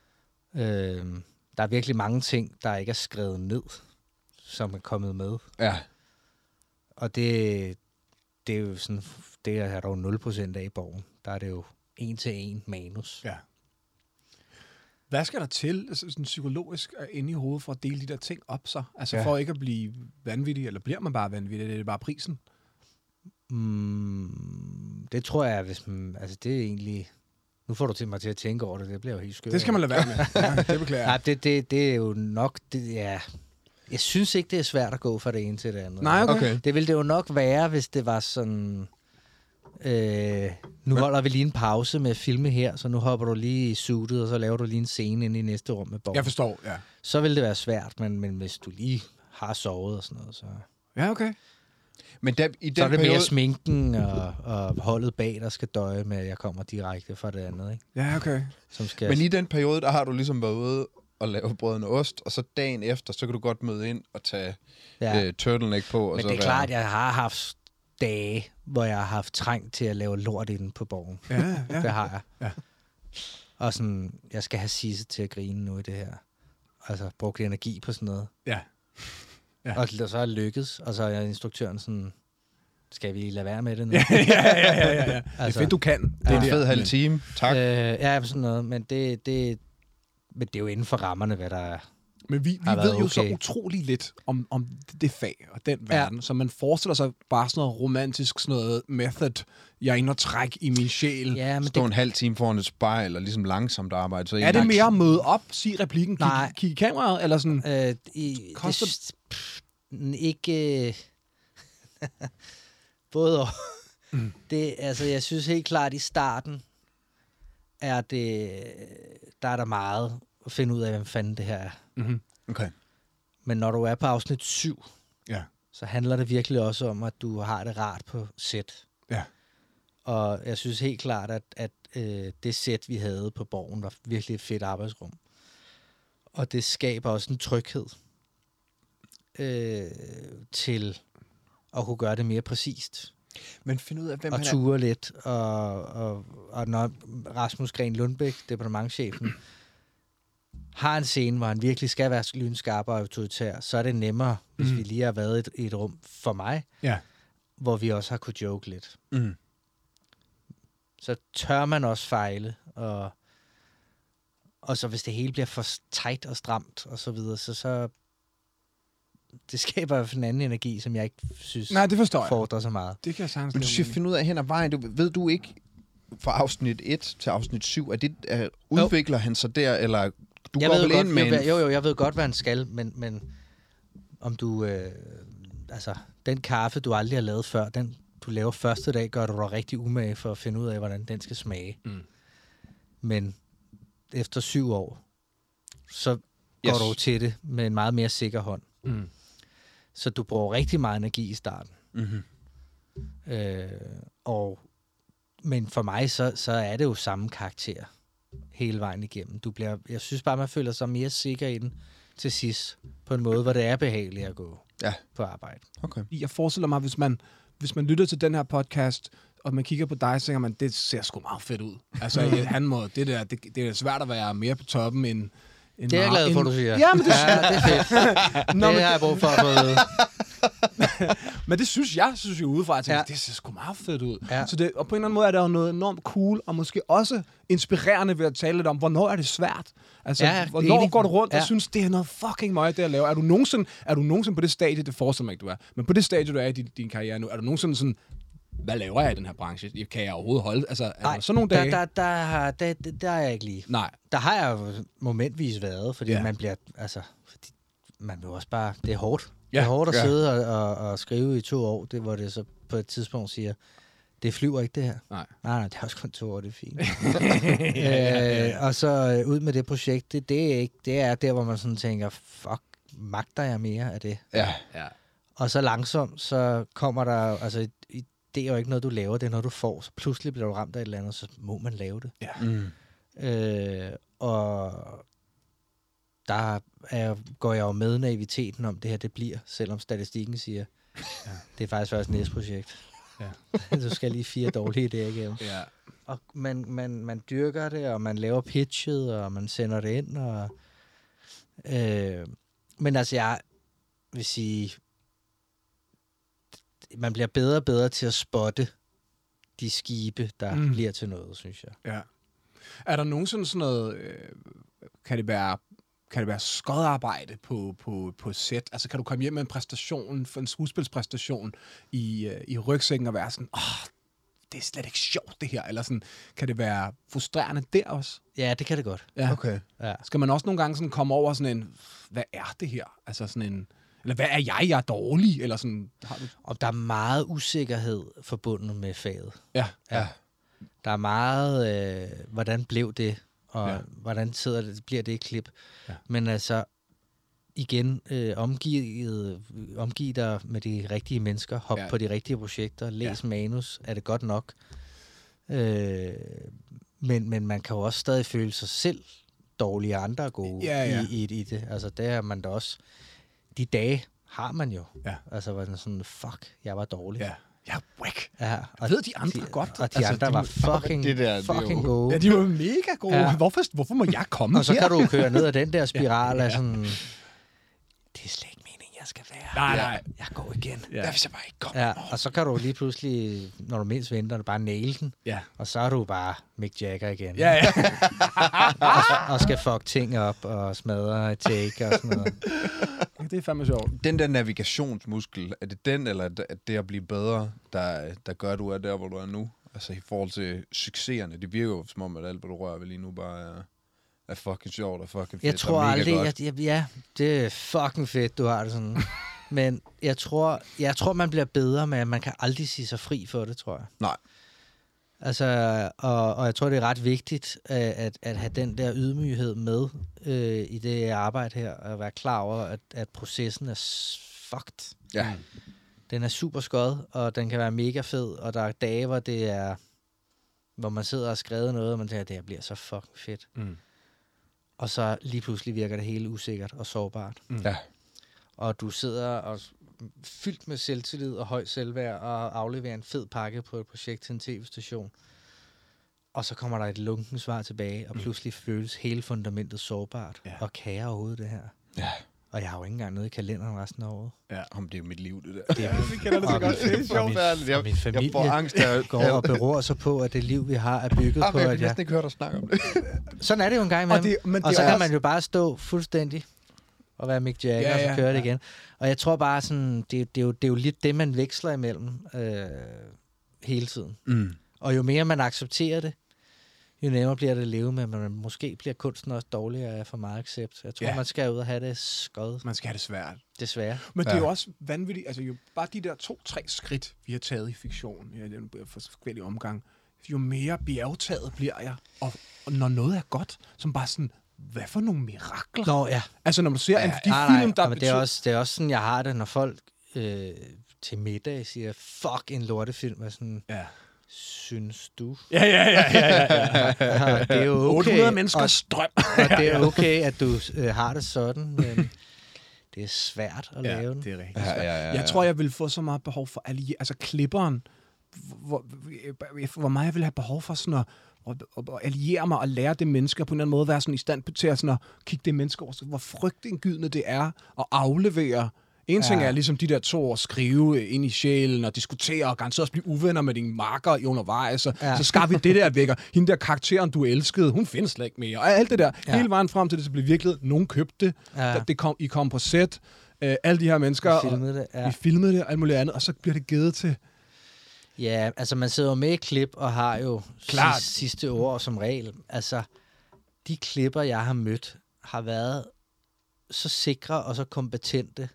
Speaker 9: Øhm, der er virkelig mange ting, der ikke er skrevet ned, som er kommet med.
Speaker 2: Ja.
Speaker 9: Og det, det er jo sådan, det er der jo 0% af i borgen. Der er det jo en til en manus.
Speaker 1: Ja. Hvad skal der til altså, sådan psykologisk øh, inde i hovedet for at dele de der ting op så? Altså ja.
Speaker 2: Ja.
Speaker 1: for ikke at blive vanvittig, eller bliver man bare vanvittig, eller er det bare prisen?
Speaker 9: Mm, det tror jeg, hvis man, altså det er egentlig, nu får du til mig til at tænke over det, det bliver jo helt skørt.
Speaker 1: Det skal man lade være med. Ja, det beklager
Speaker 9: Nej,
Speaker 1: jeg.
Speaker 9: det, det, det er jo nok, det, ja. Jeg synes ikke, det er svært at gå fra det ene til det andet. Altså,
Speaker 1: Nej, okay.
Speaker 2: Okay.
Speaker 9: Det ville det jo nok være, hvis det var sådan... Øh, nu holder vi lige en pause med at filme her, så nu hopper du lige i suitet, og så laver du lige en scene inde i næste rum med borgen.
Speaker 1: Jeg forstår, ja.
Speaker 9: så vil det være svært, men, men hvis du lige har sovet og sådan noget, så,
Speaker 1: Ja, okay.
Speaker 2: Men der, i den
Speaker 9: så er det
Speaker 2: periode...
Speaker 9: mere sminken og, og holdet bag, der skal døje med, at jeg kommer direkte fra det andet, ikke?
Speaker 1: Ja, okay.
Speaker 9: Som skal,
Speaker 2: Men i den periode, der har du ligesom været ude og lave brødende ost, og så dagen efter, så kan du godt møde ind og tage ja. øh, turtleneck på. Og
Speaker 9: men
Speaker 2: så
Speaker 9: det er
Speaker 2: være-
Speaker 9: klart, jeg har haft dage, hvor jeg har haft trang til at lave lort i den på borgen.
Speaker 1: Ja, ja.
Speaker 9: Det har jeg.
Speaker 1: Ja.
Speaker 9: Og sådan, jeg skal have Sisse til at grine nu i det her. Altså, brugt energi på sådan noget.
Speaker 1: ja. Ja.
Speaker 9: Og så er det lykkedes, og så er instruktøren sådan, skal vi lade være med det nu?
Speaker 1: ja, ja, ja, ja, ja. Altså, det
Speaker 9: Altså-
Speaker 1: er fedt, du kan. Det
Speaker 2: Det
Speaker 1: er
Speaker 2: er en
Speaker 1: der.
Speaker 2: fed halv
Speaker 1: Men-
Speaker 2: time. Tak. Øh,
Speaker 9: Øh, ja, sådan noget, men det, det, men det er jo inden for rammerne, hvad der er.
Speaker 1: Men vi, vi
Speaker 9: har
Speaker 1: ved
Speaker 9: været
Speaker 1: jo så
Speaker 9: okay.
Speaker 1: utrolig lidt om, om det fag og den verden, ja. så man forestiller sig bare sådan noget romantisk, sådan noget method, jeg er inde og træk i min sjæl. Ja.
Speaker 9: Ja, men
Speaker 2: Stå
Speaker 9: det,
Speaker 2: en halv time foran et spejl og ligesom langsomt arbejde. Så
Speaker 1: Er det
Speaker 2: en-
Speaker 1: mere at møde op, sig replikken, kig,
Speaker 9: Nej.
Speaker 1: kig i kameraet, eller sådan?
Speaker 9: øh, i,
Speaker 1: Koster-
Speaker 9: det, s- pff, n- ikke... Øh, både og. Mm. Det, altså, jeg synes helt klart, i starten er det, der er der meget at finde ud af, hvem fanden det her er.
Speaker 1: Okay.
Speaker 9: Men når du er på afsnit 7,
Speaker 1: Ja.
Speaker 9: så handler det virkelig også om, at du har det rart på sæt.
Speaker 1: Ja.
Speaker 9: Og jeg synes helt klart, at, at øh, det sæt, vi havde på borgen, var virkelig et fedt arbejdsrum. Og det skaber også en tryghed øh, til at kunne gøre det mere præcist.
Speaker 2: Men find ud af, hvem
Speaker 9: og
Speaker 2: han er.
Speaker 9: ture lidt. Og, og, og når Rasmus Gren Lundbæk, departementchefen, har en scene, hvor han virkelig skal være lynskarp og autoritær, så er det nemmere, hvis vi lige har været i et, i et rum for mig,
Speaker 1: Mm. Ja.
Speaker 9: hvor vi også har kunne joke lidt.
Speaker 2: Mm.
Speaker 9: Så tør man også fejle, og, og så hvis det hele bliver for tight og stramt, og så videre, så, så det skaber i hvert fald en anden energi, som jeg ikke synes
Speaker 1: Nej, det forstår jeg.
Speaker 9: fordrer så meget.
Speaker 1: Det kan jeg sagtens
Speaker 2: Men du
Speaker 1: leve
Speaker 2: siger,
Speaker 1: med.
Speaker 2: find ud af hen ad vejen. Du, ved du ikke fra afsnit 1 til afsnit 7, at det er, udvikler han sig der, eller du
Speaker 9: jeg
Speaker 2: går
Speaker 9: ved
Speaker 2: vel
Speaker 9: jo
Speaker 2: ind
Speaker 9: godt,
Speaker 2: med
Speaker 9: jo,
Speaker 2: en...
Speaker 9: jo, jo, jeg ved godt, hvad han skal, men, men om du... Øh, altså, den kaffe, du aldrig har lavet før, den du laver første dag, gør du dig rigtig umage for at finde ud af, hvordan den skal smage.
Speaker 6: Mm.
Speaker 9: Men efter syv år, så går
Speaker 2: Yes.
Speaker 9: du til det med en meget mere sikker hånd.
Speaker 6: Mm.
Speaker 9: Så du bruger rigtig meget energi i starten.
Speaker 2: Mm-hmm.
Speaker 9: Øh, og, men for mig, så, så er det jo samme karakter hele vejen igennem. Du bliver, jeg synes bare, man føler sig mere sikker i den til sidst, på en måde, hvor det er behageligt at gå
Speaker 2: Ja.
Speaker 9: på arbejde.
Speaker 2: Okay.
Speaker 1: Jeg forestiller mig, hvis man, hvis man lytter til den her podcast, og man kigger på dig, så tænker man, det ser sgu meget fedt ud. Altså, i- han må, det, der, det, det er svært at være mere på toppen end... end
Speaker 9: Det er jeg
Speaker 1: Mar-
Speaker 9: glad for,
Speaker 1: end-
Speaker 9: du siger.
Speaker 1: Ja, men det,
Speaker 9: ja, det er fedt. Nå, det har jeg brug for at få ved.
Speaker 1: men det synes jeg, synes jeg udefra, jeg tænker,
Speaker 9: Ja.
Speaker 1: ja. det ser sgu meget fedt ud.
Speaker 9: Ja.
Speaker 1: Ja. Så det, og på en eller anden måde er der jo noget enormt cool, og måske også inspirerende ved at tale lidt om, hvornår er det svært? Altså,
Speaker 9: Ja,
Speaker 1: ja, hvornår
Speaker 9: enig.
Speaker 1: går du rundt ja.
Speaker 9: Ja.
Speaker 1: og synes, det er noget fucking meget det at lave? Er du nogensinde, er du nogensinde på det stadie, det forestiller mig ikke, du er, men på det stadie, du er i din, din karriere nu, er du nogensinde sådan, hvad laver jeg i den her branche? Kan jeg overhovedet holde? Altså, er
Speaker 9: Nej,
Speaker 1: der sådan nogle
Speaker 9: der,
Speaker 1: dage?
Speaker 9: der, der, har, der, der, der er jeg ikke lige.
Speaker 1: Nej.
Speaker 9: Der har jeg jo momentvis været, fordi ja.
Speaker 1: Ja.
Speaker 9: man bliver, altså, fordi man vil også bare, det er hårdt. Ja,
Speaker 1: Ja,
Speaker 9: det er hårdt at
Speaker 2: ja.
Speaker 9: sidde og, og, og skrive i to år, det, hvor det så på et tidspunkt siger, det flyver ikke det her.
Speaker 1: Nej.
Speaker 9: Nej, nej, det er også kun to år, det er fint. øh, og så øh, ud med det projekt, det, det, er ikke, det er der, hvor man sådan tænker, fuck, magter jeg mere af det?
Speaker 2: Ja.
Speaker 1: Ja.
Speaker 9: Og så langsomt, så kommer der, altså, i- det er jo ikke noget, du laver, det er noget, du får. Så pludselig bliver du ramt af et eller andet, så må man lave det.
Speaker 2: Mm.
Speaker 9: Øh, og der er, går jeg jo med naiviteten om, det her det bliver, selvom statistikken siger, ja. det er faktisk først næste projekt. Ja. du skal lige fire dårlige idéer igennem.
Speaker 1: Ja.
Speaker 9: Og man, man, man dyrker det, og man laver pitchet, og man sender det ind. Og, øh, men altså, jeg vil sige, man bliver bedre og bedre til at spotte de skibe, der mm.
Speaker 1: Mm.
Speaker 9: bliver til noget, synes jeg.
Speaker 1: Er der nogensinde sådan noget, øh, kan det være kan det være skodarbejde på, på, på et sæt? Altså, kan du komme hjem med en præstation, for en skuespilspræstation i, øh, i rygsækken og være sådan, åh, oh, det er slet ikke sjovt, det her? Eller sådan, kan det være frustrerende der også?
Speaker 9: Ja, det kan det godt.
Speaker 1: Ja.
Speaker 2: Okay.
Speaker 9: Ja.
Speaker 1: Skal man også nogle gange sådan komme over sådan en, hvad er det her? Altså sådan en, eller hvad er jeg? Jeg er dårlig? Eller sådan, har du...
Speaker 9: Og der er meget usikkerhed forbundet med faget.
Speaker 1: Ja,
Speaker 9: Ja. Der er meget, øh, hvordan blev det, og ja.
Speaker 1: Ja.
Speaker 9: hvordan sidder det, bliver det et klip. Ja.
Speaker 1: Ja.
Speaker 9: Men altså, igen, øh, omgivet, omgiv dig med de rigtige mennesker, hop ja.
Speaker 1: Ja.
Speaker 9: på de rigtige projekter, læs ja. manus, er det godt nok? Øh, men, men man kan jo også stadig føle sig selv dårlig, og andre er gode
Speaker 1: Ja, ja.
Speaker 9: I, i, i det. Altså, det er man da også. De dage har man jo.
Speaker 1: Ja.
Speaker 9: Altså, hvor den er sådan, fuck, jeg var dårlig.
Speaker 1: ja. Ja, whack.
Speaker 9: Ja, og
Speaker 1: Ved de andre godt?
Speaker 9: Og de
Speaker 1: Altså,
Speaker 9: andre
Speaker 1: de
Speaker 9: var
Speaker 1: må-
Speaker 9: fucking,
Speaker 4: Det der, det er
Speaker 9: fucking
Speaker 4: jo-
Speaker 9: gode.
Speaker 1: Ja, de var mega gode.
Speaker 9: Ja.
Speaker 1: Ja. Hvorfor, hvorfor må jeg komme
Speaker 9: Og så
Speaker 1: her?
Speaker 9: kan du køre ned ad den der spiral af sådan... Det er slet ikke meningen, jeg skal være.
Speaker 1: Nej,
Speaker 9: her.
Speaker 1: nej.
Speaker 9: Jeg går igen.
Speaker 1: Ja. Hvad hvis jeg bare ikke kommer?
Speaker 9: Ja, og så kan du lige pludselig, når du mindst venter, du bare næle den.
Speaker 1: Ja.
Speaker 9: Og så er du bare Mick Jagger igen.
Speaker 1: Ja, ja.
Speaker 9: Og skal fuck ting op og smadre et take og sådan noget.
Speaker 1: Det er fandme sjovt.
Speaker 2: Den der navigationsmuskel, er det den, eller er det- er det at blive bedre, der, der gør, at du er der, hvor du er nu? Altså i forhold til succeserne, det virker jo som om, at alt, hvad du rører ved lige nu, bare er, er fucking sjovt og fucking fedt
Speaker 9: Jeg tror
Speaker 2: og mega
Speaker 9: aldrig,
Speaker 2: godt.
Speaker 9: jeg, jeg, ja, det er fucking fedt, du har det sådan. Men jeg tror, jeg tror, man bliver bedre med, at man kan aldrig sige sig fri for det, tror jeg.
Speaker 2: Nej.
Speaker 9: Altså, og, og jeg tror, det er ret vigtigt øh, at, at have den der ydmyghed med øh, i det arbejde her, og være klar over, at, at processen er s- fucked.
Speaker 2: Ja.
Speaker 9: Den er super skød, og den kan være mega fed, og der er dage, hvor det er hvor man sidder og har skrevet noget, og man tænker, det her bliver så fucking fedt.
Speaker 1: Mm.
Speaker 9: Og så lige pludselig virker det hele usikkert og sårbart
Speaker 1: Mm.
Speaker 2: Ja.
Speaker 9: og du sidder og s- fyldt med selvtillid og høj selvværd og afleverer en fed pakke på et projekt til en tv-station. Og så kommer der et lunken svar tilbage, og pludselig føles hele fundamentet sårbart. Ja.
Speaker 1: Ja.
Speaker 9: Og kan jeg overhovedet det her?
Speaker 2: Ja.
Speaker 9: Og jeg har jo ikke engang noget i kalenderen resten af året.
Speaker 2: Om det er jo mit liv, det der.
Speaker 9: Det er
Speaker 1: Vi kender det så
Speaker 9: Og
Speaker 1: godt.
Speaker 9: min-
Speaker 1: Det er
Speaker 9: og
Speaker 1: sjovt.
Speaker 9: min-
Speaker 2: ærligt. Jeg-
Speaker 9: og min familie
Speaker 2: Jeg får angst af... Jeg,
Speaker 9: går og beror sig på, at det liv, vi har, er bygget
Speaker 2: Ah,
Speaker 9: på,
Speaker 2: men jeg
Speaker 9: at
Speaker 2: kan
Speaker 9: jeg...
Speaker 2: næsten ikke høre dig snakke om det.
Speaker 9: Sådan er det jo en gang imellem.
Speaker 1: Og det- men
Speaker 9: og
Speaker 1: det
Speaker 9: så
Speaker 1: er
Speaker 9: kan
Speaker 1: også-
Speaker 9: man jo bare stå fuldstændig og være Mick Jagger, ja,
Speaker 1: Ja,
Speaker 9: ja, og
Speaker 1: ja,
Speaker 9: så køre det
Speaker 1: ja.
Speaker 9: igen. Og jeg tror bare sådan, det, det, er jo, det er jo lidt det, man veksler imellem øh, hele tiden.
Speaker 2: Mm.
Speaker 9: Og jo mere man accepterer det, jo nemmere bliver det at leve med, men måske bliver kunsten også dårligere af for meget accept. Jeg tror,
Speaker 1: Ja.
Speaker 9: ja. man skal ud og have det skod,
Speaker 1: Man skal have det svært.
Speaker 9: desværre.
Speaker 1: Men ja. det er
Speaker 2: Ja.
Speaker 1: jo også vanvittigt. Altså jo bare de der to-tre skridt, vi har taget i fiktion, ja, den for forskellige omgang, jo mere bjergtaget bliver jeg. Og, og når noget er godt, som bare sådan, hvad for nogle mirakler?
Speaker 9: Nå ja,
Speaker 1: Altså når du ser ja, en, de
Speaker 9: nej,
Speaker 1: film,
Speaker 9: nej,
Speaker 1: der
Speaker 9: men det er, også, det er også sådan, jeg har det, når folk øh, til middag siger, fuck en lortefilm, og sådan,
Speaker 1: Ja.
Speaker 9: synes du?
Speaker 1: Ja, ja, ja, ja, ja.
Speaker 9: Ja, det er jo okay.
Speaker 1: 800
Speaker 9: og,
Speaker 1: menneskers drøm.
Speaker 9: og det er okay, at du øh, har det sådan, men det er svært at lave den.
Speaker 1: det er rigtigt.
Speaker 2: Ja, ja, ja, ja.
Speaker 1: Jeg tror, jeg vil få så meget behov for allier... Altså klipperen, hvor, hvor- hvor meget jeg vil have behov for sådan at, at, at, at alliere mig og lære det menneske, og på en eller anden måde være sådan i stand til at, sådan at kigge det menneske over, så hvor frygtindgydende det er at aflevere. En ting
Speaker 9: Ja.
Speaker 1: er ligesom de der to at skrive ind i sjælen og diskutere og garanteret også blive uvenner med dine marker i undervejs. Og, ja.
Speaker 9: Ja.
Speaker 1: Så skar vi det der væk, og hende der karakteren, du elskede, hun findes slet ikke mere. Og alt det der, ja.
Speaker 9: Ja.
Speaker 1: hele vejen frem til det, så blev virkelighed. Nogen købte det,
Speaker 9: Ja.
Speaker 1: ja. det kom, I kom på set, øh, alle de her mennesker.
Speaker 9: Vi
Speaker 1: og-
Speaker 9: filmede det,
Speaker 1: Ja.
Speaker 9: ja.
Speaker 1: Vi filmede det og alt muligt andet, og så bliver det givet til...
Speaker 9: ja, altså man sidder jo med i klip og har jo
Speaker 1: Klart.
Speaker 9: sidste, sidste ord som regel. Altså, de klipper, jeg har mødt, har været så sikre og så kompetente,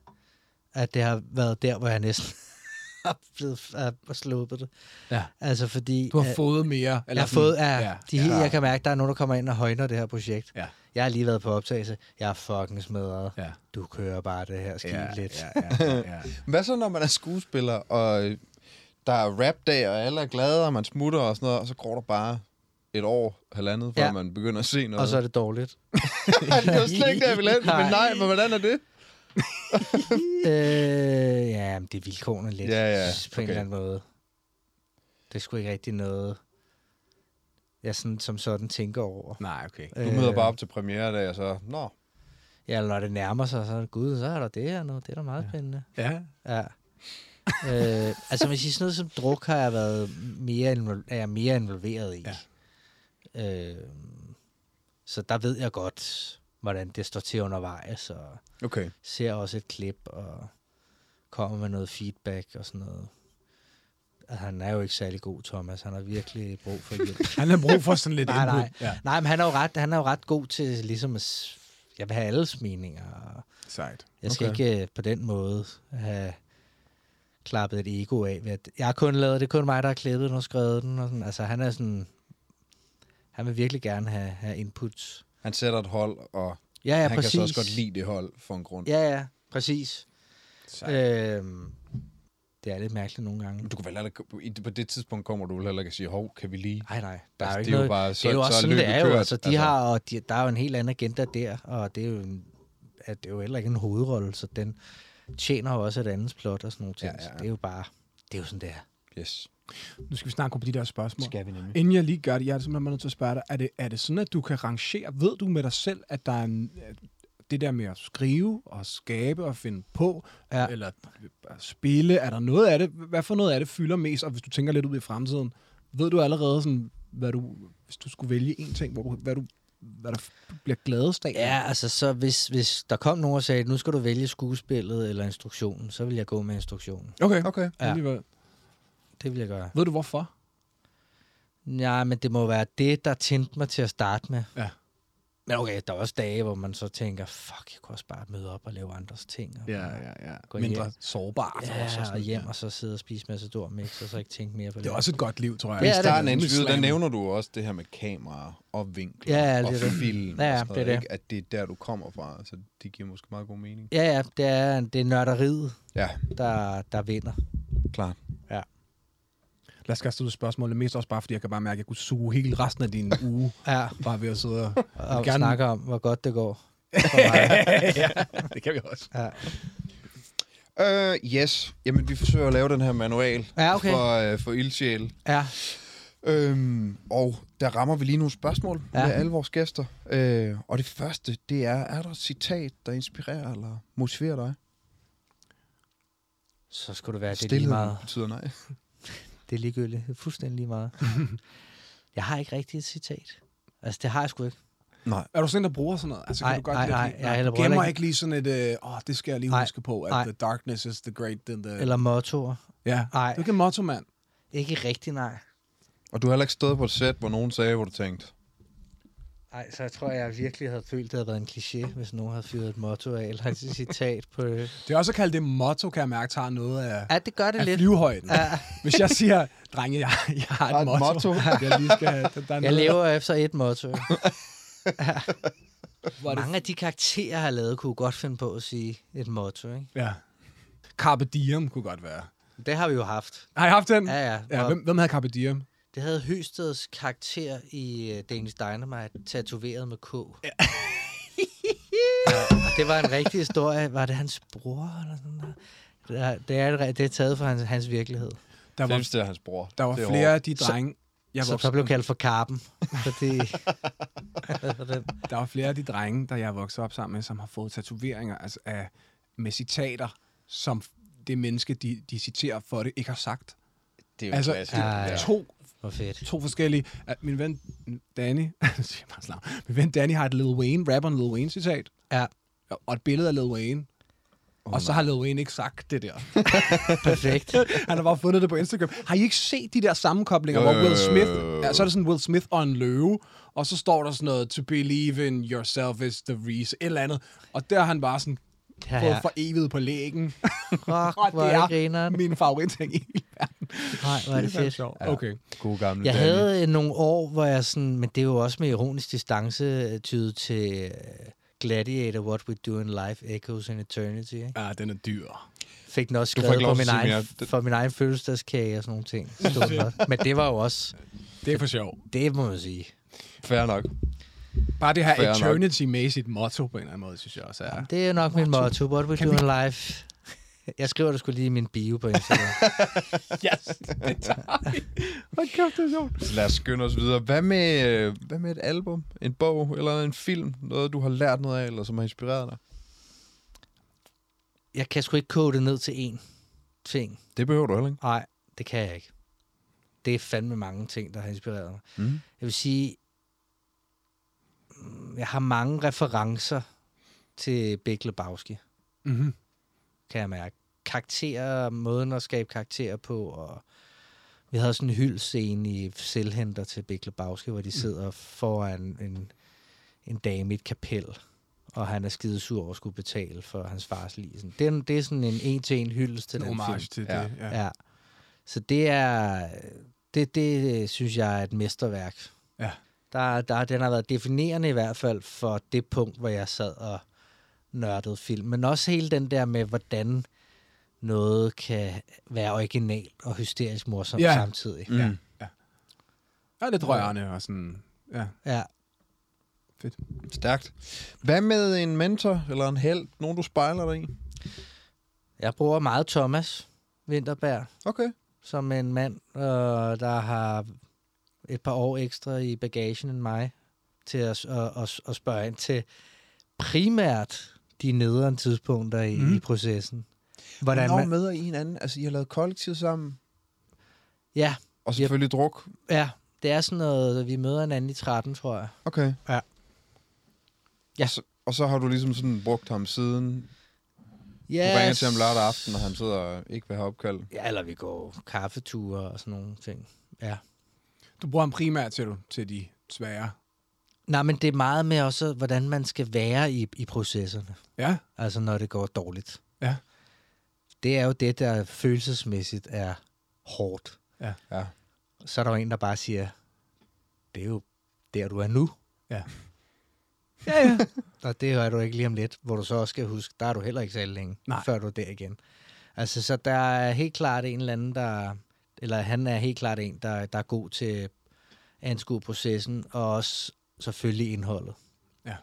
Speaker 9: at det har været der, hvor jeg næsten har blevet har sluppet det.
Speaker 1: Ja.
Speaker 9: Altså fordi...
Speaker 1: Du har
Speaker 9: at-
Speaker 1: fået mere.
Speaker 9: Eller jeg har fået, ja,
Speaker 1: øh, ja,
Speaker 9: ja, de, ja. jeg kan mærke, der er nogen, der kommer ind og højner det her projekt.
Speaker 1: Ja.
Speaker 9: Jeg har lige været på optagelse. Jeg er fucking smadret.
Speaker 1: Ja.
Speaker 9: Du kører bare det her skib
Speaker 1: ja,
Speaker 9: lidt.
Speaker 1: Ja, ja, ja, ja.
Speaker 2: Hvad så, når man er skuespiller, og øh, der er rapdag, og alle er glade, og man smutter og sådan noget, og så går der bare et år, halvandet, før
Speaker 9: Ja.
Speaker 2: ja. man begynder at se noget.
Speaker 9: Og så er det dårligt.
Speaker 2: det er jo slet ikke der, jeg vil hen, men nej, men hvordan er det?
Speaker 9: øh, ja, men det er vilkårene lidt.
Speaker 2: Ja, ja,
Speaker 9: På en
Speaker 2: okay.
Speaker 9: eller anden måde. Det er sgu ikke rigtig noget, jeg sådan, som sådan tænker over.
Speaker 1: Nej, okay.
Speaker 2: Du møder bare op til premiere og så, nå,
Speaker 9: Ja, eller når det nærmer sig, så er det, gud, så er der det her nu. Det er da meget ja. spændende.
Speaker 1: Ja.
Speaker 9: Ja. øh, altså, hvis I sådan noget som druk har jeg været mere, invol- er jeg mere involveret i. Ja. Øh, så der ved jeg godt, hvordan det står til undervejs, og
Speaker 2: okay.
Speaker 9: ser også et klip, og kommer med noget feedback og sådan noget. Altså, Han er jo ikke særlig god, Thomas. Han har virkelig brug for hjælp.
Speaker 1: Han har brug for sådan lidt
Speaker 9: Nej,
Speaker 1: input.
Speaker 9: nej.
Speaker 1: Ja.
Speaker 9: Nej, men han er jo ret, han er jo ret god til ligesom at... s- Jeg vil have alles meninger, og
Speaker 1: Sejt.
Speaker 9: jeg skal
Speaker 2: Okay.
Speaker 9: okay. ikke øh, på den måde have klappet et ego af. Ved at jeg har kun lavet, det er kun mig, der har klippet den og skrevet den. Og sådan. Altså, han er sådan... Han vil virkelig gerne have, have inputs.
Speaker 2: Han sætter et hold, og
Speaker 9: Ja, ja,
Speaker 2: han
Speaker 9: præcis.
Speaker 2: kan så også godt lide det hold for en grund.
Speaker 9: Ja, ja, præcis.
Speaker 1: Sejt.
Speaker 9: Øhm, det er lidt mærkeligt nogle gange.
Speaker 2: Men Du kan vel heller, ikke- i- på det tidspunkt kommer du vel heller ikke at sige, hov, kan vi lige?
Speaker 9: Nej, nej.
Speaker 2: Altså,
Speaker 9: Der er jo
Speaker 2: det
Speaker 9: ikke
Speaker 2: er jo
Speaker 9: noget,
Speaker 2: bare-
Speaker 9: det
Speaker 2: så-
Speaker 9: er jo
Speaker 2: så
Speaker 9: også
Speaker 2: er
Speaker 9: sådan, det
Speaker 2: løbet
Speaker 9: er jo.
Speaker 2: kørt,
Speaker 9: Altså, de
Speaker 2: altså.
Speaker 9: har, og de, der er jo en helt anden agenda der, og det er jo, en, at det er jo heller ikke en hovedrolle, så den tjener jo også et andet plot og sådan nogle ting.
Speaker 2: Ja,
Speaker 9: Ja,
Speaker 2: ja,
Speaker 9: ja.
Speaker 2: ja.
Speaker 9: Så det er jo bare, det er jo sådan, det er.
Speaker 2: Yes.
Speaker 1: Nu skal vi snakke om de der spørgsmål.
Speaker 9: Skal vi nemlig.
Speaker 1: Inden jeg lige gør det, jeg er simpelthen nødt til at spørge dig, er det, er det sådan, at du kan rangere, ved du med dig selv, at der er en, at det der med at skrive og skabe og finde på, ja.
Speaker 9: Ja.
Speaker 1: eller at spille, er der noget af det, hvad for noget af det fylder mest, og hvis du tænker lidt ud i fremtiden, ved du allerede sådan, hvad du, hvis du skulle vælge en ting, hvor du, hvad, du, hvad der bliver gladest af?
Speaker 9: Ja, altså så hvis, hvis der kom nogen og sagde, nu skal du vælge skuespillet eller instruktionen, så vil jeg gå med instruktionen.
Speaker 1: Okay,
Speaker 2: Okay.
Speaker 9: Ja.
Speaker 1: alligevel.
Speaker 9: Det vil jeg gøre.
Speaker 1: Ved du hvorfor?
Speaker 9: Nej, men det må være det, der tændte mig til at starte med.
Speaker 1: Ja.
Speaker 9: Men okay, der er også dage, hvor man så tænker, fuck, jeg kunne også bare møde op og lave andres ting. Og
Speaker 1: ja, ja.
Speaker 9: Gå
Speaker 1: Mindre
Speaker 9: hjem.
Speaker 1: sårbart. også,
Speaker 9: Ja, og
Speaker 1: sådan.
Speaker 9: hjem og så sidde og spise Matador Mix, og så ikke tænke mere på det.
Speaker 1: Det er også et godt liv, tror jeg.
Speaker 9: Det
Speaker 2: I
Speaker 9: er det.
Speaker 2: starten af
Speaker 1: Rimelig
Speaker 2: interviewet, der
Speaker 1: slam.
Speaker 2: nævner du også det her med kamera og vinkler
Speaker 9: Ja, ja, det
Speaker 2: og
Speaker 9: er det.
Speaker 2: film. og
Speaker 9: Ja, ja,
Speaker 2: sådan
Speaker 9: det er
Speaker 2: noget,
Speaker 9: det.
Speaker 2: Ikke? At det er der, du kommer fra, så det giver måske meget god mening.
Speaker 9: Ja, ja, det er, det er nørderiet,
Speaker 2: Ja,
Speaker 9: der, der vinder.
Speaker 2: klart.
Speaker 1: Lad os kaste ud i spørgsmålet. Mest også bare, fordi jeg kan bare mærke, at jeg kunne suge hele resten af din uge.
Speaker 9: Ja,
Speaker 1: Bare ved at sidde og...
Speaker 9: og
Speaker 1: gerne-
Speaker 9: gerne... snakker om, hvor godt det går. For mig.
Speaker 1: det kan vi også.
Speaker 9: Ja.
Speaker 2: Uh, yes. Jamen, vi forsøger at lave den her manual
Speaker 9: Ja, okay.
Speaker 2: for, uh, for ildsjæl.
Speaker 9: Ja,
Speaker 2: Øhm, og der rammer vi lige nogle spørgsmål ja.
Speaker 9: Ja.
Speaker 2: med alle vores gæster. Øh, og det første, det er, er der et citat, der inspirerer eller motiverer dig?
Speaker 9: så skulle det være, det er lige
Speaker 2: Stilheden
Speaker 9: meget.
Speaker 2: betyder nej.
Speaker 9: Det er ligegyldigt. Det er fuldstændig lige meget. jeg har ikke rigtigt et citat. Altså, det har jeg sgu ikke.
Speaker 1: Er du sådan en, der bruger sådan noget? Altså, kan
Speaker 9: Ej,
Speaker 1: du godt
Speaker 9: ej,
Speaker 1: lide-
Speaker 9: ej, jeg er heller-
Speaker 1: Du gemmer
Speaker 9: heller
Speaker 1: ikke lige sådan et... øh, Åh, øh, oh, det skal jeg lige
Speaker 9: Nej,
Speaker 1: huske på. At
Speaker 9: nej.
Speaker 1: the darkness is the great... Then the...
Speaker 9: Eller mottoer.
Speaker 1: ja.
Speaker 9: Nej,
Speaker 1: Du kan motto, mand.
Speaker 9: ikke rigtigt, nej.
Speaker 2: Og du har heller ikke stået på et sæt, hvor nogen sagde, hvor du tænkte,
Speaker 9: Ej, så jeg tror jeg virkelig havde følt, det havde været en kliché, hvis nogen havde fyret et motto af, eller et citat på det.
Speaker 1: Det er også at kalde det motto, kan jeg mærke, tager noget af,
Speaker 9: Ja, det gør det
Speaker 1: af
Speaker 9: lidt.
Speaker 1: flyvehøjden.
Speaker 9: Ja.
Speaker 1: Hvis jeg siger, drenge, jeg, jeg har et,
Speaker 2: Har et
Speaker 1: motto,
Speaker 2: motto.
Speaker 1: jeg lige skal have. Der, der er
Speaker 9: Jeg
Speaker 1: noget,
Speaker 9: lever efter et motto.
Speaker 1: hvor er det-
Speaker 9: Mange af de karakterer, jeg har lavet, kunne godt finde på at sige et motto, ikke?
Speaker 1: Ja. Carpe diem kunne godt være.
Speaker 9: Det har vi jo haft.
Speaker 1: Har I haft den?
Speaker 9: Ja, ja.
Speaker 1: ja
Speaker 9: Og
Speaker 1: hvem, hvem havde Carpe diem?
Speaker 9: Det havde Høsteds karakter i øh, Danish Dynamite tatoveret med K. Ja. og det var en rigtig historie. Var det hans bror eller sådan noget? Det er, det er, et re- det er taget fra hans, hans virkelighed.
Speaker 1: Der var,
Speaker 2: Femste er hans bror.
Speaker 1: der var
Speaker 2: Det er
Speaker 1: flere af de drenge, jeg
Speaker 9: Som så
Speaker 1: voksede,
Speaker 9: blev kaldt for Karpen. Fordi... den.
Speaker 1: der var flere af de drenge, der jeg voksede op sammen med, som har fået tatoveringer altså af, med citater, som det menneske, de, de citerer for det, ikke har sagt.
Speaker 2: Det er jo
Speaker 1: Altså,
Speaker 2: klassisk.
Speaker 1: det er
Speaker 9: Ja.
Speaker 1: to
Speaker 9: Hvor fedt.
Speaker 1: to forskellige... Uh, min ven Danny... nu siger jeg bare sådan navn. min ven Danny har et Lil Wayne, rapperen Lil Wayne citat.
Speaker 9: Ja.
Speaker 1: Og et billede af Lil Wayne. Oh, og så har Lil Wayne ikke sagt det der.
Speaker 9: Perfekt.
Speaker 1: Han har bare fundet det på Instagram. Har I ikke set de der sammenkoblinger, hvor Will Smith... Ja, så er det sådan Will Smith og en løve, og så står der sådan noget, to believe in yourself is the reason, et eller andet. Og der har han bare sådan
Speaker 9: Ja,
Speaker 1: fået
Speaker 9: ja.
Speaker 1: for evigt på lægen.
Speaker 9: Fuck,
Speaker 1: Og
Speaker 9: hvor
Speaker 1: det
Speaker 9: er
Speaker 1: er
Speaker 9: det grineren.
Speaker 1: min favoritting i hele verden.
Speaker 9: Nej, hvor er det fedt.
Speaker 1: sjovt. Okay.
Speaker 2: Gode gamle
Speaker 9: Jeg
Speaker 2: Danny.
Speaker 9: havde øh, nogle år, hvor jeg sådan, men det er jo også med ironisk distance øh, tydet til øh, Gladiator, What We Do in Life, Echoes in Eternity. Ikke?
Speaker 1: Ja, Ah, den er dyr.
Speaker 9: Fik den også
Speaker 2: Du får
Speaker 9: skrevet
Speaker 2: ikke
Speaker 9: for
Speaker 2: lov til at
Speaker 9: min,
Speaker 2: sige mere.
Speaker 9: egen,
Speaker 2: Det-
Speaker 9: for min egen fødselsdagskage og sådan nogle ting. Stod den også. men det var jo også,
Speaker 1: Det er for sjov.
Speaker 9: det må man sige.
Speaker 2: Fair nok.
Speaker 1: Bare det her
Speaker 2: Fair nok.
Speaker 1: eternity-mæssigt motto på en eller anden måde, synes jeg også er.
Speaker 9: Det er nok min motto, What We
Speaker 1: Kan
Speaker 9: Do
Speaker 1: vi-
Speaker 9: in Life. Jeg skriver det skulle lige i min bio på Instagram.
Speaker 1: Yes, det tager vi. Hold kæft, det er sjovt.
Speaker 2: Så lad os skynde os videre. Hvad med, øh, hvad med et album, en bog eller en film? Noget, du har lært noget af, eller som har inspireret dig?
Speaker 9: Jeg kan sgu ikke koge det ned til én ting.
Speaker 2: Det behøver du heller ikke.
Speaker 9: Nej, det kan jeg ikke. Det er fandme mange ting, der har inspireret mig.
Speaker 2: Mm.
Speaker 9: Jeg vil sige, mm, jeg har mange referencer til Big Lebowski,
Speaker 1: Mm-hmm.
Speaker 9: kan jeg mærke. Karakterer, måden at skabe karakterer på, og vi havde sådan en hyldscene i Selvhenter til Big Lebowski,
Speaker 1: Mm.
Speaker 9: hvor de sidder foran en, en dame i et kapel, og han er skidesur over at skulle betale for hans fars lige. Det, er- det er sådan en en-til-en hyldest til
Speaker 1: En
Speaker 9: den film.
Speaker 1: homage til det.
Speaker 2: Ja.
Speaker 1: Ja.
Speaker 9: Ja. Så det er, det, det øh, synes jeg er et mesterværk.
Speaker 1: Ja.
Speaker 9: Der, der, den har været definerende i hvert fald for det punkt, hvor jeg sad og nørdede film. Men også hele den der med, hvordan noget kan være originalt og hysterisk morsomt
Speaker 1: Ja.
Speaker 9: ja. samtidig.
Speaker 2: Mm.
Speaker 1: Ja. ja. ja lidt rørende og sådan. Ja.
Speaker 9: Ja.
Speaker 2: Stærkt. Hvad med en mentor eller en held? Nogen, du spejler dig i?
Speaker 9: Jeg bruger meget Thomas Winterberg
Speaker 2: Okay.
Speaker 9: som en mand, øh, der har et par år ekstra i bagagen end mig, til at, at, at, at spørge ind til primært de nederen tidspunkter i, mm. i processen. Hvordan
Speaker 2: Hvornår
Speaker 9: man,
Speaker 2: møder I hinanden? Altså, I har lavet kollektiv sammen.
Speaker 9: ja,
Speaker 2: Og selvfølgelig yep. druk.
Speaker 9: ja, det er sådan noget, vi møder hinanden i 13, tror jeg.
Speaker 2: Okay.
Speaker 9: Ja. Ja.
Speaker 2: Så, og så har du ligesom sådan brugt ham siden.
Speaker 9: Yes.
Speaker 2: Du ringer til ham lørdag aften, og han sidder og ikke vil have opkald.
Speaker 9: Ja, eller vi går kaffeture og sådan nogle ting. Ja.
Speaker 1: Du bruger ham primært til, du, til de svære.
Speaker 9: Nej, men det er meget med også, hvordan man skal være i, i processerne.
Speaker 1: Ja.
Speaker 9: Altså når det går dårligt.
Speaker 1: Ja.
Speaker 9: Det er jo det, der følelsesmæssigt er hårdt.
Speaker 1: Ja.
Speaker 2: Ja.
Speaker 9: Så er der jo en, der bare siger, det er jo der, du er nu.
Speaker 1: Ja.
Speaker 9: ja, ja. Og det er du ikke lige om lidt, hvor du så også skal huske, der er du heller ikke særlig længe,
Speaker 1: Nej.
Speaker 9: før du er der igen. Altså, så der er helt klart en eller anden, der... Eller han er helt klart en, der, der er god til at anskue processen, og også selvfølgelig indholdet.
Speaker 1: Ja.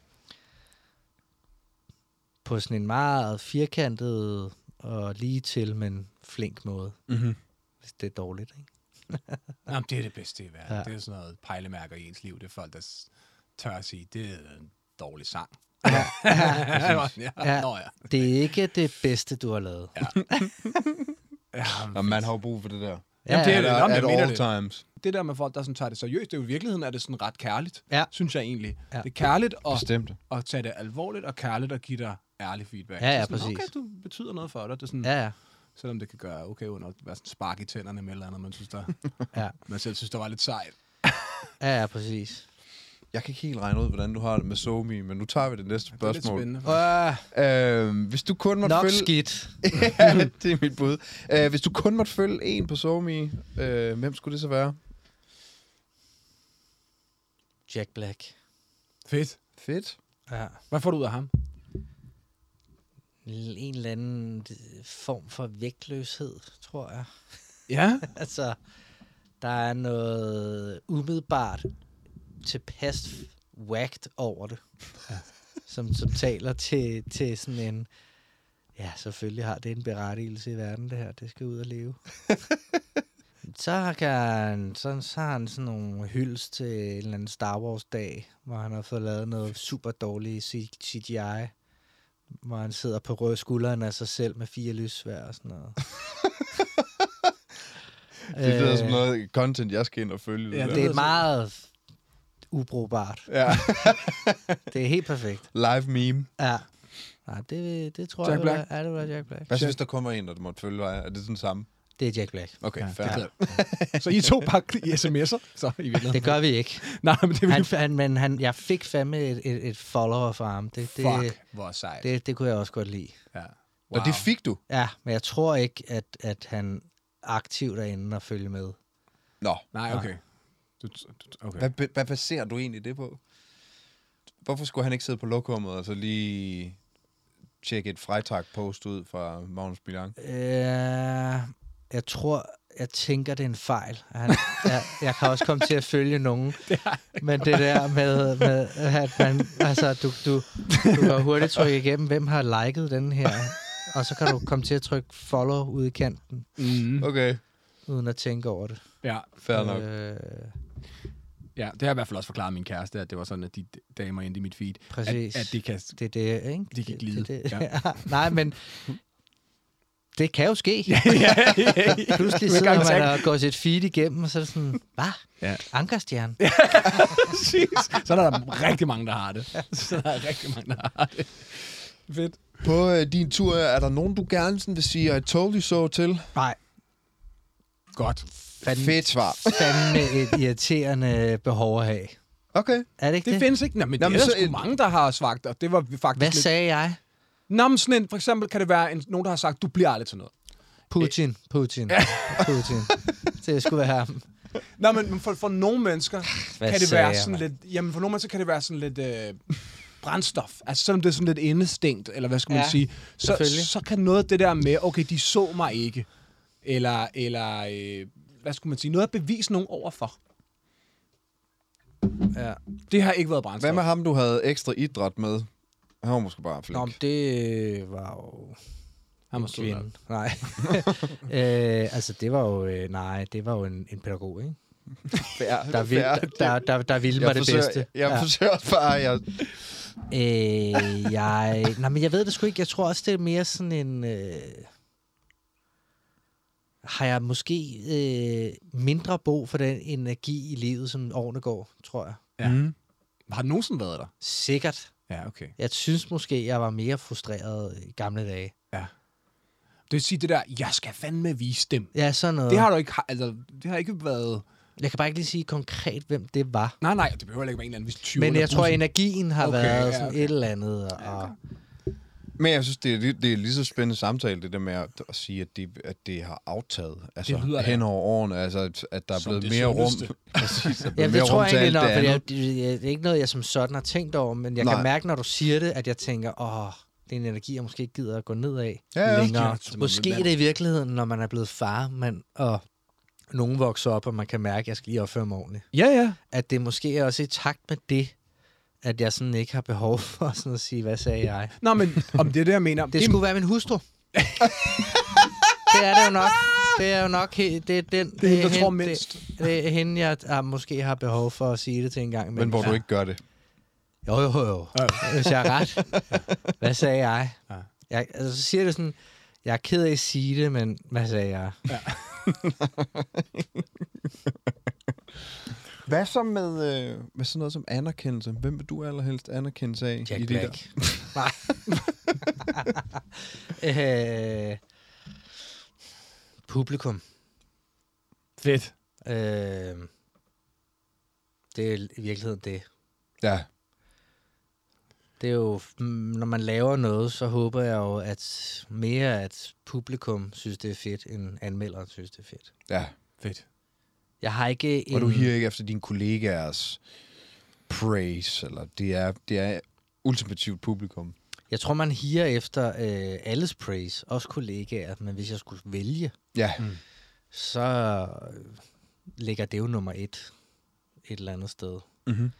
Speaker 9: På sådan en meget firkantet og lige til, men flink måde.
Speaker 2: Mhm.
Speaker 9: Hvis det er dårligt, ikke?
Speaker 1: Jamen, det er det bedste i verden. Ja.
Speaker 9: Ja.
Speaker 1: Det er sådan noget pejlemærker i ens liv. Det er folk, der s- tør at sige, det er en dårlig sang. Ja, ja.
Speaker 9: Ja.
Speaker 1: Nå, ja.
Speaker 9: Det er ikke det bedste, du har lavet. Ja,
Speaker 1: Jamen,
Speaker 2: Og man har jo brug for det der.
Speaker 1: Jamen, det er
Speaker 2: At,
Speaker 1: det. Nå, men
Speaker 2: at
Speaker 1: jeg mener
Speaker 2: all
Speaker 1: det.
Speaker 2: times.
Speaker 1: det der med folk, der sådan tager det seriøst, det er jo i virkeligheden er det sådan ret kærligt,
Speaker 9: Ja.
Speaker 1: synes jeg egentlig.
Speaker 9: Ja.
Speaker 1: Det er kærligt at,
Speaker 2: Bestemt.
Speaker 1: at tage det alvorligt, og kærligt at give dig ærlig feedback.
Speaker 9: Ja, ja,
Speaker 1: Så sådan,
Speaker 9: præcis.
Speaker 1: Okay, du betyder noget for dig. Det er sådan,
Speaker 9: ja. ja.
Speaker 1: Selvom det kan gøre okay under at være sådan spark i tænderne med et eller andet, man, synes, der,
Speaker 9: Ja,
Speaker 1: man selv synes, der var lidt sejt.
Speaker 9: ja, ja præcis.
Speaker 2: Jeg kan ikke helt regne ud, hvordan du har det med Somi, men nu tager vi det næste
Speaker 1: Det er lidt
Speaker 2: spørgsmål.
Speaker 1: spændende.
Speaker 9: Øh,
Speaker 2: Øh, hvis du kun måtte
Speaker 9: nok
Speaker 2: følge...
Speaker 9: skidt.
Speaker 2: ja, det er mit bud. Øh, hvis du kun måtte følge en på Somi, øh, hvem skulle det så være?
Speaker 9: Jack Black.
Speaker 1: Fedt.
Speaker 2: Fedt.
Speaker 9: Ja.
Speaker 1: Hvad får du ud af ham?
Speaker 9: En eller anden øh, form for vægtløshed, tror jeg.
Speaker 1: Ja.
Speaker 9: Altså, der er noget umiddelbart tilpas whacked over det, som, som taler til, til sådan en... Ja, selvfølgelig har det en berettigelse i verden, det her. Det skal ud og leve. så, kan han, så, så har han sådan nogle hylds til en eller anden Star Wars-dag, hvor han har fået lavet noget super dårligt C- CGI, hvor han sidder på røde skulderen af sig selv med fire lyssvær og sådan noget.
Speaker 2: Det lyder
Speaker 9: Øh,
Speaker 2: som noget content, jeg skal ind og følge.
Speaker 1: Ja,
Speaker 2: Ja,
Speaker 9: det
Speaker 2: det...
Speaker 9: er meget ubrugbart.
Speaker 2: ja.
Speaker 9: Det er helt perfekt.
Speaker 2: live meme.
Speaker 9: Ja. Nej, det, det tror
Speaker 1: Jack
Speaker 9: jeg, det var-
Speaker 1: Black?
Speaker 9: Ja, det var Jack Black.
Speaker 2: Hvad så, hvis der kommer en, der måtte følge dig? Er det den samme?
Speaker 9: Det er Jack Black.
Speaker 2: Okay, ja, fair.
Speaker 1: det Så I to bare i sms'er, så i virkeligheden.
Speaker 9: Det gør vi ikke.
Speaker 1: Nej, men det vil
Speaker 9: Han, han, men han, jeg fik fandme et, et, et follower fra ham. Det, det,
Speaker 1: Fuck, hvor sejt.
Speaker 9: det, det kunne jeg også godt lide.
Speaker 1: Ja.
Speaker 2: Wow. Og det fik du?
Speaker 9: Ja, men jeg tror ikke, at, at han aktivt er inde og følge med.
Speaker 2: Nå.
Speaker 1: Nej, okay. Du, du, okay.
Speaker 2: Hvad, be- hvad baserer du egentlig det på? Hvorfor skulle han ikke sidde på lokummet og så lige tjekke et Freitag-post ud fra Magnus Bilang?
Speaker 9: Øh, jeg tror, jeg tænker, det er en fejl. Han, jeg, jeg kan også komme til at følge nogen. Men det der med, med at man, altså, du, du, du kan hurtigt trykke igennem, hvem har liket den her. Og så kan du komme til at trykke follow ude i kanten,
Speaker 1: Mm.
Speaker 2: Okay,
Speaker 9: uden at tænke over det.
Speaker 1: Ja.
Speaker 2: fair nok.
Speaker 9: Øh,
Speaker 1: ja, det har jeg i hvert fald også forklaret min kæreste, at det var sådan, at de damer endte i mit feed.
Speaker 9: Præcis.
Speaker 1: At, at de kan...
Speaker 9: det er det, ikke?
Speaker 1: De kan glide,
Speaker 9: Det, det,
Speaker 1: ja.
Speaker 9: ja. Nej, men det kan jo ske.
Speaker 1: ja,
Speaker 9: Pludselig sidder man og går sit feed igennem, og så er det sådan, hvad?
Speaker 1: Ja.
Speaker 9: Ja. Ankerstjerne?
Speaker 1: Præcis. Så er der rigtig mange, der har det. Så er der rigtig mange, der har det. Fedt.
Speaker 2: På øh, din tur, er der nogen, du gerne sådan vil sige, I told you so til?
Speaker 9: Nej,
Speaker 1: Godt.
Speaker 9: Fanden-
Speaker 2: Fedt svar.
Speaker 9: fandme et irriterende behov at have.
Speaker 2: Okay.
Speaker 9: Er det ikke
Speaker 1: Det
Speaker 9: det?
Speaker 1: findes ikke. Nå, men
Speaker 2: Nå,
Speaker 1: Nå, det
Speaker 2: men
Speaker 1: er
Speaker 2: så
Speaker 1: sgu
Speaker 2: et-
Speaker 1: mange, der har svagt, og det var vi faktisk
Speaker 9: Hvad
Speaker 1: lidt...
Speaker 9: sagde jeg?
Speaker 1: Nå, men sådan en, for eksempel kan det være en, nogen, der har sagt, du bliver aldrig til noget.
Speaker 9: Putin, Putin, Putin. Det skulle være ham.
Speaker 1: Nå, men men for, for nogle mennesker
Speaker 9: Hvad
Speaker 1: kan det
Speaker 9: sagde
Speaker 1: være
Speaker 9: jeg,
Speaker 1: sådan
Speaker 9: mand?
Speaker 1: lidt... Jamen, for nogle mennesker kan det være sådan lidt... Øh, brændstof. Altså, selvom det er sådan lidt indestængt, eller hvad skal man ja,
Speaker 9: Ja,
Speaker 1: sige, så,
Speaker 9: selvfølgelig.
Speaker 1: så kan noget af det der med, okay, de så mig ikke, eller, eller øh, hvad skulle man sige, noget at bevise nogen overfor.
Speaker 9: Ja.
Speaker 1: Det har ikke været brændstof.
Speaker 2: Hvad med ham, du havde ekstra idræt med? Han var måske bare flink.
Speaker 9: Nå, men det var jo
Speaker 1: Han var
Speaker 9: en
Speaker 1: sød nok.
Speaker 9: kvinde. Nej. øh, altså, det var jo... øh, Nej, det var jo en, en pædagog, ikke?
Speaker 2: Fair,
Speaker 9: Der, vil,
Speaker 2: fair.
Speaker 9: der, der, der ville mig
Speaker 2: jeg
Speaker 9: det
Speaker 2: forsøger,
Speaker 9: bedste.
Speaker 2: Jeg ja. forsøger også bare, jeg...
Speaker 9: Øh, jeg... Nej, men jeg ved det sgu ikke. Jeg tror også, det er mere sådan en... Øh, har jeg måske øh, mindre brug for den energi i livet, som årene går, tror jeg.
Speaker 1: Ja. Har den nogensinde været der?
Speaker 9: Sikkert.
Speaker 1: Ja, okay.
Speaker 9: Jeg synes måske, jeg var mere frustreret i gamle dage.
Speaker 1: Det vil sige det der, jeg skal fandme vise dem.
Speaker 9: Ja, sådan noget.
Speaker 1: Det har du ikke, altså, det har ikke været...
Speaker 9: Jeg kan bare ikke lige sige konkret, hvem det var.
Speaker 1: Nej, nej, det behøver heller ikke være en eller anden vis 20
Speaker 9: Men jeg tror, energien har
Speaker 1: Okay,
Speaker 9: okay, været
Speaker 1: ja,
Speaker 9: sådan
Speaker 1: okay.
Speaker 9: et eller andet. Og,
Speaker 2: Men jeg synes, det er, lige- det er lige så spændende samtale, det der med at, at sige, at det, at det har aftaget altså,
Speaker 1: Det lyder da-
Speaker 2: hen over årene. Altså, at, at der er
Speaker 1: Som
Speaker 2: blevet
Speaker 1: det
Speaker 2: mere
Speaker 1: sundeste.
Speaker 2: rum. Præcis, der er
Speaker 9: Ja,
Speaker 2: blevet
Speaker 9: det
Speaker 2: mere
Speaker 9: tror
Speaker 2: rum
Speaker 9: jeg
Speaker 2: til alt
Speaker 9: egentlig
Speaker 2: det
Speaker 9: nok, for
Speaker 2: andet.
Speaker 9: jeg, det, det er ikke noget, jeg som sådan har tænkt over, men jeg
Speaker 2: Nej.
Speaker 9: Nej. kan mærke, når du siger det, at jeg tænker, åh, det er en energi, jeg måske ikke gider at gå ned af
Speaker 2: Ja, ja.
Speaker 9: længere.
Speaker 1: Som
Speaker 9: Måske
Speaker 1: man-
Speaker 9: er det i virkeligheden, når man er blevet far, man, og nogen vokser op, og man kan mærke, at jeg skal lige opføre mig ordentligt.
Speaker 1: Ja, ja.
Speaker 9: At det måske er også i takt med det, at jeg sådan ikke har behov for sådan at sige, hvad sagde jeg?
Speaker 1: Nå, men om det er det, jeg mener.
Speaker 9: Det skulle være min hustru. det er det jo nok. Det er jo nok he- det er den, det
Speaker 1: er hende, der tror
Speaker 9: det-
Speaker 1: mindst.
Speaker 9: Det er hende, jeg ah, måske har behov for at sige det til en gang.
Speaker 2: Men hvor du ikke gør det.
Speaker 9: Jo, jo, jo. Hvis jeg har ret. Hvad sagde jeg? jeg altså, så siger det sådan, jeg er ked af at sige det, men hvad sagde jeg?
Speaker 2: Hvad så med, øh, med sådan noget som anerkendelse? Hvem vil du allerhelst anerkendelse af?
Speaker 9: Jack
Speaker 2: i det der?
Speaker 9: Black. Nej. øh, publikum.
Speaker 1: Fedt.
Speaker 9: Øh, det er i virkeligheden det.
Speaker 2: Ja.
Speaker 9: Det er jo, mm, når man laver noget, så håber jeg jo, at mere at publikum synes, det er fedt, end anmelderen synes, det er fedt.
Speaker 2: Ja.
Speaker 1: Fedt.
Speaker 9: Jeg har ikke en...
Speaker 2: Og du higer ikke efter dine kollegaers praise, eller det er, det er ultimativt publikum.
Speaker 9: Jeg tror, man higer efter øh, alles praise, også kollegaer, men hvis jeg skulle vælge,
Speaker 2: Ja,
Speaker 1: Mm.
Speaker 9: så øh, ligger det jo nummer et et eller andet sted.
Speaker 1: Mm-hmm.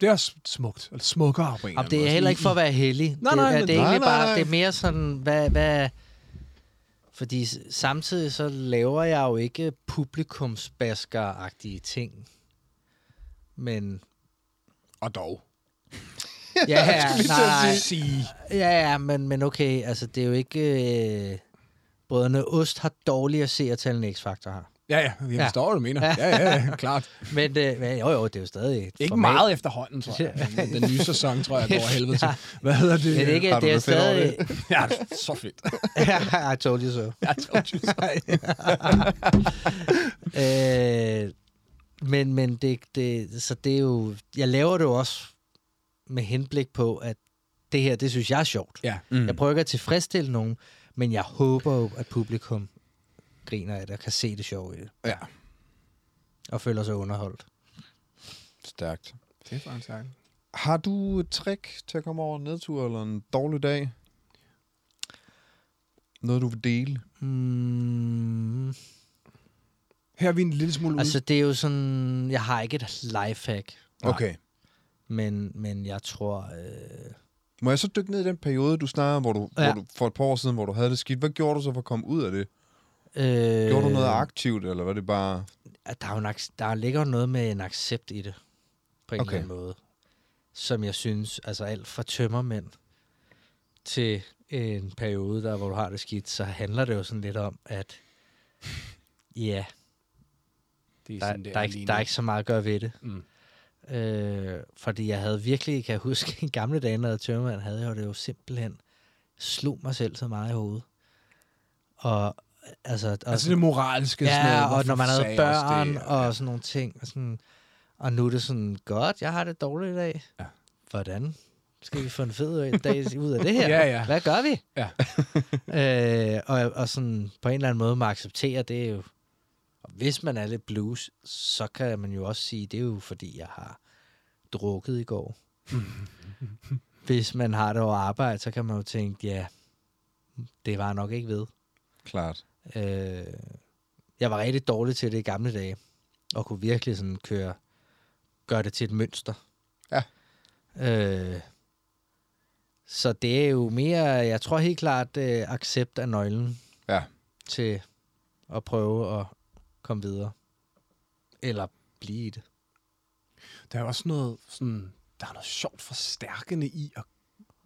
Speaker 1: Det er også smukt. Eller smukkere på en
Speaker 9: Og det er heller ikke for at være heldig.
Speaker 1: Nej,
Speaker 9: det,
Speaker 1: nej,
Speaker 9: er,
Speaker 1: men-
Speaker 9: det er
Speaker 2: Nej,
Speaker 9: egentlig
Speaker 2: nej,
Speaker 9: bare,
Speaker 2: nej.
Speaker 9: det er mere sådan, hvad, hvad... Fordi s- samtidig så laver jeg jo ikke publikumsbasker-agtige ting. Men...
Speaker 1: Og dog.
Speaker 9: Ja, ja, nej,
Speaker 1: Sige.
Speaker 9: ja, ja men, men okay, altså det er jo ikke... Øh, Brødrene Ost har dårligere seertal end X-Factor har.
Speaker 1: Ja, ja. Jeg
Speaker 9: Ja.
Speaker 1: forstår, hvad du mener. Ja, ja, ja. Klart.
Speaker 9: Men, øh, men jo, jo, det er jo stadig et
Speaker 1: Ikke
Speaker 9: format.
Speaker 1: meget efterhånden, tror jeg. Den nye sæson, tror jeg, går af helvede til. Hvad hedder det?
Speaker 9: Men ikke,
Speaker 2: Har du
Speaker 9: det er
Speaker 2: noget fedt over
Speaker 9: stadig...
Speaker 1: Ja, det er så fedt.
Speaker 9: I told you so.
Speaker 1: Jeg told you so.
Speaker 9: øh, men men det, det, så det er jo... Jeg laver det jo også med henblik på, at det her, det synes jeg er sjovt.
Speaker 1: Ja.
Speaker 9: Mm. Jeg prøver ikke at tilfredsstille nogen, men jeg håber jo, at publikum griner af det og kan se det sjove i det.
Speaker 2: Ja.
Speaker 9: Og føler sig underholdt.
Speaker 2: stærkt.
Speaker 1: Det er faktisk dejligt.
Speaker 2: Har du et trick til at komme over en nedtur eller en dårlig dag? Noget, du vil dele?
Speaker 9: Mm.
Speaker 1: Her er vi en lille smule ude.
Speaker 9: Altså, det er jo sådan... Jeg har ikke et lifehack,
Speaker 2: Okay.
Speaker 9: men, men jeg tror... Øh,
Speaker 2: Må jeg så dykke ned i den periode, du snakkede om, hvor du, ja.
Speaker 9: Ja.
Speaker 2: hvor du for et par år siden, hvor du havde det skidt? Hvad gjorde du så for at komme ud af det?
Speaker 9: øh,
Speaker 2: Gjorde du noget aktivt, eller var det bare...
Speaker 9: at der, er jo en, ac- der ligger jo noget med en accept i det, på en
Speaker 2: Okay.
Speaker 9: okay. eller anden måde. Som jeg synes, altså alt fra tømmermænd til en periode, der hvor du har det skidt, så handler det jo sådan lidt om, at ja,
Speaker 1: det er
Speaker 9: der,
Speaker 1: det
Speaker 9: der, er ikke, der er ikke så meget at gøre ved det.
Speaker 1: Mm.
Speaker 9: Øh, fordi jeg havde virkelig, kan jeg huske, i gamle dage, når jeg var tømmermand, havde jeg jo det jo simpelthen slog mig selv så meget i hovedet. Og altså, og
Speaker 1: Altså det moralske. sådan
Speaker 9: Ja,
Speaker 1: noget,
Speaker 9: og
Speaker 1: hvorfor
Speaker 9: når man havde
Speaker 1: sagde jeg også
Speaker 9: børn
Speaker 1: det?
Speaker 9: det, og sådan nogle ting. Og, sådan, og nu er det sådan, godt, jeg har det dårligt i dag.
Speaker 1: Ja.
Speaker 9: Hvordan skal vi få en fed dag ud af det her?
Speaker 1: Ja, ja.
Speaker 9: Hvad gør vi?
Speaker 1: Ja.
Speaker 9: øh, og, og sådan på en eller anden måde må acceptere, det er jo... Og hvis man er lidt blues, så kan man jo også sige, det er jo fordi, jeg har drukket i går. hvis man har det over arbejde, så kan man jo tænke, ja, det var jeg nok ikke ved.
Speaker 2: Klart.
Speaker 9: Øh, jeg var rigtig dårlig til det i gamle dage, og kunne virkelig sådan køre, gøre det til et mønster.
Speaker 2: Ja.
Speaker 9: Øh, så det er jo mere, jeg tror helt klart, øh, accept af nøglen
Speaker 2: Ja.
Speaker 9: til at prøve at komme videre. Eller blive i det.
Speaker 1: Der er også noget, sådan, der er noget sjovt forstærkende i, at,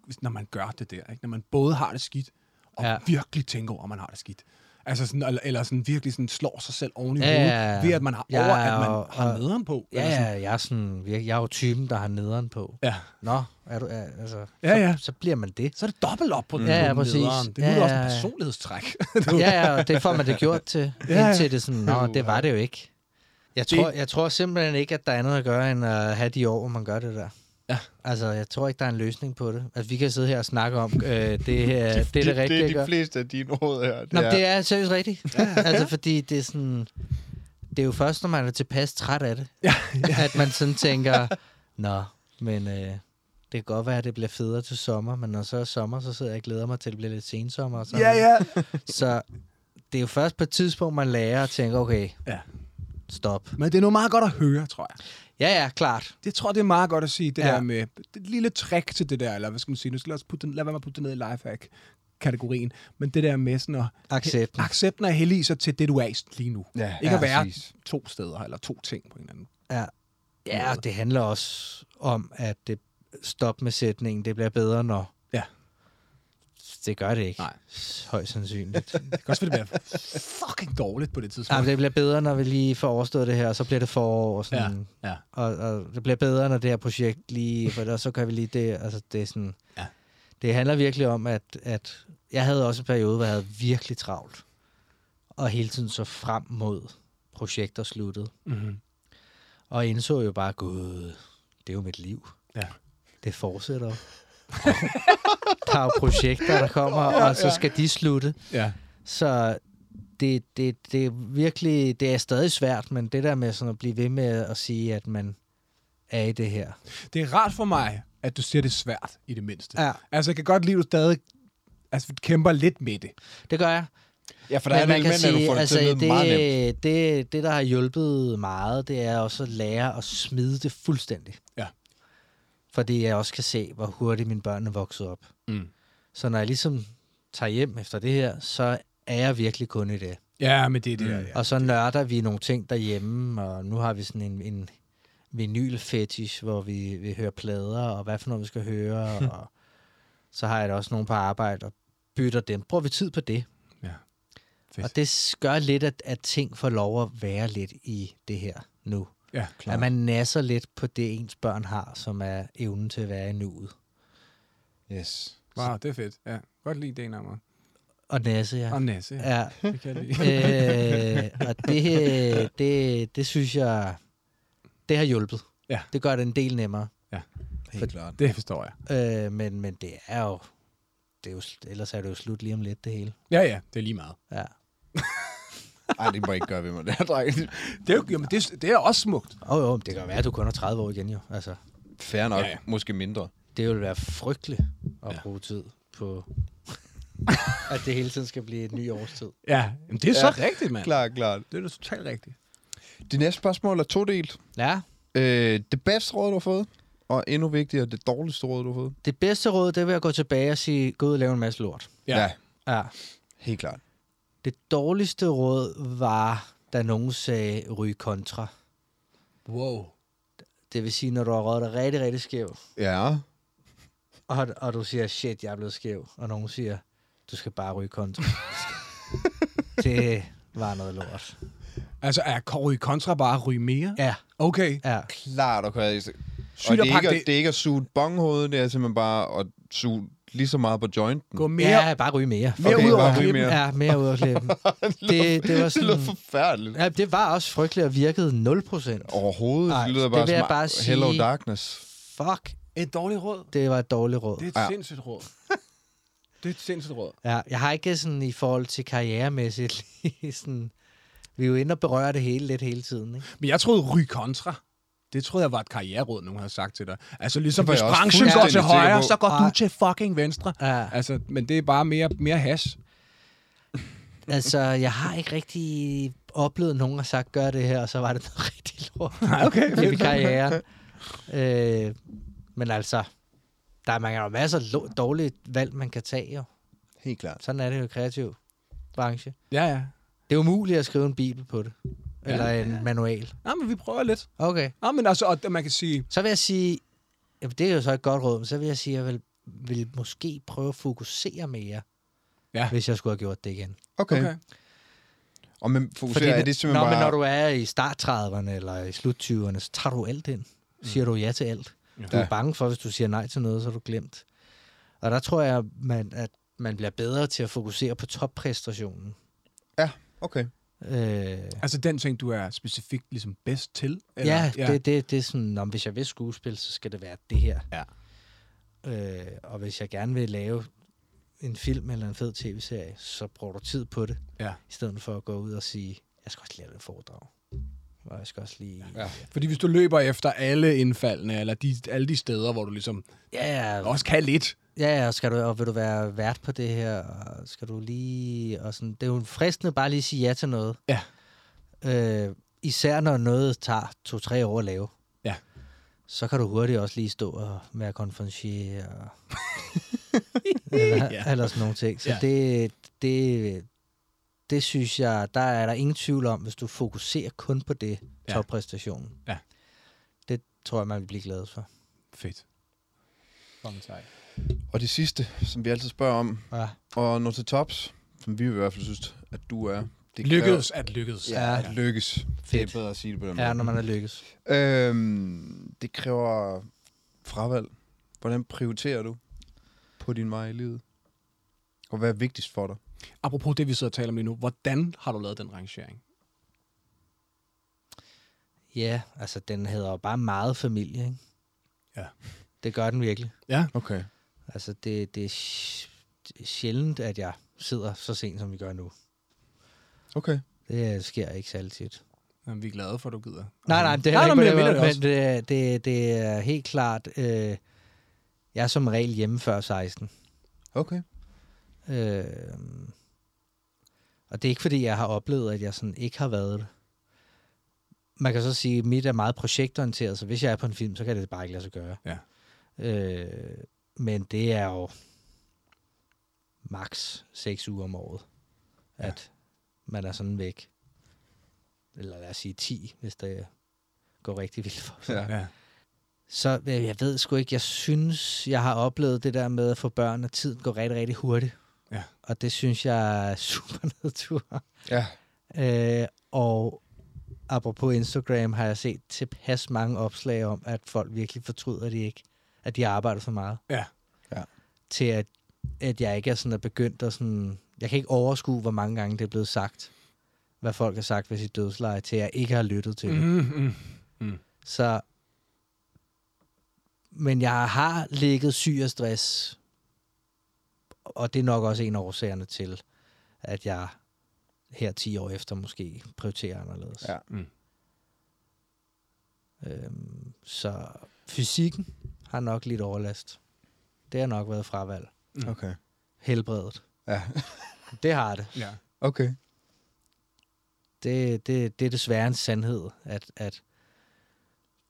Speaker 1: hvis- når man gør det der. Ikke? Når man både har det skidt, og ja.
Speaker 9: Ja.
Speaker 1: virkelig tænker over, at man har det skidt. Altså sådan, eller, eller sådan virkelig sådan slår sig selv oven i
Speaker 9: Ja,
Speaker 1: hovedet,
Speaker 9: ja, ja.
Speaker 1: ved at man har
Speaker 9: Ja,
Speaker 1: over, at man
Speaker 9: og-
Speaker 1: har
Speaker 9: og-
Speaker 1: nederen på.
Speaker 9: Ja,
Speaker 1: eller sådan.
Speaker 9: ja, jeg er, sådan, virkelig- jeg er jo typen, der har nederen på.
Speaker 1: ja.
Speaker 9: Nå, er du, er, altså,
Speaker 1: Ja,
Speaker 9: så,
Speaker 1: ja.
Speaker 9: så bliver man det.
Speaker 1: Så er det dobbelt op på den
Speaker 9: Mm. Ja, ja,
Speaker 1: på
Speaker 9: præcis.
Speaker 1: nederen. Det er
Speaker 9: Ja,
Speaker 1: ja, også
Speaker 9: ja,
Speaker 1: en
Speaker 9: ja.
Speaker 1: personlighedstræk.
Speaker 9: ja, ja, og det får man det gjort til.
Speaker 1: ja.
Speaker 9: ja. Indtil det er sådan, nå, det var det jo ikke. Jeg
Speaker 1: Det-
Speaker 9: tror, jeg tror simpelthen ikke, at der er noget at gøre, end at have de år, hvor man gør det der.
Speaker 1: Ja.
Speaker 9: Altså, jeg tror ikke, der er en løsning på det. Altså, vi kan sidde her og snakke om, øh, det, øh, det, er det, det, det rigtige at gøre.
Speaker 2: fleste af dine råd her.
Speaker 9: Nå, men det er seriøst rigtigt. altså, fordi det er sådan... Det er jo først, når man er tilpas træt af det, ja, ja. at man sådan tænker, nå, men øh, det kan godt være, at det bliver federe til sommer, men når så er sommer, så sidder jeg og glæder mig til, at det bliver lidt sensommer. Og sådan
Speaker 1: ja, ja.
Speaker 9: så det er jo først på et tidspunkt, man lærer at tænke, okay,
Speaker 1: Ja.
Speaker 9: stop.
Speaker 1: Men det er noget meget godt at høre, tror jeg.
Speaker 9: Ja, ja, klart.
Speaker 1: Det tror jeg, det er meget godt at sige, det ja.
Speaker 9: Ja.
Speaker 1: der med det lille trick til det der, eller hvad skal man sige, nu skal jeg også putte den, lad være med at putte det ned i lifehack-kategorien, men det der med sådan at
Speaker 9: Accepten.
Speaker 1: accepten af hellige sig til det, du er i lige nu.
Speaker 2: Ja,
Speaker 1: Ikke
Speaker 2: ja,
Speaker 1: at være
Speaker 2: præcis.
Speaker 1: to steder, eller to ting på hinanden.
Speaker 9: Ja, og det handler også om, at det stop med sætningen, det bliver bedre, når...
Speaker 1: Ja.
Speaker 9: Det gør det ikke.
Speaker 1: Nej.
Speaker 9: Højst sandsynligt.
Speaker 1: Det kan også være, det bliver fucking dårligt på det tidspunkt.
Speaker 9: Nej, men det bliver bedre, når vi lige får overstået det her, og så bliver det forår og sådan.
Speaker 1: Ja, ja.
Speaker 9: Og, og, det bliver bedre, når det her projekt lige... For ellers så gør vi lige det. Altså, det er sådan...
Speaker 1: Ja.
Speaker 9: Det handler virkelig om, at, at jeg havde også en periode, hvor jeg havde virkelig travlt. Og hele tiden så frem mod projekter sluttede.
Speaker 1: mm-hmm.
Speaker 9: Og indså jo bare, gud, det er jo mit liv.
Speaker 1: Ja.
Speaker 9: Det fortsætter. jo. der er jo projekter, der kommer, og så skal de slutte.
Speaker 1: Ja.
Speaker 9: Så det, det, det er virkelig, det er stadig svært, men det der med sådan at blive ved med at sige, at man er i det her.
Speaker 1: Det er rart for mig, at du siger, det er svært i det mindste.
Speaker 9: Ja.
Speaker 1: Altså, jeg kan godt lide, at du stadig altså, kæmper lidt med det.
Speaker 9: Det gør jeg.
Speaker 2: Ja, for der er en element, at du får det altså, til at lyde meget nemt.
Speaker 9: det, det, det, der har hjulpet meget, det er også at lære at smide det fuldstændig.
Speaker 1: Ja.
Speaker 9: Fordi jeg også kan se, hvor hurtigt mine børn er vokset op.
Speaker 1: Mm.
Speaker 9: Så når jeg ligesom tager hjem efter det her, så er jeg virkelig kun i det.
Speaker 1: Ja, men det er det. Mm. Ja.
Speaker 9: Og så nørder vi nogle ting derhjemme, og nu har vi sådan en, en vinyl-fetish, hvor vi, vi hører plader, og hvad for noget vi skal høre, og så har jeg da også nogen på arbejde, og bytter dem. Bruger vi tid på det?
Speaker 1: Ja. Fedt.
Speaker 9: Og det s- gør lidt, at, at ting får lov at være lidt i det her nu.
Speaker 1: ja,
Speaker 9: Klar. At man nasser lidt på det, ens børn har, som er evnen til at være i nuet.
Speaker 2: Yes.
Speaker 1: Wow, det er fedt. Ja. Godt lide det, Ammer.
Speaker 9: Og nasse, ja.
Speaker 1: Og Nasse. Ja.
Speaker 9: ja.
Speaker 1: Det kan jeg lide.
Speaker 9: øh, og det, det, det synes jeg, det har hjulpet.
Speaker 1: Ja.
Speaker 9: Det gør det en del nemmere.
Speaker 2: Helt
Speaker 9: For-
Speaker 2: klart.
Speaker 1: det forstår jeg.
Speaker 9: Øh, men, men det er jo, det er jo, sl- ellers er det jo slut lige om lidt, det hele.
Speaker 1: Ja, ja, det er lige meget.
Speaker 9: Ja.
Speaker 2: Ej, det må I ikke gøre ved mig, det her, dreng.
Speaker 1: Det er, jo, jamen, det, er- det er også smukt.
Speaker 9: Og jo, men det kan jo være, at du kun er 30 år igen jo. Altså,
Speaker 2: Fair nok.
Speaker 1: Ja,
Speaker 2: Ja,
Speaker 1: ja.
Speaker 2: ja. Måske mindre.
Speaker 9: det vil være frygteligt at ja. bruge tid på, at det hele tiden skal blive et ny årstid.
Speaker 1: Ja, jamen, det er ja. så rigtigt, mand.
Speaker 2: Klart, klart.
Speaker 1: Det er da totalt rigtigt.
Speaker 2: Det næste spørgsmål er todelt.
Speaker 9: Ja,
Speaker 2: Øh, det bedste råd, du har fået, og endnu vigtigere, det dårligste råd, du har fået.
Speaker 9: det bedste råd, det vil jeg gå tilbage og sige, gå ud og lave en masse lort.
Speaker 1: Ja. ja.
Speaker 9: Ja.
Speaker 2: helt klart.
Speaker 9: Det dårligste råd var, da nogen sagde, ryg kontra.
Speaker 1: Wow.
Speaker 9: Det vil sige, når du har rådet dig rigtig, rigtig skæv,
Speaker 2: Ja.
Speaker 9: og, og du siger, shit, jeg er blevet skæv, og nogen siger, du skal bare ryge kontra. det var noget lort.
Speaker 1: Altså, er Corey Contra bare ryge mere?
Speaker 9: Ja,
Speaker 1: Okay.
Speaker 9: ja.
Speaker 2: Klart, og kan
Speaker 1: Sygt
Speaker 2: og det
Speaker 1: at
Speaker 2: er,
Speaker 1: pakke
Speaker 2: ikke,
Speaker 1: det-
Speaker 2: det... det er ikke at suge et bonghoved, det er simpelthen bare at suge lige så meget på jointen.
Speaker 1: Gå mere,
Speaker 9: Ja, bare ryge mere.
Speaker 1: mere
Speaker 2: Okay,
Speaker 1: ud over
Speaker 2: bare ryge
Speaker 1: klippen.
Speaker 2: mere.
Speaker 9: Ja, mere ud af klippen. det, det var
Speaker 2: det lyder
Speaker 9: sådan...
Speaker 2: forfærdeligt.
Speaker 9: Ja, det var også frygteligt og virkede 0%.
Speaker 2: Overhovedet.
Speaker 9: Ej,
Speaker 2: det lyder
Speaker 9: det
Speaker 2: bare
Speaker 9: vil jeg
Speaker 2: som
Speaker 9: bare
Speaker 2: Hello
Speaker 9: sige-
Speaker 2: Darkness.
Speaker 9: Fuck,
Speaker 1: Et dårligt råd.
Speaker 9: det var et dårligt råd.
Speaker 1: Det er et ja.
Speaker 2: Ja.
Speaker 1: sindssygt råd. Det er et sindssygt råd.
Speaker 9: Ja, jeg har ikke sådan i forhold til karrieremæssigt lige sådan... Vi er jo inde og berører det hele lidt hele tiden, ikke?
Speaker 1: Men jeg troede ryge kontra. Det troede jeg var et karriereråd, nogen havde sagt til dig. Altså ligesom
Speaker 2: Det var
Speaker 1: hvis
Speaker 2: jeg også
Speaker 1: branchen går til
Speaker 2: fuldstændig sikker
Speaker 1: højre,
Speaker 2: på.
Speaker 1: så går
Speaker 9: Ej.
Speaker 1: du til fucking venstre.
Speaker 9: Ja.
Speaker 1: Altså, men det er bare mere, mere hash.
Speaker 9: Altså, jeg har ikke rigtig oplevet, at nogen har sagt, gør det her, og så var det noget rigtig lort. Nej,
Speaker 1: okay,
Speaker 9: Det er min
Speaker 1: fedt.
Speaker 9: karriere. øh, men altså, der er, man kan jo masser af lo- dårlige valg, man kan tage jo.
Speaker 2: Helt klart.
Speaker 9: Sådan er det jo i kreativ branche.
Speaker 1: Ja, ja.
Speaker 9: Det er umuligt at skrive en bibel på det. Eller en manual.
Speaker 1: Nå, men vi prøver lidt.
Speaker 9: Okay.
Speaker 1: Nå, men altså, og man kan sige,
Speaker 9: Så vil jeg sige, jamen det er jo så et godt råd, men så vil jeg sige, at jeg vil, vil måske prøve at fokusere mere,
Speaker 1: Ja.
Speaker 9: hvis jeg skulle have gjort det igen.
Speaker 2: Okay.
Speaker 1: okay.
Speaker 2: okay. Og men fokuserer, er det
Speaker 9: når,
Speaker 2: simpelthen
Speaker 9: men
Speaker 2: bare...
Speaker 9: når du er i start 30'erne eller i slut 20'erne, så tager du alt ind. Siger du ja til alt. Du er
Speaker 2: Mm. Ja.
Speaker 9: bange for, hvis du siger nej til noget, så er du glemt. Og der tror jeg, man, at man bliver bedre til at fokusere på toppræstationen.
Speaker 2: Okay.
Speaker 9: Øh,
Speaker 1: Altså den ting, du er specifikt ligesom bedst til? Eller?
Speaker 9: ja, ja. Det, det, det er sådan, om hvis jeg vil skuespil, så skal det være det her.
Speaker 1: Ja.
Speaker 9: Øh, og hvis jeg gerne vil lave en film eller en fed tv-serie, så bruger du tid på det,
Speaker 1: Ja.
Speaker 9: i stedet for at gå ud og sige, jeg skal også lave et foredrag. Og jeg skal også lige... Ja,
Speaker 1: Fordi hvis du løber efter alle indfaldene, eller de, alle de steder, hvor du ligesom
Speaker 9: ja, ja
Speaker 1: også kan lidt.
Speaker 9: Ja, ja, og, skal du, og vil du være vært på det her, og skal du lige... Og sådan, det er jo fristende bare lige at sige ja til noget.
Speaker 1: Ja.
Speaker 9: Øh, især når noget tager to-tre år at lave.
Speaker 1: Ja.
Speaker 9: Så kan du hurtigt også lige stå og være konferencier og... eller,
Speaker 1: Ja.
Speaker 9: ja. eller sådan nogle ting. Så
Speaker 1: Ja.
Speaker 9: ja. det, det, det synes jeg, der er der ingen tvivl om, hvis du fokuserer kun på det,
Speaker 1: Ja.
Speaker 9: toppræstationen.
Speaker 1: Ja.
Speaker 9: Det tror jeg, man vil blive glad for.
Speaker 1: Fedt. Kommentar.
Speaker 2: Og det sidste, som vi altid spørger om,
Speaker 9: Ja.
Speaker 2: og når til tops, som vi i hvert fald synes, at du er... Det
Speaker 1: Lykkedes at lykkedes.
Speaker 2: Kræver, ja, at lykkes. Det er
Speaker 9: Fedt.
Speaker 2: bedre at sige det
Speaker 1: Mm.
Speaker 2: på den
Speaker 9: Ja,
Speaker 2: måde.
Speaker 9: når man er lykkes.
Speaker 2: Øhm, det kræver fravalg. Hvordan prioriterer du på din vej i livet? Og hvad er vigtigst for dig?
Speaker 1: Apropos det, vi sidder og taler om lige nu. Hvordan har du lavet den rangering?
Speaker 9: Ja, altså den hedder jo bare meget familie, ikke?
Speaker 1: Ja.
Speaker 9: Det gør den virkelig.
Speaker 2: Okay.
Speaker 9: Altså, det, det er sj- det er sjældent, at jeg sidder så sent, som vi gør nu.
Speaker 2: Okay.
Speaker 9: Det øh, sker ikke særlig tit.
Speaker 1: Jamen, vi er glade for, at du gider.
Speaker 9: Nej, nej, det er
Speaker 1: nej,
Speaker 9: ikke
Speaker 1: men
Speaker 9: på
Speaker 1: jeg
Speaker 9: den
Speaker 1: mener
Speaker 9: måde,
Speaker 1: det også.
Speaker 9: men det, er- det, er- det er helt klart, øh, jeg er som regel hjemme før 16.
Speaker 2: Okay.
Speaker 9: Øh, og det er ikke, fordi jeg har oplevet, at jeg sådan ikke har været det. Man kan så sige, at mit er meget projektorienteret, så hvis jeg er på en film, så kan det bare ikke lade sig gøre.
Speaker 1: Ja.
Speaker 9: Øh, men det er jo maks 6 uger om året, at man er sådan væk. Eller lad os sige 10, hvis det går rigtig vildt for sig.
Speaker 1: Ja.
Speaker 9: Så øh, jeg ved sgu ikke, jeg synes, jeg har oplevet det der med at få børn, at tiden går rigtig, rigtig hurtigt.
Speaker 1: Ja.
Speaker 9: Og det synes jeg er super nedtur.
Speaker 2: Ja.
Speaker 9: Øh, og apropos Instagram har jeg set tilpas mange opslag om, at folk virkelig fortryder, at de ikke at de arbejder for meget.
Speaker 1: Ja.
Speaker 2: Ja.
Speaker 9: Til at, at jeg ikke er sådan er begyndt at sådan... Jeg kan ikke overskue, hvor mange gange det er blevet sagt, hvad folk har sagt ved sit dødsleje, til jeg ikke har lyttet til det.
Speaker 1: Mm, mm.
Speaker 9: Så, men jeg har ligget syg af stress, og det er nok også en af årsagerne til, at jeg her 10 år efter måske prioriterer anderledes.
Speaker 2: Ja.
Speaker 1: Mm.
Speaker 9: Øhm, så fysikken har nok lidt overlast. Det har nok været fravalg.
Speaker 2: Mm. Okay.
Speaker 9: Helbredet.
Speaker 2: Ja.
Speaker 9: Det har det.
Speaker 1: ja.
Speaker 2: Okay.
Speaker 9: det, det, det er desværre en sandhed, at, at,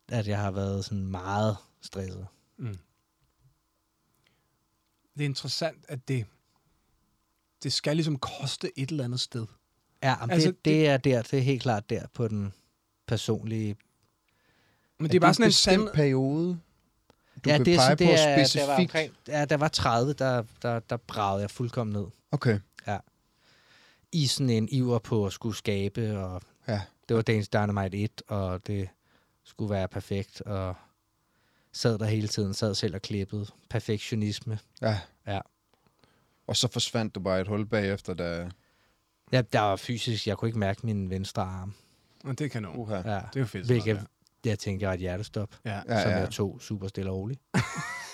Speaker 9: at jeg har været sådan meget stresset.
Speaker 1: Mm. Det er interessant, at det, det skal ligesom koste et eller andet sted.
Speaker 9: Ja, men
Speaker 1: Altså,
Speaker 9: altså, det, det, er der, det er helt klart der på den personlige...
Speaker 1: Men det er bare sådan en sand...
Speaker 2: periode, du
Speaker 9: ja,
Speaker 2: kan
Speaker 9: det er
Speaker 2: pege
Speaker 9: sådan,
Speaker 2: på
Speaker 9: det er, Der var
Speaker 2: specifikt?
Speaker 9: omkring, ja, der var 30, der, der, der bragede jeg fuldkommen ned
Speaker 2: Okay.
Speaker 9: i sådan en iver på at skulle skabe, og
Speaker 2: Ja.
Speaker 9: det var Dagens Dynamite 1, og det skulle være perfekt, og sad der hele tiden, sad selv og klippede. Perfektionisme.
Speaker 2: Ja.
Speaker 9: Ja.
Speaker 2: Og så forsvandt du bare i et hul bagefter, da...
Speaker 9: Ja, der var fysisk, jeg kunne ikke mærke min venstre arm.
Speaker 1: Men det kan nogen.
Speaker 2: Uha.
Speaker 9: Ja.
Speaker 1: Det er jo fedt.
Speaker 9: Hvilket
Speaker 1: sådan noget
Speaker 9: jeg tænkte, jeg var et hjertestop,
Speaker 1: der.
Speaker 9: ja, som ja. jeg tog super stille og roligt.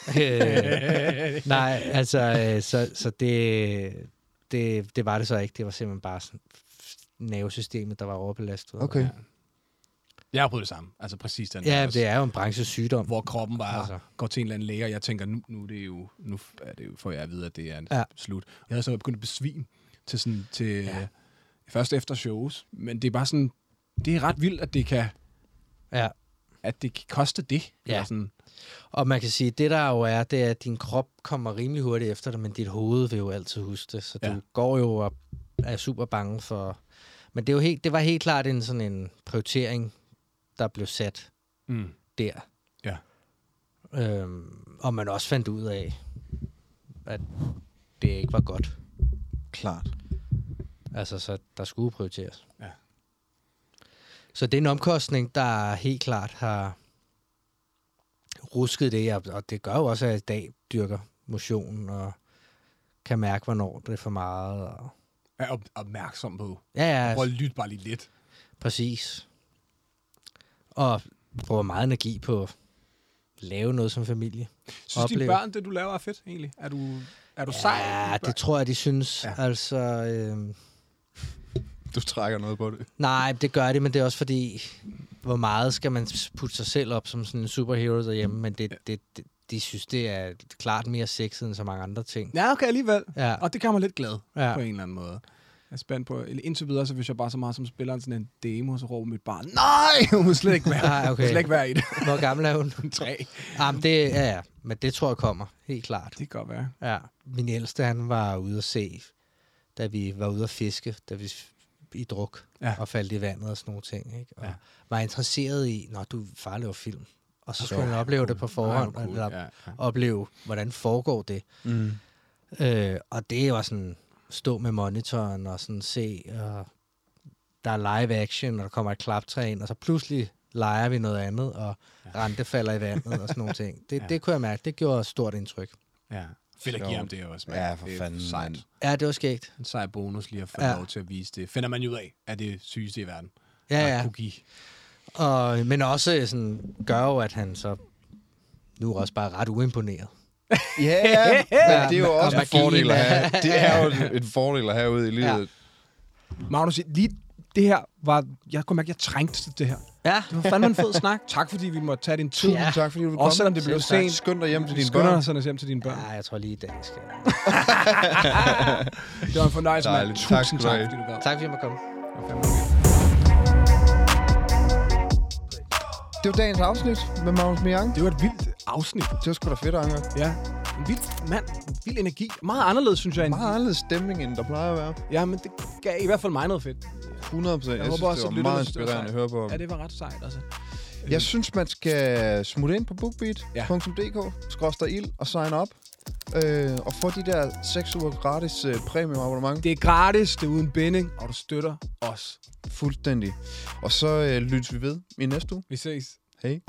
Speaker 9: øh,
Speaker 1: Ja.
Speaker 9: nej, altså, øh, så, så det, det, det var det så ikke. Det var simpelthen bare sådan nervesystemet, der var overbelastet.
Speaker 2: Okay.
Speaker 1: jeg har prøvet det samme. Altså præcis den
Speaker 9: Ja,
Speaker 1: der,
Speaker 9: det er jo en branchesygdom.
Speaker 1: Hvor kroppen bare
Speaker 9: Altså.
Speaker 1: altså. går til en eller anden læge, og jeg tænker, nu, nu, er det jo, nu er det jo, får jeg at vide, at det er en
Speaker 9: Ja.
Speaker 1: ja. slut. Jeg havde så begyndt at besvime til, sådan, til ja. først efter shows, men det er bare sådan, det er ret vildt, at det kan,
Speaker 9: Ja.
Speaker 1: at det kan koste det.
Speaker 9: Ja.
Speaker 1: Eller sådan,
Speaker 9: Og man kan sige, det der jo er, det er, at din krop kommer rimelig hurtigt efter dig, men dit hoved vil jo altid huske det. Så ja.
Speaker 1: Ja.
Speaker 9: du går jo og er super bange for... Men det, er jo helt, det var helt klart en sådan en prioritering, der blev sat.
Speaker 1: mm.
Speaker 9: der.
Speaker 1: Ja.
Speaker 9: Øhm, og man også fandt ud af, at det ikke var godt.
Speaker 2: Klart.
Speaker 9: Altså, så der skulle prioriteres.
Speaker 1: Ja.
Speaker 9: Så det er en omkostning, der helt klart har rusket det, og- og det gør jo også, at jeg i dag dyrker motion, og kan mærke, hvornår det er for meget. Og...
Speaker 1: er op- opmærksom på.
Speaker 9: Ja, ja,
Speaker 1: Prøv at lytte bare lige lidt.
Speaker 9: Præcis. Og bruger meget energi på at lave noget som familie.
Speaker 1: Synes
Speaker 9: Opleve.
Speaker 1: dine børn, det du laver, er fedt egentlig? Er du, er du sej?
Speaker 9: Ja, det tror jeg, de synes. Ja.
Speaker 1: Ja.
Speaker 9: Altså, øh,
Speaker 2: Du trækker noget på det.
Speaker 9: nej, det gør det, men det er også fordi, hvor meget skal man putte sig selv op som sådan en superhero derhjemme, men det, det, det, de synes, det er klart mere sexet end så mange andre ting.
Speaker 1: Ja, okay, alligevel.
Speaker 9: Ja,
Speaker 1: Og det gør mig lidt glad
Speaker 9: Ja.
Speaker 1: ja. på en eller anden måde. Jeg er spændt på, eller indtil videre, så hvis jeg bare så meget som spiller sådan en demo, så råber mit barn, nej, hun må slet ikke være,
Speaker 9: Nej,
Speaker 1: Hun må
Speaker 9: okay.
Speaker 1: slet ikke være i det.
Speaker 9: hvor gammel er hun?
Speaker 1: Tre.
Speaker 9: Jamen, det, ja, ja, men det tror jeg kommer, helt klart.
Speaker 1: Det kan godt være.
Speaker 9: Ja. Min ældste, han var ude at se, da vi var ude at fiske, da vi f- i druk
Speaker 1: Ja.
Speaker 9: og faldt i vandet og sådan nogle ting. Ikke? Og ja.
Speaker 1: Ja.
Speaker 9: var interesseret i, når du far laver film. Og så skulle han opleve det på
Speaker 1: Nej,
Speaker 9: forhånd, Nej,
Speaker 1: hun
Speaker 9: eller
Speaker 1: kunne- ja, ja.
Speaker 9: opleve, hvordan foregår det.
Speaker 2: Mm.
Speaker 9: Øh, og det var sådan, stå med monitoren og sådan se, og der er live action, og der kommer et klaptræ ind, og så pludselig leger vi noget andet, og rente falder i vandet og sådan nogle ting. Det, ja. det kunne jeg mærke, det gjorde stort indtryk.
Speaker 1: ja. Fedt at give ham det også, mand.
Speaker 2: Ja, for
Speaker 1: Det er
Speaker 2: fanden,
Speaker 1: sejt.
Speaker 2: mand.
Speaker 9: Ja, det var skægt.
Speaker 1: En sej bonus lige at få
Speaker 9: Ja.
Speaker 1: ja. lov til at vise det. Finder man ud af, er det sygeste i verden.
Speaker 9: Ja,
Speaker 1: at
Speaker 9: ja.
Speaker 1: kunne give.
Speaker 9: øh, Og, men også sådan, gør jo, at han så nu er også bare ret uimponeret.
Speaker 2: Ja, yeah, men det er jo også en
Speaker 9: magien
Speaker 2: fordel at
Speaker 9: er-
Speaker 2: have. Det er jo en- en fordel at have ude i livet.
Speaker 1: Magnus, lige det her var... Jeg kunne mærke, at jeg trængte til det her.
Speaker 9: Ja.
Speaker 1: Det var fandme en fed snak. Tak, fordi vi måtte tage din tid.
Speaker 2: Tusind tak, fordi du kom.
Speaker 1: Også selvom det blev
Speaker 2: Selv tak.
Speaker 1: sent.
Speaker 2: Skynd dig hjem til
Speaker 1: Vi
Speaker 2: dine
Speaker 1: skynder
Speaker 2: børn.
Speaker 1: os hjem til dine børn.
Speaker 9: Ja, jeg tror lige i dag skal jeg.
Speaker 1: Det var en fornøjelse, mand.
Speaker 2: Dejligt. Tak
Speaker 1: Tusind
Speaker 2: skal
Speaker 1: tak,
Speaker 2: du have.
Speaker 1: fordi du gad.
Speaker 9: Tak fordi jeg måtte komme.
Speaker 1: Det var fandme fedt.
Speaker 2: Det var dagens afsnit med Magnus Miang.
Speaker 1: Det var et vildt afsnit.
Speaker 2: Det var sgu da fedt, Anker.
Speaker 1: Ja. En vild mand. En vild energi. Meget anderledes, synes jeg. End...
Speaker 2: Meget anderledes stemning, end der plejer at være.
Speaker 1: Ja, men det gav i hvert fald mig noget fedt.
Speaker 2: 100 procent. Jeg,
Speaker 1: håber
Speaker 2: jeg synes,
Speaker 1: også,
Speaker 2: det
Speaker 1: at
Speaker 2: var
Speaker 1: lytterne
Speaker 2: meget
Speaker 1: synes, det var
Speaker 2: inspirerende at høre på.
Speaker 1: Ja, det var ret sejt, altså.
Speaker 2: Jeg synes, man skal smutte ind på bookbeat.dk, skråster ild og sign up. Øh, og få de der 6 uger gratis øh, premium-abonnement.
Speaker 1: Det er gratis, det er uden binding, og du støtter os.
Speaker 2: Fuldstændig. Og så øh, lyttes vi ved i næste uge.
Speaker 1: Vi ses.
Speaker 2: Hej.